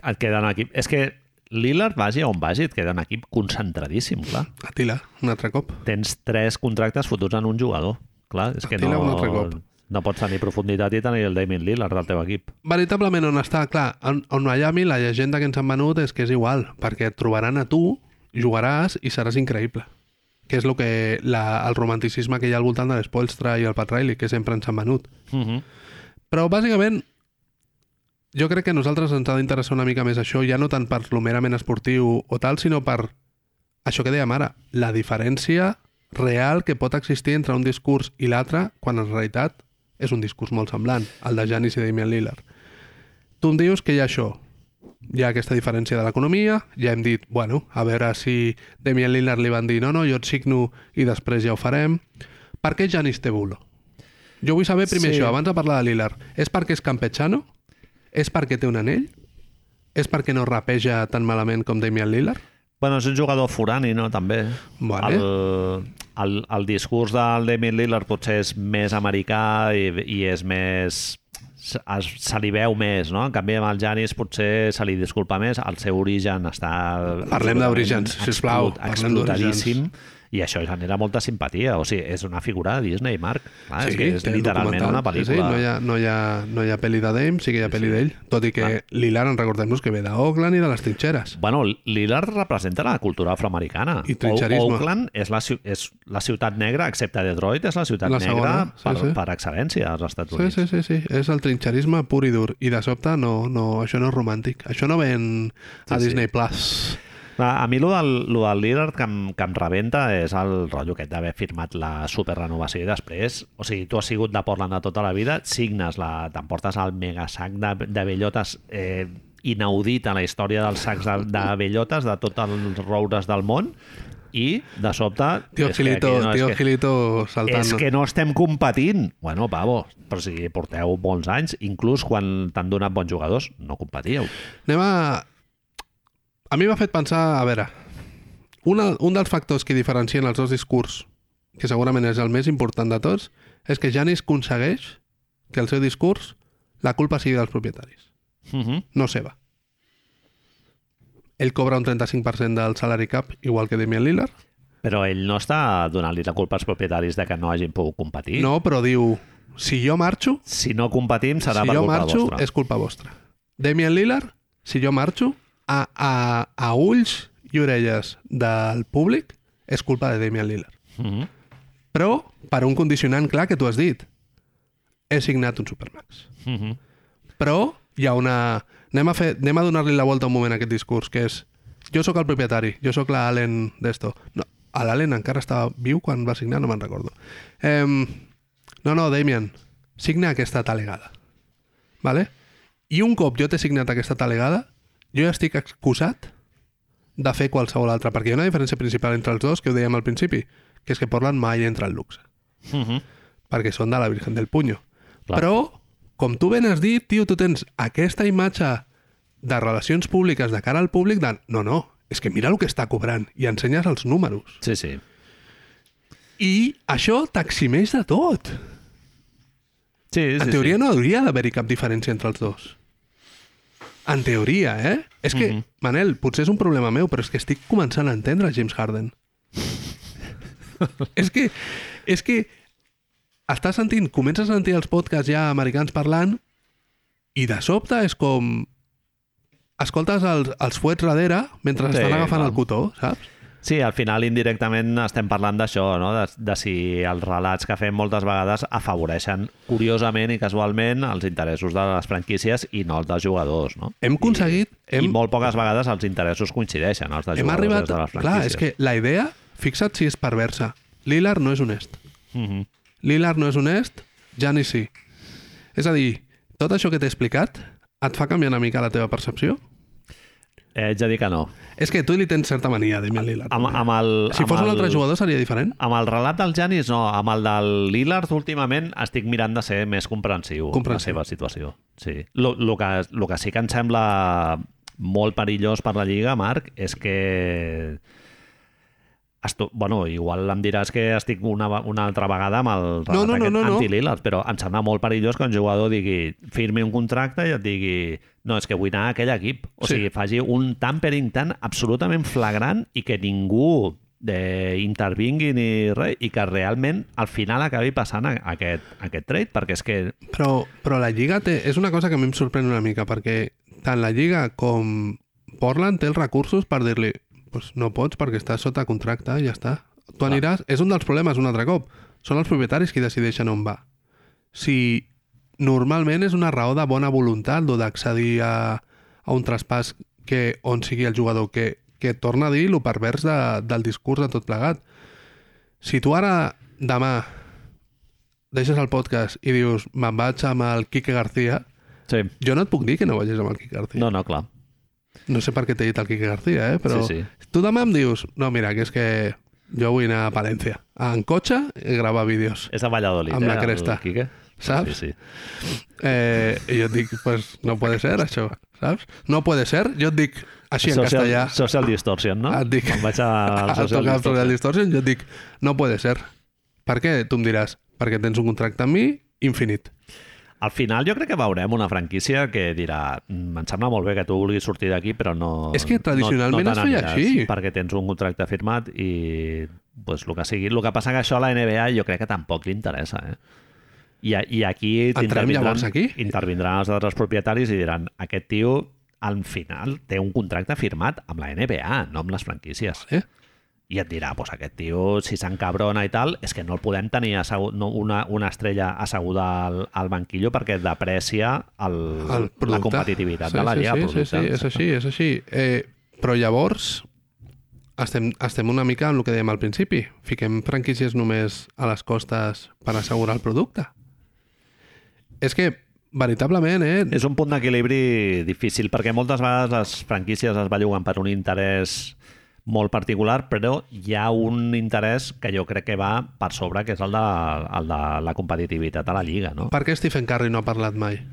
Speaker 1: et queda un equip... És que Lillard vagi on vagi, et queda un equip concentradíssim, clar.
Speaker 2: Atila, un altre cop.
Speaker 1: Tens tres contractes fotuts en un jugador. Clar, és que
Speaker 2: Tira un altre
Speaker 1: no,
Speaker 2: cop.
Speaker 1: no pots tenir profunditat i tenir el Damien Lillard del teu equip.
Speaker 2: veritablement on està, clar, on, on Miami la llegenda que ens han venut és que és igual, perquè et trobaran a tu, jugaràs i seràs increïble. Que és lo que la, el romanticisme que hi ha al voltant de l'Espolstra i el Pat Riley, que sempre ens han venut.
Speaker 1: Mm -hmm.
Speaker 2: Però bàsicament jo crec que a nosaltres ens ha d'interessar una mica més això, ja no tant per lo merament esportiu o tal, sinó per això que dèiem ara, la diferència real que pot existir entre un discurs i l'altre, quan en realitat és un discurs molt semblant, el de Janis i Damian Lillard. Tu em dius que hi ha això, hi ha aquesta diferència de l'economia, ja hem dit, bueno, a veure si Damian Lillard li van dir no, no, jo et signo i després ja ho farem. Per què Janis té bulo? Jo vull saber primer
Speaker 1: Sí.
Speaker 2: sí. això, abans de parlar de Lillard. És perquè és campechano? És perquè té un anell? És perquè no rapeja tan malament com Damian Lillard?
Speaker 1: Bueno, és un jugador forani, no?, també.
Speaker 2: Vale.
Speaker 1: El, el, el discurs del Damien Lillard potser és més americà i, i és més... Se, es, se li veu més, no? En canvi, amb el Janis potser se li disculpa més. El seu origen està...
Speaker 2: Parlem d'orígens,
Speaker 1: absolutament
Speaker 2: sisplau,
Speaker 1: explot-
Speaker 2: parlem
Speaker 1: Explotadíssim. I això genera molta simpatia. O sigui, és una figura de Disney, Marc. Clar, sí, és Ah, que és
Speaker 2: té el
Speaker 1: literalment
Speaker 2: documental.
Speaker 1: una pel·lícula.
Speaker 2: Sí, sí, no, hi ha, no, hi ha, no hi ha pel·li de Dame, sí que hi ha pel·li d'ell, tot i que ah. Lillard, en recordem-nos que ve d'Oakland i de les trinxeres.
Speaker 1: Bueno, Lillard representa la cultura afroamericana.
Speaker 2: I trinxerisme.
Speaker 1: O- Oakland és la, ciu- és la ciutat negra, excepte Detroit, és la ciutat
Speaker 2: La
Speaker 1: negra
Speaker 2: segona, sí,
Speaker 1: per,
Speaker 2: sí.
Speaker 1: per excel·lència als Estats
Speaker 2: Sí,
Speaker 1: Units.
Speaker 2: sí, sí, sí, és el trinxerisme pur i dur. I de sobte, no, no, això no és romàntic. Això no ven a
Speaker 1: Sí, sí.
Speaker 2: Disney Plus.
Speaker 1: A, a mi lo del, lo del Lillard que em, que em rebenta és el rotllo aquest d'haver firmat la superrenovació i després, o sigui, tu has sigut de Portland de tota la vida, signes la... t'emportes el megasac de, de bellotes eh, inaudit a la història dels sacs de, de bellotes de tots els roures del món i, de sobte...
Speaker 2: Tio
Speaker 1: és que
Speaker 2: Gilito,
Speaker 1: aquí no, és
Speaker 2: tio
Speaker 1: que-
Speaker 2: Gilito saltant.
Speaker 1: És que no estem competint. Bueno, pavo, però si porteu bons anys, inclús quan t'han donat bons jugadors, no competíeu.
Speaker 2: Anem a... A mi m'ha fet pensar, a veure, un, un dels factors que diferencien els dos discurs, que segurament és el més important de tots, és que Janis aconsegueix que el seu discurs la culpa sigui dels propietaris,
Speaker 1: Uh -huh.
Speaker 2: no seva. Ell cobra un 35% del salari cap, igual que Damian Lillard.
Speaker 1: Però ell no està donant-li la culpa als propietaris de que no hagin pogut competir.
Speaker 2: No, però diu, si jo marxo,
Speaker 1: Si no competim, serà
Speaker 2: si
Speaker 1: per
Speaker 2: jo
Speaker 1: culpa
Speaker 2: marxo,
Speaker 1: vostra.
Speaker 2: és culpa vostra. Damian Lillard, si jo marxo, a, a, a ulls i orelles del públic, és culpa de Damian Lillard.
Speaker 1: Uh -huh.
Speaker 2: Però, per un condicionant clar que tu has dit, he signat un Supermax.
Speaker 1: Uh -huh.
Speaker 2: Però hi ha una... Anem a, fer... Anem a donar-li la volta un moment a aquest discurs, que és jo sóc el propietari, jo sóc l'Allen d'esto. No, a l'Allen encara estava viu quan va signar, no me'n recordo. Eh, no, no, Damien, signa aquesta talegada. Vale? I un cop jo t'he signat aquesta talegada, jo ja estic excusat de fer qualsevol altra, perquè hi ha una diferència principal entre els dos, que ho dèiem al principi, que és que Portland mai entra al luxe,
Speaker 1: Mm -hmm.
Speaker 2: perquè són de la Virgen del Puño.
Speaker 1: Clar.
Speaker 2: Però, com tu ben has dit, tio, tu tens aquesta imatge de relacions públiques de cara al públic de no, no, és que mira el que està cobrant i ensenyes els números.
Speaker 1: Sí, sí.
Speaker 2: I això t'eximeix de tot.
Speaker 1: Sí, sí,
Speaker 2: En teoria
Speaker 1: sí.
Speaker 2: no hauria d'haver-hi cap diferència entre els dos. En teoria, eh? És que,
Speaker 1: Mhm.
Speaker 2: Manel, potser és un problema meu, però és que estic començant a entendre James Harden. és que... És que... Estàs sentint... Comences a sentir els podcasts ja americans parlant i de sobte és com... Escoltes els, els fuets darrere mentre
Speaker 1: Sí,
Speaker 2: estan agafant
Speaker 1: clar.
Speaker 2: el cotó, saps?
Speaker 1: Sí, al final indirectament estem parlant d'això, no? de, de si els relats que fem moltes vegades afavoreixen curiosament i casualment els interessos de les franquícies i no els dels jugadors. No?
Speaker 2: Hem aconseguit...
Speaker 1: Hem...
Speaker 2: hem...
Speaker 1: I molt poques vegades els interessos coincideixen, els dels
Speaker 2: Hem
Speaker 1: jugadors i els
Speaker 2: arribat...
Speaker 1: de les franquícies.
Speaker 2: Clar, és que la idea, fixa't si és perversa. Lillard no és honest.
Speaker 1: Mm -hmm.
Speaker 2: Lillard no és honest, Giannis sí. És a dir, tot això que t'he explicat et fa canviar una mica la teva percepció?
Speaker 1: Haig de Eh, dir que no.
Speaker 2: És que tu li tens certa mania, Damian Lillard.
Speaker 1: Amb, amb el,
Speaker 2: si
Speaker 1: amb
Speaker 2: fos
Speaker 1: el...
Speaker 2: un altre jugador seria diferent?
Speaker 1: Amb el relat del Janis, no. Amb el del Lillard, últimament, estic mirant de ser més comprensiu, comprensiu.
Speaker 2: Comprensiu.
Speaker 1: la seva situació. Sí. Lo, lo, que, lo que sí que em sembla molt perillós per la Lliga, Marc, és que... Esto, bueno, igual em diràs que estic una, ve- una altra vegada amb el relat
Speaker 2: No, no, no,
Speaker 1: aquest
Speaker 2: no, no.
Speaker 1: anti-Lillard, però em sembla molt perillós que un jugador digui firmi un contracte i et digui no, és que vull anar a aquell equip. O
Speaker 2: Sí.
Speaker 1: sí. sigui, faci un tampering tan absolutament flagrant i que ningú eh, intervingui ni res i que realment al final acabi passant a, a aquest, a aquest trade perquè és que
Speaker 2: Però, però la Lliga té... és una cosa que a mi em sorprèn una mica, perquè tant la Lliga com Portland té els recursos per dir-li pues no pots perquè estàs sota contracte i ja està. Tu
Speaker 1: Clar.
Speaker 2: aniràs... És un dels problemes un altre cop. Són els propietaris qui decideixen on va. Si normalment és una raó de bona voluntat lo d'accedir a, a un traspàs que on sigui el jugador que, que torna a dir lo pervers de, del discurs de tot plegat. Si tu ara demà deixes el podcast i dius me'n vaig amb el Quique García,
Speaker 1: sí.
Speaker 2: jo no et puc dir que no vagis amb el Quique García.
Speaker 1: no, no, clar
Speaker 2: No, sé per què t'he dit el Quique García, eh? però
Speaker 1: Sí,
Speaker 2: tu demà em dius no, mira, que és que jo vull anar a Palència en cotxe i gravar vídeos,
Speaker 1: és a Valladolid
Speaker 2: Amb la
Speaker 1: eh, el
Speaker 2: cresta.
Speaker 1: Quique?
Speaker 2: saps?
Speaker 1: Sí, sí.
Speaker 2: Eh, I jo et dic, pues no puede ser això, saps? No puede ser, jo et dic així en
Speaker 1: social,
Speaker 2: castellà,
Speaker 1: social Distortion, no?
Speaker 2: Et dic-
Speaker 1: Em vaig a,
Speaker 2: a
Speaker 1: al Social
Speaker 2: tocar sobre el
Speaker 1: Distortion.
Speaker 2: Distortion, jo et dic no puede ser. Per què? Tu em diràs, perquè tens un contracte amb mi infinit.
Speaker 1: Al final jo crec que veurem una franquícia que dirà "Mm, em sembla molt bé que tu vulguis sortir d'aquí però no...
Speaker 2: És que tradicionalment
Speaker 1: no, no
Speaker 2: es
Speaker 1: te
Speaker 2: feia
Speaker 1: n'aniràs
Speaker 2: així.
Speaker 1: Perquè tens un contracte firmat i pues, el que sigui. El que passa que això a la NBA jo crec que tampoc li interessa, eh? I, a- i aquí
Speaker 2: Entrem
Speaker 1: t'intervindran-
Speaker 2: llavors aquí?
Speaker 1: intervindran els altres propietaris i diran aquest tio al final té un contracte firmat amb la NBA, no amb les franquícies
Speaker 2: Eh?
Speaker 1: i et dirà, pues aquest tio, si s'encabrona i tal, és que no el podem tenir assegu... no, una, una estrella asseguda al, al banquillo perquè deprecia el,
Speaker 2: el producte.
Speaker 1: la competitivitat
Speaker 2: sí,
Speaker 1: de la
Speaker 2: sí,
Speaker 1: Lliga.
Speaker 2: Sí, sí,
Speaker 1: producte.
Speaker 2: sí, és així, és així. Eh, però llavors estem, estem una mica en el que dèiem al principi. Fiquem franquícies només a les costes per assegurar el producte. És que, veritablement, eh,
Speaker 1: És un punt d'equilibri difícil, perquè moltes vegades les franquícies es belluguen per un interès molt particular, però hi ha un interès que jo crec que va per sobre, que és el de, el de la competitivitat a la Lliga, no?
Speaker 2: per què Stephen Curry no ha parlat mai?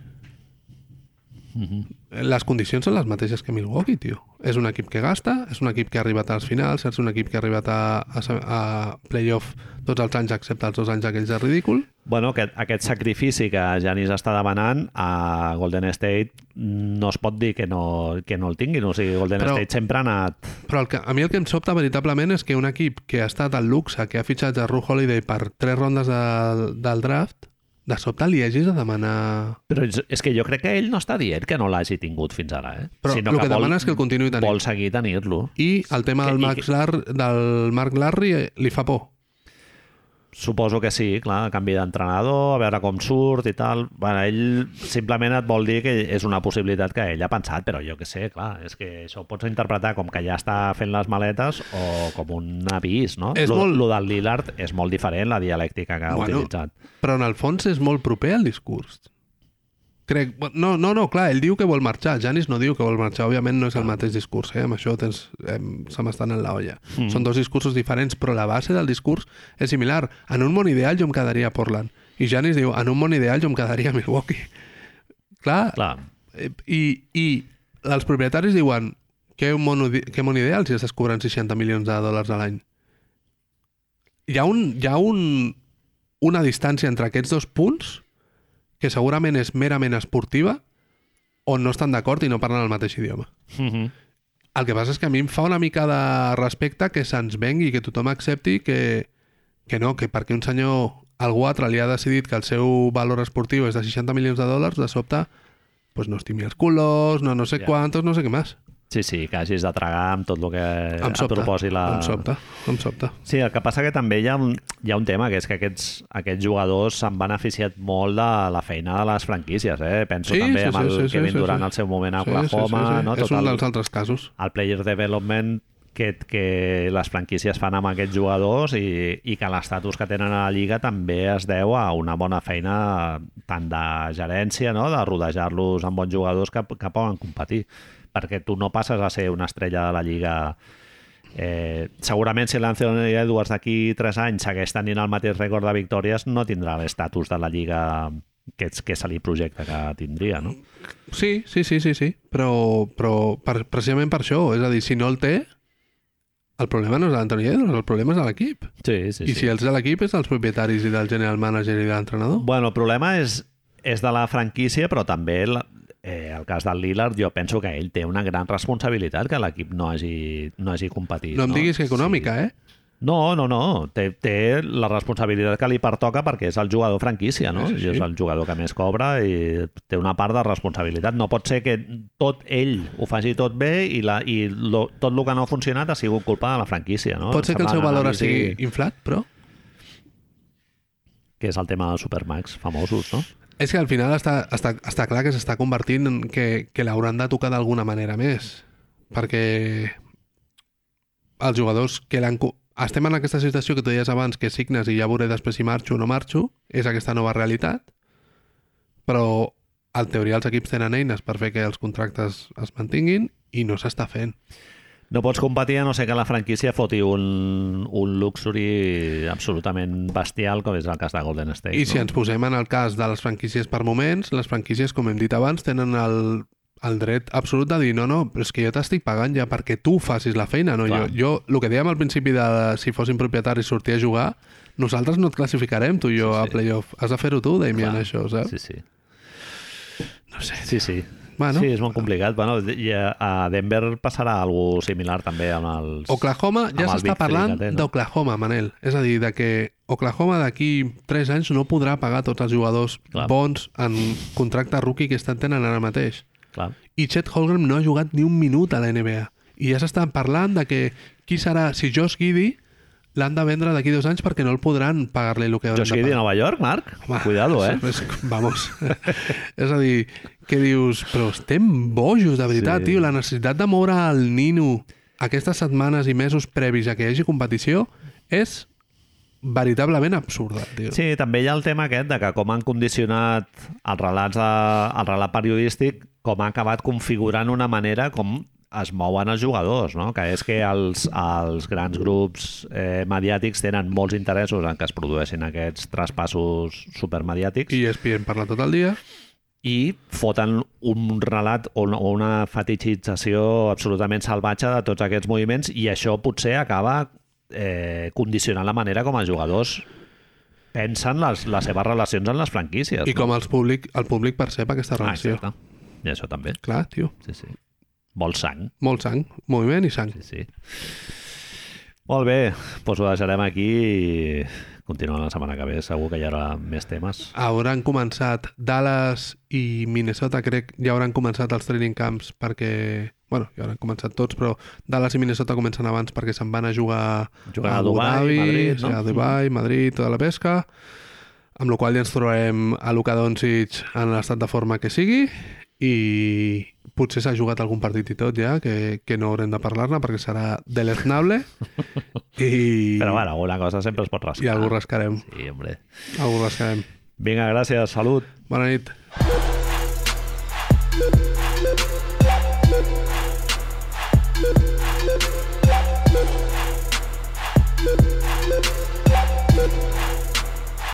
Speaker 1: Mhm.
Speaker 2: Les condicions són les mateixes que Milwaukee, tio. És un equip que gasta, és un equip que ha arribat als finals, és un equip que ha arribat a, a, a playoff tots els anys, excepte els dos anys aquells de ridícul.
Speaker 1: Bueno, aquest, aquest sacrifici que Janis està demanant a Golden State no es pot dir que no, que no el tinguin. O sigui, Golden
Speaker 2: Però-
Speaker 1: Però... State sempre ha anat...
Speaker 2: Però el que, a mi el que em sobta veritablement és que un equip que ha estat al luxe, que ha fitxat a Ru Holiday per tres rondes del, del draft, de sobte li hagis de demanar...
Speaker 1: Però és, és que jo crec que ell no està dient que no l'hagi tingut fins ara, eh?
Speaker 2: Però el que, demana és que el continuï tenint.
Speaker 1: vol seguir tenir-lo.
Speaker 2: I el tema
Speaker 1: Que-
Speaker 2: del,
Speaker 1: i
Speaker 2: Max
Speaker 1: que-
Speaker 2: Lar, del Marc Larry eh, li fa por.
Speaker 1: Suposo que sí, clar, a canvi d'entrenador, a veure com surt i tal. Bueno, ell simplement et vol dir que és una possibilitat que ell ha pensat, però jo que sé, clar, és que això ho pots interpretar com que ja està fent les maletes o com un avís, no?
Speaker 2: És
Speaker 1: lo,
Speaker 2: molt-
Speaker 1: lo del Lillard és molt diferent, la dialèctica que ha
Speaker 2: Bueno.
Speaker 1: utilitzat.
Speaker 2: Però en el fons és molt proper al discurs. Crec... No, no, no, clar, ell diu que vol marxar. Janis no diu que vol marxar. Òbviament no és el mateix discurs, eh? Amb això tens, em, se m'estan en la olla. Mm. Són dos discursos diferents, però la base del discurs és similar. En un món ideal jo em quedaria a Portland. I Janis diu, en un món ideal jo em quedaria a Milwaukee. Clar,
Speaker 1: Clar,
Speaker 2: Eh, I, i els propietaris diuen que un mono, que mon ideal si estàs cobrant 60 milions de dòlars a l'any. Hi ha, un, hi ha un, una distància entre aquests dos punts que segurament és merament esportiva on no estan d'acord i no parlen el mateix idioma.
Speaker 1: Mhm.
Speaker 2: El que passa és que a mi em fa una mica de respecte que se'ns vengui, que tothom accepti que, que no, que perquè un senyor, algú altre, li ha decidit que el seu valor esportiu és de 60 milions de dòlars, de sobte, pues no estimi els culos, no, no sé
Speaker 1: Ja.
Speaker 2: yeah. quantos, no sé què més.
Speaker 1: sí, sí, que hagis de tragar amb tot el que
Speaker 2: Em
Speaker 1: et
Speaker 2: sobta,
Speaker 1: proposi Eh, la...
Speaker 2: em sobta, em sobta.
Speaker 1: Sí, el que passa que també hi ha un, hi ha un tema, que és que aquests, aquests jugadors s'han beneficiat molt de la feina de les franquícies. Eh? Penso
Speaker 2: Sí,
Speaker 1: també
Speaker 2: sí,
Speaker 1: amb el
Speaker 2: sí, sí, sí,
Speaker 1: Kevin
Speaker 2: sí,
Speaker 1: Durant
Speaker 2: sí.
Speaker 1: al seu moment a Oklahoma, no?
Speaker 2: És
Speaker 1: tot
Speaker 2: un
Speaker 1: el,
Speaker 2: dels altres casos.
Speaker 1: el player development que, que les franquícies fan amb aquests jugadors i, i que l'estatus que tenen a la Lliga també es deu a una bona feina tant de gerència, no? de rodejar-los amb bons jugadors que, que poden competir. Perquè tu no passes a ser una estrella de la Lliga Eh, segurament si l'Anthony Edwards d'aquí 3 anys segueix tenint el mateix rècord de victòries no tindrà l'estatus de la Lliga que, que se li projecta que tindria, no?
Speaker 2: Sí, sí, sí, sí, sí. Però, però per, precisament per això. És a dir, si no el té, el problema no és de l'Antoni Edwards, el problema és de l'equip.
Speaker 1: Sí, sí,
Speaker 2: I si els de l'equip és dels propietaris i del general manager i de l'entrenador?
Speaker 1: Bueno, el problema és, és de la franquícia, però també el, eh, el cas del Lillard, jo penso que ell té una gran responsabilitat que l'equip no hagi, no hagi competit.
Speaker 2: No em diguis que econòmica, eh?
Speaker 1: No, no, no. Té, té la responsabilitat que li pertoca perquè és el jugador franquícia, no?
Speaker 2: És
Speaker 1: És,
Speaker 2: així.
Speaker 1: és el jugador que més cobra i té una part de responsabilitat. No pot ser que tot ell ho faci tot bé i, la, i lo, tot el que no ha funcionat ha sigut culpa de la franquícia, no?
Speaker 2: Pot ser que el
Speaker 1: Sembla
Speaker 2: seu
Speaker 1: una
Speaker 2: valor
Speaker 1: anàlisi
Speaker 2: estigui inflat, però...
Speaker 1: Que és el tema de Supermax, famosos, no?
Speaker 2: És que al final està, està, està clar que s'està convertint en que, que l'hauran de tocar d'alguna manera més. Perquè els jugadors que l'han... co- Estem en aquesta situació que tu deies abans, que signes i ja veuré després si marxo o no marxo, és aquesta nova realitat, però en teoria els equips tenen eines per fer que els contractes es mantinguin i no s'està fent.
Speaker 1: No pots competir a no ser que la franquícia foti un, un luxury absolutament bestial, com és el cas de Golden State.
Speaker 2: I si
Speaker 1: no?
Speaker 2: ens posem en el cas de les franquícies per moments, les franquícies, com hem dit abans, tenen el, el dret absolut de dir no, no, però és que jo t'estic pagant ja perquè tu facis la feina. No? Jo,
Speaker 1: Clar.
Speaker 2: jo, el que dèiem al principi de si fossin propietaris sortir a jugar, nosaltres no et classificarem, tu i jo,
Speaker 1: Sí, sí.
Speaker 2: sí, sí. a playoff. Has de fer-ho tu, Damien,
Speaker 1: Clar.
Speaker 2: això, saps?
Speaker 1: Sí, sí.
Speaker 2: No sé. Ah,
Speaker 1: Sí, sí.
Speaker 2: Bueno.
Speaker 1: sí, és molt complicat. Bueno, i a a Denver passarà alguna similar també amb els...
Speaker 2: Oklahoma, ja
Speaker 1: Amb el Big
Speaker 2: s'està
Speaker 1: Three
Speaker 2: parlant
Speaker 1: que té, no?
Speaker 2: d'Oklahoma, Manel. És a dir, de que Oklahoma d'aquí 3 anys no podrà pagar tots els jugadors
Speaker 1: Clar.
Speaker 2: bons en contracte rookie que estan tenen ara mateix.
Speaker 1: Clar.
Speaker 2: i Chet Holmgren no ha jugat ni un minut a la NBA. I ja s'estan parlant de que qui serà, si Josh Giddy l'han de vendre d'aquí dos anys perquè no el podran pagar-li el que hauran
Speaker 1: Jo sigui
Speaker 2: de
Speaker 1: de
Speaker 2: pagar.
Speaker 1: Nova York, Marc?
Speaker 2: Home,
Speaker 1: Cuidado, eh?
Speaker 2: És, vamos. és a dir, que dius, però estem bojos, de veritat,
Speaker 1: Sí.
Speaker 2: sí. tio. La necessitat de moure el nino aquestes setmanes i mesos previs a que hi hagi competició és veritablement absurda, tio.
Speaker 1: Sí, també hi ha el tema aquest de que com han condicionat els relats de, el relat periodístic, com ha acabat configurant una manera com es mouen els jugadors, no? que és que els, els grans grups eh, mediàtics tenen molts interessos en que es produeixin aquests traspassos supermediàtics i,
Speaker 2: I E ESPN parla tot el dia.
Speaker 1: i foten un relat o una- o una fetichització absolutament salvatge de tots aquests moviments i això potser acaba eh, condicionant la manera com els jugadors pensen les, les seves relacions en les franquícies.
Speaker 2: I com els públic, el públic percep aquesta
Speaker 1: Ah,
Speaker 2: relació.
Speaker 1: exacte. I això també,
Speaker 2: Clar, tio.
Speaker 1: sí, sí. Vol sang,
Speaker 2: Molt sang, moviment i sang.
Speaker 1: sí, sí. Molt bé, doncs ho deixarem aquí i continuem la setmana que ve. Segur que hi haurà més temes.
Speaker 2: Hauran començat Dallas i Minnesota, crec, ja hauran començat els training camps perquè bueno, ja han començat tots, però Dallas i Minnesota comencen abans perquè se'n van a jugar,
Speaker 1: Jugar a Dubai, Madrid, no? Mm-hmm.
Speaker 2: sí, a Dubai, Madrid, tota la pesca, amb la qual cosa ja ens trobarem a Luka Doncic en l'estat de forma que sigui i potser s'ha jugat algun partit i tot ja, que, que no haurem de parlar-ne perquè serà deleznable i,
Speaker 1: Però bueno, alguna cosa sempre es pot rascar.
Speaker 2: i algú rascarem,
Speaker 1: Sí, hombre.
Speaker 2: algú rascarem.
Speaker 1: Vinga, gràcies, salut.
Speaker 2: Bona nit.
Speaker 3: Thank